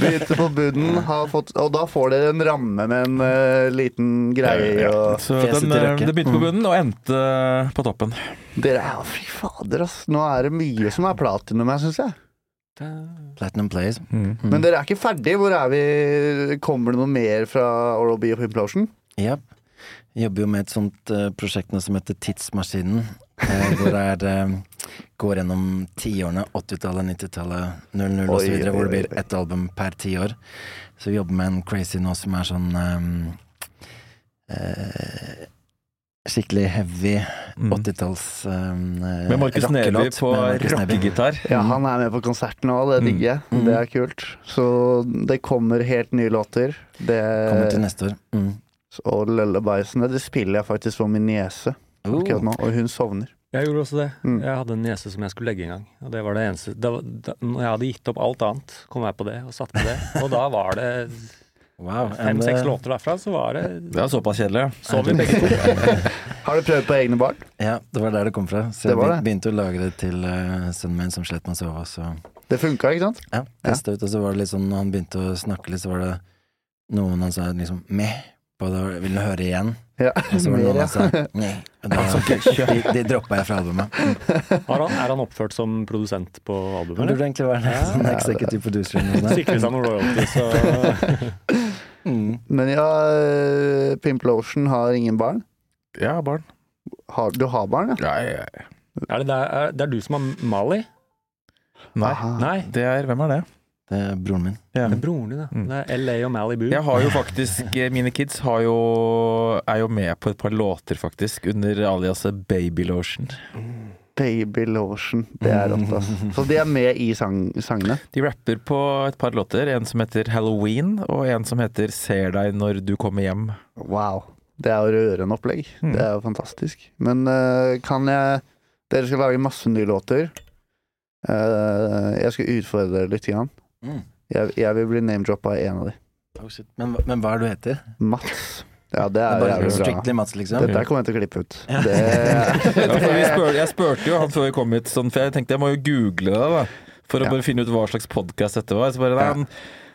Speaker 3: Begynte på bunnen, har fått, og da får dere en ramme med en eh, liten greie. Og
Speaker 2: Så
Speaker 5: Fjeset
Speaker 2: den,
Speaker 5: til
Speaker 2: eh,
Speaker 5: Røkke.
Speaker 2: det begynte på bunnen og endte eh, på toppen.
Speaker 3: dere er Fy fader, ass. Nå er det mye som er platinum her, syns jeg.
Speaker 5: Platinum Plays.
Speaker 2: Mm.
Speaker 3: Men dere er ikke ferdig. Hvor er vi? Kommer det noe mer fra Oral B og Pimplotion?
Speaker 5: Ja. Jobber jo med et sånt eh, prosjekt nå som heter Tidsmaskinen. eh, hvor det er eh, går gjennom tiårene, 80-tallet, 90-tallet,
Speaker 3: Oi,
Speaker 5: 00 osv. Hvor
Speaker 3: oi,
Speaker 5: det blir
Speaker 3: oi.
Speaker 5: ett album per tiår. Så vi jobber med en crazy nå som er sånn eh, eh, Skikkelig heavy
Speaker 2: Mm.
Speaker 5: 80-talls um,
Speaker 2: Med Markus Neby på rockegitar.
Speaker 3: Ja, han er med på konserten òg, det
Speaker 2: Mm.
Speaker 3: digger jeg.
Speaker 5: Mm.
Speaker 3: Det er kult. Så det kommer helt nye låter. Det,
Speaker 5: Kommer til neste år. Mm.
Speaker 3: og Lullabiesene, det spiller jeg faktisk for min niese akkurat nå, og hun sovner.
Speaker 4: Jeg gjorde også det.
Speaker 3: Mm.
Speaker 4: Jeg hadde en niese som jeg skulle legge en gang. Og det var det eneste det var, da, Når jeg hadde gitt opp alt annet, kom jeg på det og satte på det. Og da var det
Speaker 5: Wow. and, eh,
Speaker 4: fem-seks låter derfra, så var det
Speaker 2: Det er såpass kjedelig.
Speaker 4: Så vi begge to.
Speaker 3: Har du prøvd på egne barn?
Speaker 5: Ja, det var der det kom fra. Så
Speaker 3: Det
Speaker 5: jeg
Speaker 3: var
Speaker 5: be- begynte å lage det til eh, sønnen min som slet med å sove. og Så
Speaker 3: Det funka, ikke sant?
Speaker 5: ja, testet ut, og så var det litt sånn, når han begynte å snakke litt, så var det noen han sa liksom meh på det, og vil du høre igjen?
Speaker 3: Ja.
Speaker 5: Og så var det
Speaker 3: Mer,
Speaker 5: noen
Speaker 3: ja. Altså, Mm.
Speaker 5: han sa nei. Og da, de, de droppa jeg fra albumet.
Speaker 4: Har han, er han oppført som produsent på
Speaker 5: Men det
Speaker 4: albumet?
Speaker 5: burde egentlig være en sånn executive producer eller noe sånt.
Speaker 4: Sikre seg noen royalties og
Speaker 5: Mm.
Speaker 3: Men ja, eh, Pimplotion har ingen barn.
Speaker 2: Ja, barn.
Speaker 3: Har, du har barn, ja?
Speaker 2: Nei, nei.
Speaker 4: er det, der, er, det er du som har Mali?
Speaker 3: Aha.
Speaker 4: Nei,
Speaker 2: Det er, hvem er det?
Speaker 5: Det er broren min.
Speaker 2: Ja.
Speaker 4: det er broren din, ja.
Speaker 2: Mm.
Speaker 4: Det er LA og Malibu.
Speaker 2: Jeg har jo faktisk eh, Mine kids har jo, er jo med på et par låter, faktisk, under aliaset Babylotion.
Speaker 3: Baby Lotion. Det er rått,
Speaker 5: Mm.
Speaker 3: altså. Så de er med i sang sangene.
Speaker 2: De rapper på et par låter. En som heter Halloween, og en som heter Ser deg når du kommer hjem.
Speaker 3: Wow. Det er jo rørende opplegg.
Speaker 2: Mm.
Speaker 3: Det er jo fantastisk. Men eh, kan jeg Dere skal lage masse nye låter. Eh, jeg skal utfordre dere litt. Grann.
Speaker 5: Mm.
Speaker 3: Jeg, jeg vil bli name-droppa i en av de.
Speaker 5: Oh, shit. Men, hva- men hva er det du heter?
Speaker 3: Mats. Ja, det
Speaker 5: Det
Speaker 3: er
Speaker 5: er bare
Speaker 3: jævlig bra.
Speaker 5: Strictly Mats, liksom?
Speaker 3: Dette her kommer jeg til å klippe ut.
Speaker 5: Ja.
Speaker 3: Det,
Speaker 2: Ja, for vi spør, jeg spurte jo han før vi kom hit, sånn, for jeg tenkte jeg må jo google det, da. For å
Speaker 3: Ja.
Speaker 2: bare finne ut hva slags podkast dette var. Så bare, nei,
Speaker 3: Ja.
Speaker 2: han-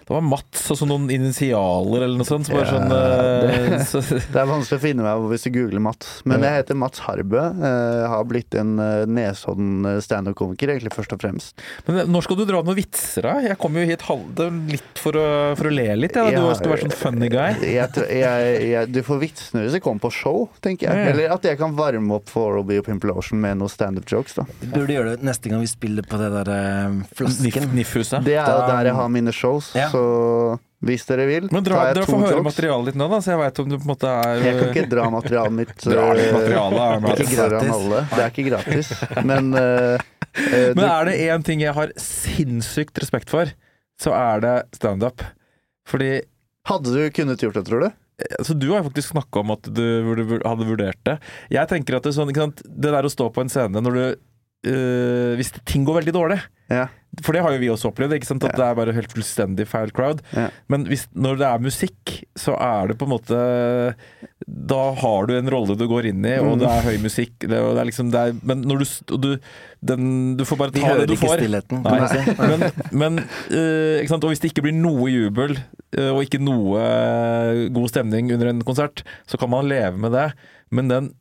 Speaker 2: det var Mats og så noen initialer eller noe sånt. Så bare
Speaker 3: Ja,
Speaker 2: sånn eh,
Speaker 3: det-
Speaker 2: så,
Speaker 3: det er vanskelig å finne meg hvis du googler Mats. Men
Speaker 2: Ja.
Speaker 3: jeg heter Mats Harbø. eh, har blitt en uh, Nesodden eh, standup-komiker, egentlig først og fremst.
Speaker 2: Men eh, når skal du dra noen vitser, da? Jeg kom jo hit halv, det er litt for å, for å le litt, jeg. da. Du
Speaker 3: Ja. eh,
Speaker 2: skal være sånn funny guy.
Speaker 3: Jeg, tr- jeg, jeg, du får vitsene hvis jeg kommer på show, tenker
Speaker 2: Ja,
Speaker 3: jeg.
Speaker 2: ja.
Speaker 3: Eller at jeg kan varme opp for Oral B og Pimplotion med noen standup-jokes, da.
Speaker 5: Du burde gjøre det neste gang vi spiller på det der eh, flasken.
Speaker 2: Niff- Niffhuset.
Speaker 3: Det er jo
Speaker 5: Da-
Speaker 3: der jeg har mine shows,
Speaker 5: Ja.
Speaker 3: så hvis dere vil,
Speaker 2: Men dra,
Speaker 3: tar jeg
Speaker 2: dra
Speaker 3: to
Speaker 2: få høre
Speaker 3: jokes.
Speaker 2: materialet ditt nå, da, så jeg veit om du på en måte er
Speaker 3: Jeg kan ikke dra materialet mitt.
Speaker 2: Dra litt
Speaker 3: eh,
Speaker 2: materiale, da, Mats.
Speaker 3: Ikke gratis.
Speaker 5: Gratis.
Speaker 3: Alle. Det er ikke gratis. Men eh,
Speaker 2: Men
Speaker 3: eh, du-
Speaker 2: er det én ting jeg har sinnssykt respekt for, så er det standup. Fordi
Speaker 3: Hadde du kunnet gjort det, tror du?
Speaker 2: Så du har jo faktisk snakka om at du vurde- hadde vurdert det. Jeg tenker at det, er sånn, ikke sant? det der å stå på en scene når du øh, Hvis ting går veldig dårlig
Speaker 3: Ja.
Speaker 2: For det har jo vi også opplevd, ikke sant? at det er bare helt fullstendig feil crowd.
Speaker 3: Ja.
Speaker 2: Men hvis, når det er musikk, så er det på en måte Da har du en rolle du går inn i,
Speaker 5: Mm.
Speaker 2: og det er høy musikk. Det, og det er liksom, det er, men når du, st- og du, den, du får bare
Speaker 5: Vi
Speaker 2: ta det
Speaker 5: hører
Speaker 2: du
Speaker 5: ikke
Speaker 2: får.
Speaker 5: stillheten.
Speaker 2: Nei.
Speaker 5: kan jeg si.
Speaker 2: Men, men eh, ikke sant? Og hvis det ikke blir noe jubel, eh, og ikke noe eh, god stemning under en konsert, så kan man leve med det. Men den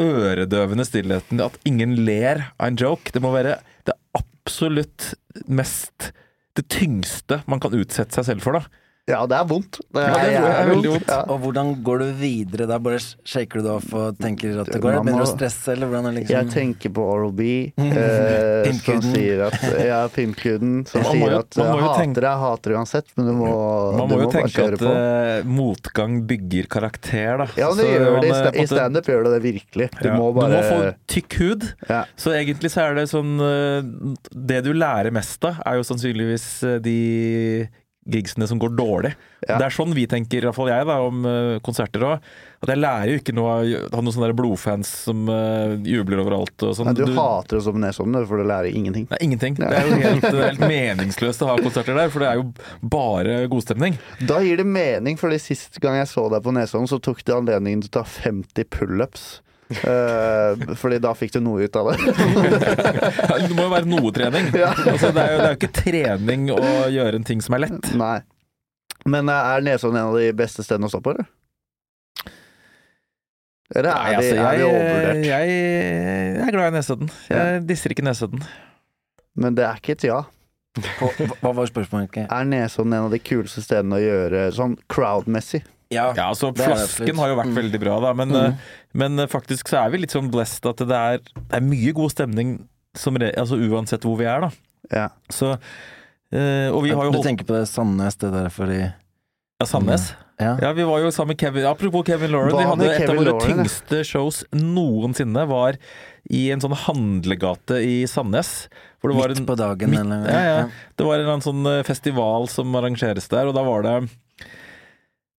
Speaker 2: øredøvende stillheten, at ingen ler av en joke, det må være det absolutt mest det tyngste man kan utsette seg selv for, da.
Speaker 3: Ja, det er vondt. Det
Speaker 2: Ja, det tror jeg er
Speaker 3: jævlig
Speaker 2: veldig vondt.
Speaker 3: Ja.
Speaker 5: Og hvordan går du videre da? Bare shaker du det off og tenker at det går?
Speaker 3: Man må-
Speaker 5: Begynner du å stresse, eller hvordan er det
Speaker 3: Jeg
Speaker 5: liksom
Speaker 3: tenker på Oral B, eh, som
Speaker 5: Pimpkuden.
Speaker 3: sier at Ja, pimpkuden. Som
Speaker 2: Man må
Speaker 3: sier
Speaker 2: jo-
Speaker 3: at
Speaker 2: man må
Speaker 3: eh,
Speaker 2: jo tenke-
Speaker 3: hater deg, hater uansett, men du må,
Speaker 2: Man
Speaker 3: du
Speaker 2: må jo
Speaker 3: bare
Speaker 2: tenke
Speaker 3: kjøre
Speaker 2: at
Speaker 3: på.
Speaker 2: eh, motgang bygger karakter, da.
Speaker 3: Ja, det
Speaker 2: Så
Speaker 3: gjør
Speaker 2: man,
Speaker 3: det. I
Speaker 2: eh, på en
Speaker 3: sta- I
Speaker 2: måte-
Speaker 3: standup gjør det det virkelig. Du
Speaker 2: Ja,
Speaker 3: må bare
Speaker 2: du må få tykk hud.
Speaker 3: Ja.
Speaker 2: Så egentlig så er det sånn eh, Det du lærer mest av, er jo sannsynligvis eh, de gigsene som går dårlig.
Speaker 3: Ja.
Speaker 2: Det er sånn vi tenker, iallfall jeg, da, om eh, konserter òg. At jeg lærer jo ikke noe av å ha noen sånne der blodfans som eh, jubler overalt og sånn.
Speaker 3: Nei, du,
Speaker 2: Du-
Speaker 3: hater det som nesodden, du, for du lærer ingenting.
Speaker 2: Nei, ingenting. Det er jo helt, helt meningsløst å ha konserter der, for det er jo bare godstemning.
Speaker 3: Da gir det mening, fordi sist gang jeg så deg på Nesodden, så tok det anledningen til å ta 50 pullups. Uh, fordi da fikk du noe ut av det.
Speaker 2: Det må jo være noe trening. Altså, det, er jo, det er jo ikke trening å gjøre en ting som er lett.
Speaker 3: Nei. Men eh, er Nesodden en av de beste stedene å stå på, eller? Eller er,
Speaker 2: Nei,
Speaker 3: de,
Speaker 2: altså,
Speaker 3: er de
Speaker 2: jeg,
Speaker 3: overvurdert?
Speaker 2: jeg, eh, jeg er glad i Nesodden. Jeg disser ikke Nesodden.
Speaker 3: Men det er ikke et ja.
Speaker 5: Hva hva var spørsmålet? egentlig?
Speaker 3: Er Nesodden en av de kuleste stedene å gjøre sånn crowd-messig?
Speaker 2: Ja, altså
Speaker 5: det er det absolutt.
Speaker 2: Flasken har jo vært veldig bra, da, men, eh, men eh, faktisk så er vi litt sånn blessed at det er, det er mye god stemning som re, altså, uansett hvor vi er, da.
Speaker 3: Ja.
Speaker 2: Så, eh, og vi har jo
Speaker 5: Du
Speaker 2: holdt
Speaker 5: tenker på det Sandnes, det der fordi
Speaker 2: ja, Sandnes.
Speaker 5: Ja.
Speaker 2: Ja, vi var jo sammen med Kevin Apropos Kevin Lauren, vi
Speaker 3: Var
Speaker 2: Mm. hadde
Speaker 3: det
Speaker 2: et av
Speaker 3: Kevin
Speaker 2: våre
Speaker 3: Lauren, ja?
Speaker 2: tyngste shows noensinne. Var i en sånn handlegate i Sandnes. Hvor det var
Speaker 5: Midt
Speaker 2: en,
Speaker 5: på dagen,
Speaker 2: midt-
Speaker 5: eller
Speaker 2: ja, ja. Det var en eller annen sånn eh, festival som arrangeres der, og da var det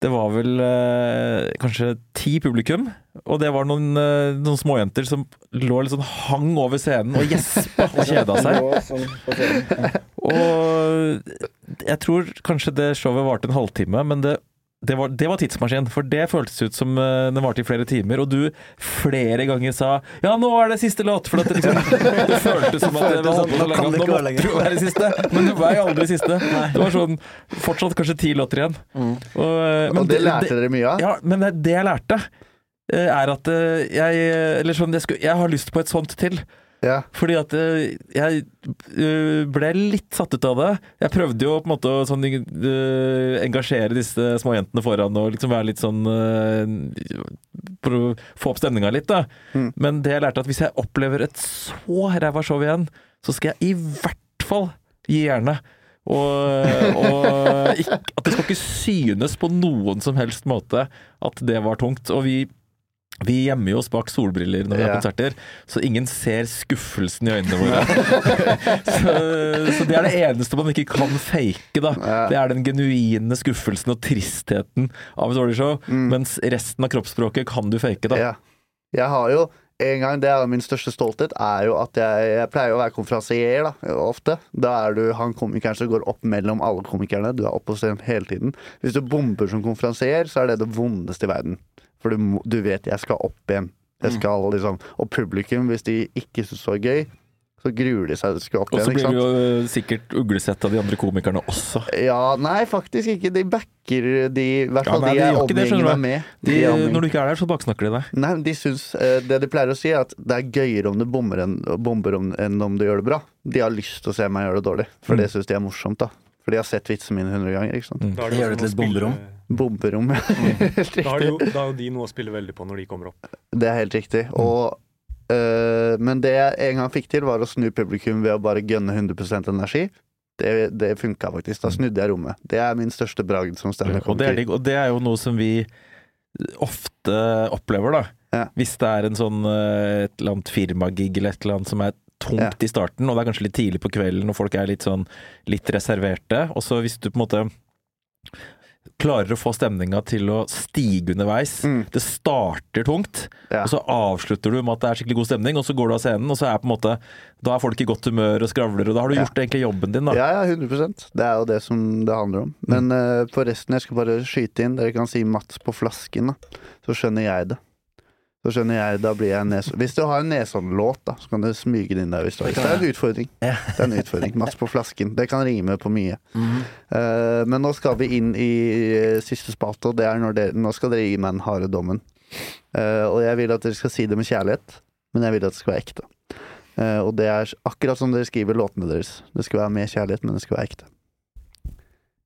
Speaker 2: Det var vel eh, kanskje ti publikum, og det var noen, eh, noen småjenter som lå litt sånn hang over scenen og gjespa og kjeda seg. Og jeg tror kanskje det showet varte en halvtime, men det det var, det var tidsmaskin, for det føltes ut som eh, den varte i flere timer, og du flere ganger sa 'ja, nå er det siste låt', for at det liksom Det føltes som at det var satt på så
Speaker 5: sånn, Nå kan
Speaker 2: lenge at nå
Speaker 5: det ikke være
Speaker 2: måtte
Speaker 5: lenger.
Speaker 2: du være siste, men du var jo aldri siste. Det var sånn fortsatt kanskje ti låter igjen. Og, eh, men
Speaker 3: Mm. Og det lærte dere mye av?
Speaker 2: ja, men det, det jeg lærte, eh, er at eh, jeg Eller sånn, jeg, skulle, jeg har lyst på et sånt til.
Speaker 3: Ja.
Speaker 2: Fordi at eh, jeg eh, ble litt satt ut av det. Jeg prøvde jo på en måte å sånn, eh, engasjere disse småjentene foran og liksom være litt sånn eh, For å få opp stemninga litt, da.
Speaker 3: Mm.
Speaker 2: Men det jeg lærte, at hvis jeg opplever et så ræva show igjen, så skal jeg i hvert fall gi jernet. Og, og ikke, at det skal ikke synes på noen som helst måte at det var tungt. Og vi, vi gjemmer jo oss bak solbriller når vi har
Speaker 3: Ja.
Speaker 2: konserter, så ingen ser skuffelsen i øynene våre. så, så det er det eneste man ikke kan fake, da.
Speaker 3: Ja.
Speaker 2: Det er den genuine skuffelsen og tristheten av et dårlig show.
Speaker 3: Mm.
Speaker 2: Mens resten av kroppsspråket kan du fake, da.
Speaker 3: Ja. Jeg har jo en gang, Det er jo min største stolthet, er jo at jeg, jeg pleier å være konferansier, da, ofte. Da er du han komikeren som går opp mellom alle komikerne. Du er oppe på scenen hele tiden. Hvis du bomber som konferansier, så er det det vondeste i verden. For du, må- du vet jeg skal opp igjen.
Speaker 2: Mm.
Speaker 3: Jeg skal liksom Og publikum, hvis de ikke syns det var gøy, så gruer de seg til å skulle opp
Speaker 2: Og så blir
Speaker 3: igjen. ikke
Speaker 2: du
Speaker 3: sant?
Speaker 2: jo eh, sikkert uglesett av de andre komikerne også.
Speaker 3: Ja, nei, faktisk ikke. De backer de I hvert
Speaker 2: Ja,
Speaker 3: fall
Speaker 2: nei, de
Speaker 3: de jeg
Speaker 2: gjør ikke det, skjønner du.
Speaker 3: omgjenger meg med.
Speaker 2: De,
Speaker 3: jeg omgjenger-
Speaker 2: når du ikke er der, så baksnakker de deg.
Speaker 3: Nei, men de syns eh, Det de pleier å si, er at det er gøyere om du bommer enn, bomber om, enn om du gjør det bra. De har lyst til å se meg gjøre det dårlig, for
Speaker 2: Mm.
Speaker 3: det syns de er morsomt. da For de har sett vitsene mine hundre ganger. ikke sant?
Speaker 4: Da er
Speaker 5: Det gjør
Speaker 4: noe
Speaker 5: det til
Speaker 4: å
Speaker 5: et
Speaker 4: spille-
Speaker 3: Bomberom.
Speaker 2: Mm.
Speaker 3: helt
Speaker 4: Da har, de
Speaker 3: riktig.
Speaker 4: jo, da har jo de noe å spille veldig på når de kommer opp.
Speaker 3: Det er helt riktig. Og, eh, men det jeg en gang fikk til, var å snu publikum ved å bare gønne 100 energi. Det, det funka faktisk. Da snudde jeg rommet. Det er min største bragd som
Speaker 2: Og det, er
Speaker 3: standup-komiker.
Speaker 2: digg, og det er jo noe som vi ofte opplever, da.
Speaker 3: Ja.
Speaker 2: Hvis det er en sånn eh, et eller annet firmagig eller et eller annet som er tungt
Speaker 3: Ja.
Speaker 2: i starten, og det er kanskje litt tidlig på kvelden og folk er litt sånn litt reserverte, og så hvis du på en måte klarer å få stemninga til å stige underveis
Speaker 3: Mm.
Speaker 2: Det starter tungt,
Speaker 3: Ja.
Speaker 2: og så avslutter du med at det er skikkelig god stemning, og så går du av scenen, og så er på en måte Da er folk i godt humør og skravler, og da har du
Speaker 3: Ja.
Speaker 2: gjort egentlig jobben din, da. Mm.
Speaker 3: Ja, ja, 100 Det er jo det som det handler om. Men eh, forresten, jeg skal bare skyte inn. Dere kan si Mats på flasken, da. Så skjønner jeg det. Så skjønner jeg, da blir jeg nes Hvis du har en Nesodden-låt, da, så kan du smyge den inn der. Hvis du har. Det er en utfordring. Det er en utfordring. Mats på flasken. Det kan rime på mye.
Speaker 5: Mm.
Speaker 3: Eh, men nå skal vi inn i eh, siste spalte, og det er når dere Nå skal dere gi meg den harde dommen. Eh, og jeg vil at dere skal si det med kjærlighet, men jeg vil at det skal være ekte. Eh, og det er akkurat som dere skriver låtene deres. Det skal være med kjærlighet, men det skal være ekte.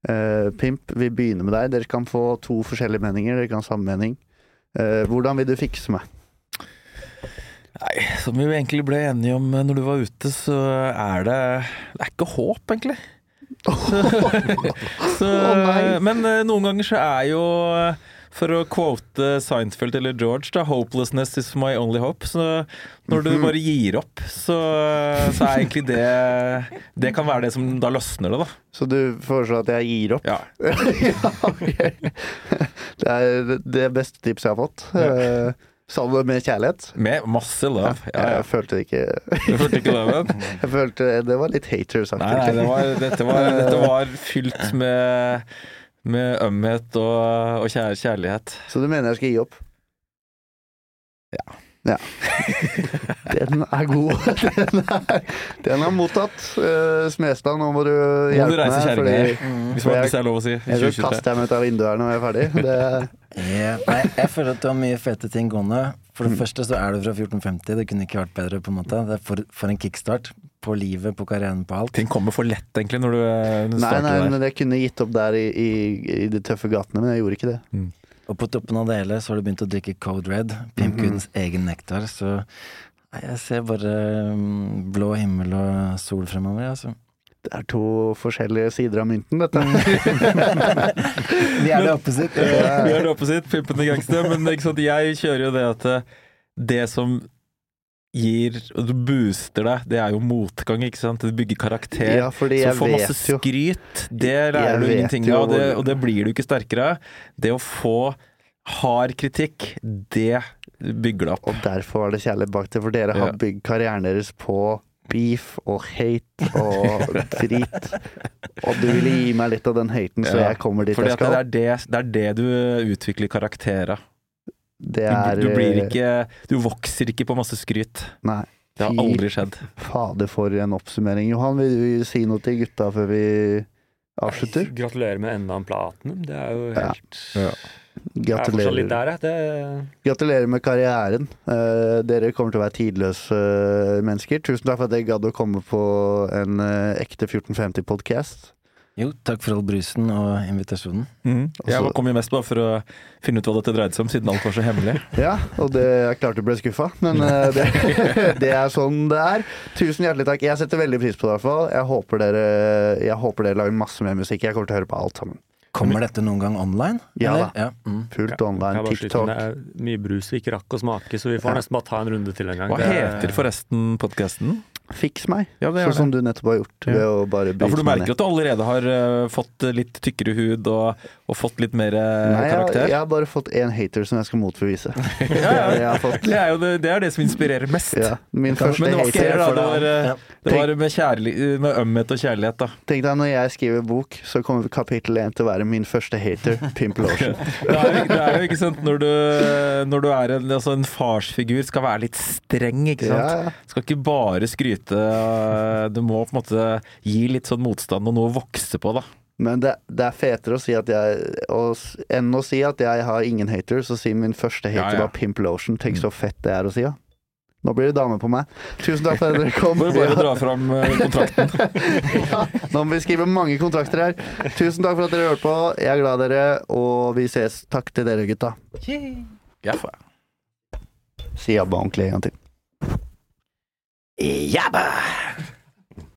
Speaker 3: Eh, Pimp, vi begynner med deg. Dere kan få to forskjellige meninger. Dere kan ha samme mening. Eh, hvordan vil du fikse meg?
Speaker 2: Nei, som vi jo egentlig ble enige om eh, når du var ute, så er det Det er ikke håp, egentlig. Så, så,
Speaker 3: Å, nei.
Speaker 2: eh, men eh, noen ganger så er jo For å quote Seinfeld eller George, da, 'Hopelessness is my only hope'. Så når
Speaker 3: Mhm.
Speaker 2: du bare gir opp, så, så er egentlig det Det kan være det som da løsner det, da.
Speaker 3: Så du foreslår at jeg gir opp?
Speaker 2: Ja.
Speaker 3: ja, ok. Det er det beste tipset jeg har fått. Eh, Sammen med kjærlighet.
Speaker 2: Med masse love. Ja, ja.
Speaker 3: Jeg følte ikke
Speaker 2: Du følte ikke loven?
Speaker 3: Jeg følte Det var litt
Speaker 2: Nei, nei
Speaker 3: haters-aktig.
Speaker 2: det var, dette, var, dette var fylt med med ømhet og, og kjær, kjærlighet.
Speaker 3: Så du mener jeg skal gi opp? Ja. Den er god. Den er, den er mottatt. Eh, Smestad, nå må du
Speaker 2: Nå må du
Speaker 3: hjelpe
Speaker 2: reise
Speaker 3: meg. Fordi
Speaker 2: kjerringa,
Speaker 5: Mm.
Speaker 2: hvis man- hvis det er lov å si. i
Speaker 3: jeg
Speaker 2: 2023.
Speaker 3: skal kaste dem ut av vinduet her når jeg er ferdig. Det,
Speaker 5: Ja, Nei, jeg føler at du har mye fete ting gående. For det
Speaker 2: Mm.
Speaker 5: første så er du fra 1450. Det kunne ikke vært bedre. på en måte Det er for, for en kickstart. På livet, på karrieren, på alt.
Speaker 2: Ting kommer for lett, egentlig, når du eh,
Speaker 3: nei,
Speaker 2: starter
Speaker 3: nei,
Speaker 2: der.
Speaker 3: men jeg kunne gitt opp der i, i, i de tøffe gatene, men jeg gjorde ikke det.
Speaker 5: Og på toppen av det hele så har du begynt å drikke Code Red. Pimp Goodens egen nektar. Så nei, jeg ser bare mm, blå himmel og sol fremover, jeg, altså.
Speaker 3: Det er to forskjellige sider av mynten, dette.
Speaker 5: Vi er det opposite.
Speaker 2: Eh, Vi er det opposite, pimpen i gangster. Men ikke sant? jeg kjører jo det at eh, det som gir og du booster deg, det er jo motgang, ikke sant? Det bygger karakter.
Speaker 3: Ja, fordi
Speaker 2: så
Speaker 3: jeg
Speaker 2: å få masse
Speaker 3: vet jo
Speaker 2: skryt, det lærer du
Speaker 3: vet
Speaker 2: ingenting
Speaker 3: jo
Speaker 2: av, og det,
Speaker 3: hvor-
Speaker 2: og det blir du ikke sterkere av. Det å få hard kritikk, det bygger deg opp.
Speaker 3: Og derfor var det kjærlighet bak det, for dere har
Speaker 2: Ja.
Speaker 3: bygd karrieren deres på beef og hate og drit. Og du ville gi meg litt av den haten, så
Speaker 2: Ja,
Speaker 3: jeg kommer dit
Speaker 2: Fordi
Speaker 3: jeg
Speaker 2: at det
Speaker 3: skal.
Speaker 2: er det, det er det du utvikler karakter av.
Speaker 3: Det
Speaker 2: Du,
Speaker 3: er, eh,
Speaker 2: du blir ikke Du vokser ikke på masse skryt.
Speaker 3: Nei.
Speaker 2: Det har
Speaker 3: Fy
Speaker 2: aldri skjedd.
Speaker 3: fader, for en oppsummering. Johan, vil du si noe til gutta før vi avslutter?
Speaker 4: Nei, Gratulerer med enda en platinum. Det er jo
Speaker 3: Ja.
Speaker 4: helt
Speaker 2: Ja.
Speaker 4: Jeg er fortsatt litt
Speaker 3: Gratulerer.
Speaker 4: der, jeg. Det
Speaker 3: Gratulerer med karrieren. Eh, dere kommer til å være tidløse eh, mennesker. Tusen takk for at dere gadd å komme på en eh, ekte 1450-podkast.
Speaker 5: Jo, takk for all brusen og invitasjonen.
Speaker 2: Mhm. Jeg
Speaker 3: Altså-
Speaker 2: kom jo mest bare for å finne ut hva dette dreide seg om, siden alt var så hemmelig.
Speaker 3: Ja, og det er klart du ble skuffa, men eh, det, det er sånn det er. Tusen hjertelig takk. Jeg setter veldig pris på det, i hvert fall. Jeg håper dere, jeg håper dere lager masse mer musikk. Jeg kommer til å høre på alt sammen.
Speaker 5: Kommer dette noen gang online?
Speaker 3: Ja
Speaker 5: eller?
Speaker 3: da.
Speaker 5: Ja, mm.
Speaker 3: Fullt online,
Speaker 4: er,
Speaker 3: TikTok.
Speaker 4: det er mye brus vi ikke rakk å smake, så vi får nesten bare ta en runde til en gang.
Speaker 2: Hva
Speaker 4: Det er-
Speaker 2: heter forresten podkasten?
Speaker 3: Fiks meg,
Speaker 2: Ja, det gjør
Speaker 3: sånn som du nettopp har gjort.
Speaker 2: Ja.
Speaker 3: Ved å bare
Speaker 2: Ja, for
Speaker 3: bryte
Speaker 2: du
Speaker 3: meg
Speaker 2: merker at du allerede har eh, fått litt tykkere hud og, og fått litt mer eh,
Speaker 3: Nei, jeg,
Speaker 2: karakter?
Speaker 3: jeg har bare fått én hater som jeg skal motbevise.
Speaker 2: Ja, ja.
Speaker 3: Jeg har fått,
Speaker 2: Det, er jo det, det er det som inspirerer mest.
Speaker 3: ja, min første
Speaker 2: Men det var ikke dere, da. Det
Speaker 3: hater for
Speaker 2: var,
Speaker 3: deg.
Speaker 2: eh,
Speaker 5: Ja.
Speaker 2: det var med, kjærli- med ømhet og kjærlighet, da.
Speaker 3: Tenk deg når jeg skriver bok, så kommer kapittel én til å være min første hater, Pimp Lotion.
Speaker 2: Det er, jo- det er jo ikke sant når du, når du er en, altså en farsfigur, skal være litt streng, ikke sant.
Speaker 3: Ja, ja.
Speaker 2: Skal ikke bare skryte. eh, Du må på en måte gi litt sånn motstand og noe å vokse på, da.
Speaker 3: Men det, det er fetere å si at jeg å, s- enn å si at jeg har ingen hater, så si min første
Speaker 2: Ja,
Speaker 3: hater
Speaker 2: ja.
Speaker 3: var Pimp Lotion. Tenk så fett det er å si, ja. Nå blir det dame på meg. Tusen takk for at dere kom.
Speaker 2: Bare bare dra fram eh, kontrakten.
Speaker 3: Ja, Nå må vi skrive mange kontrakter her. Tusen takk for at dere hørte på. Jeg er glad i dere, og vi ses. Takk til dere, gutta.
Speaker 2: Ja, faen.
Speaker 3: Si jabba ordentlig en gang til.
Speaker 5: Jabba!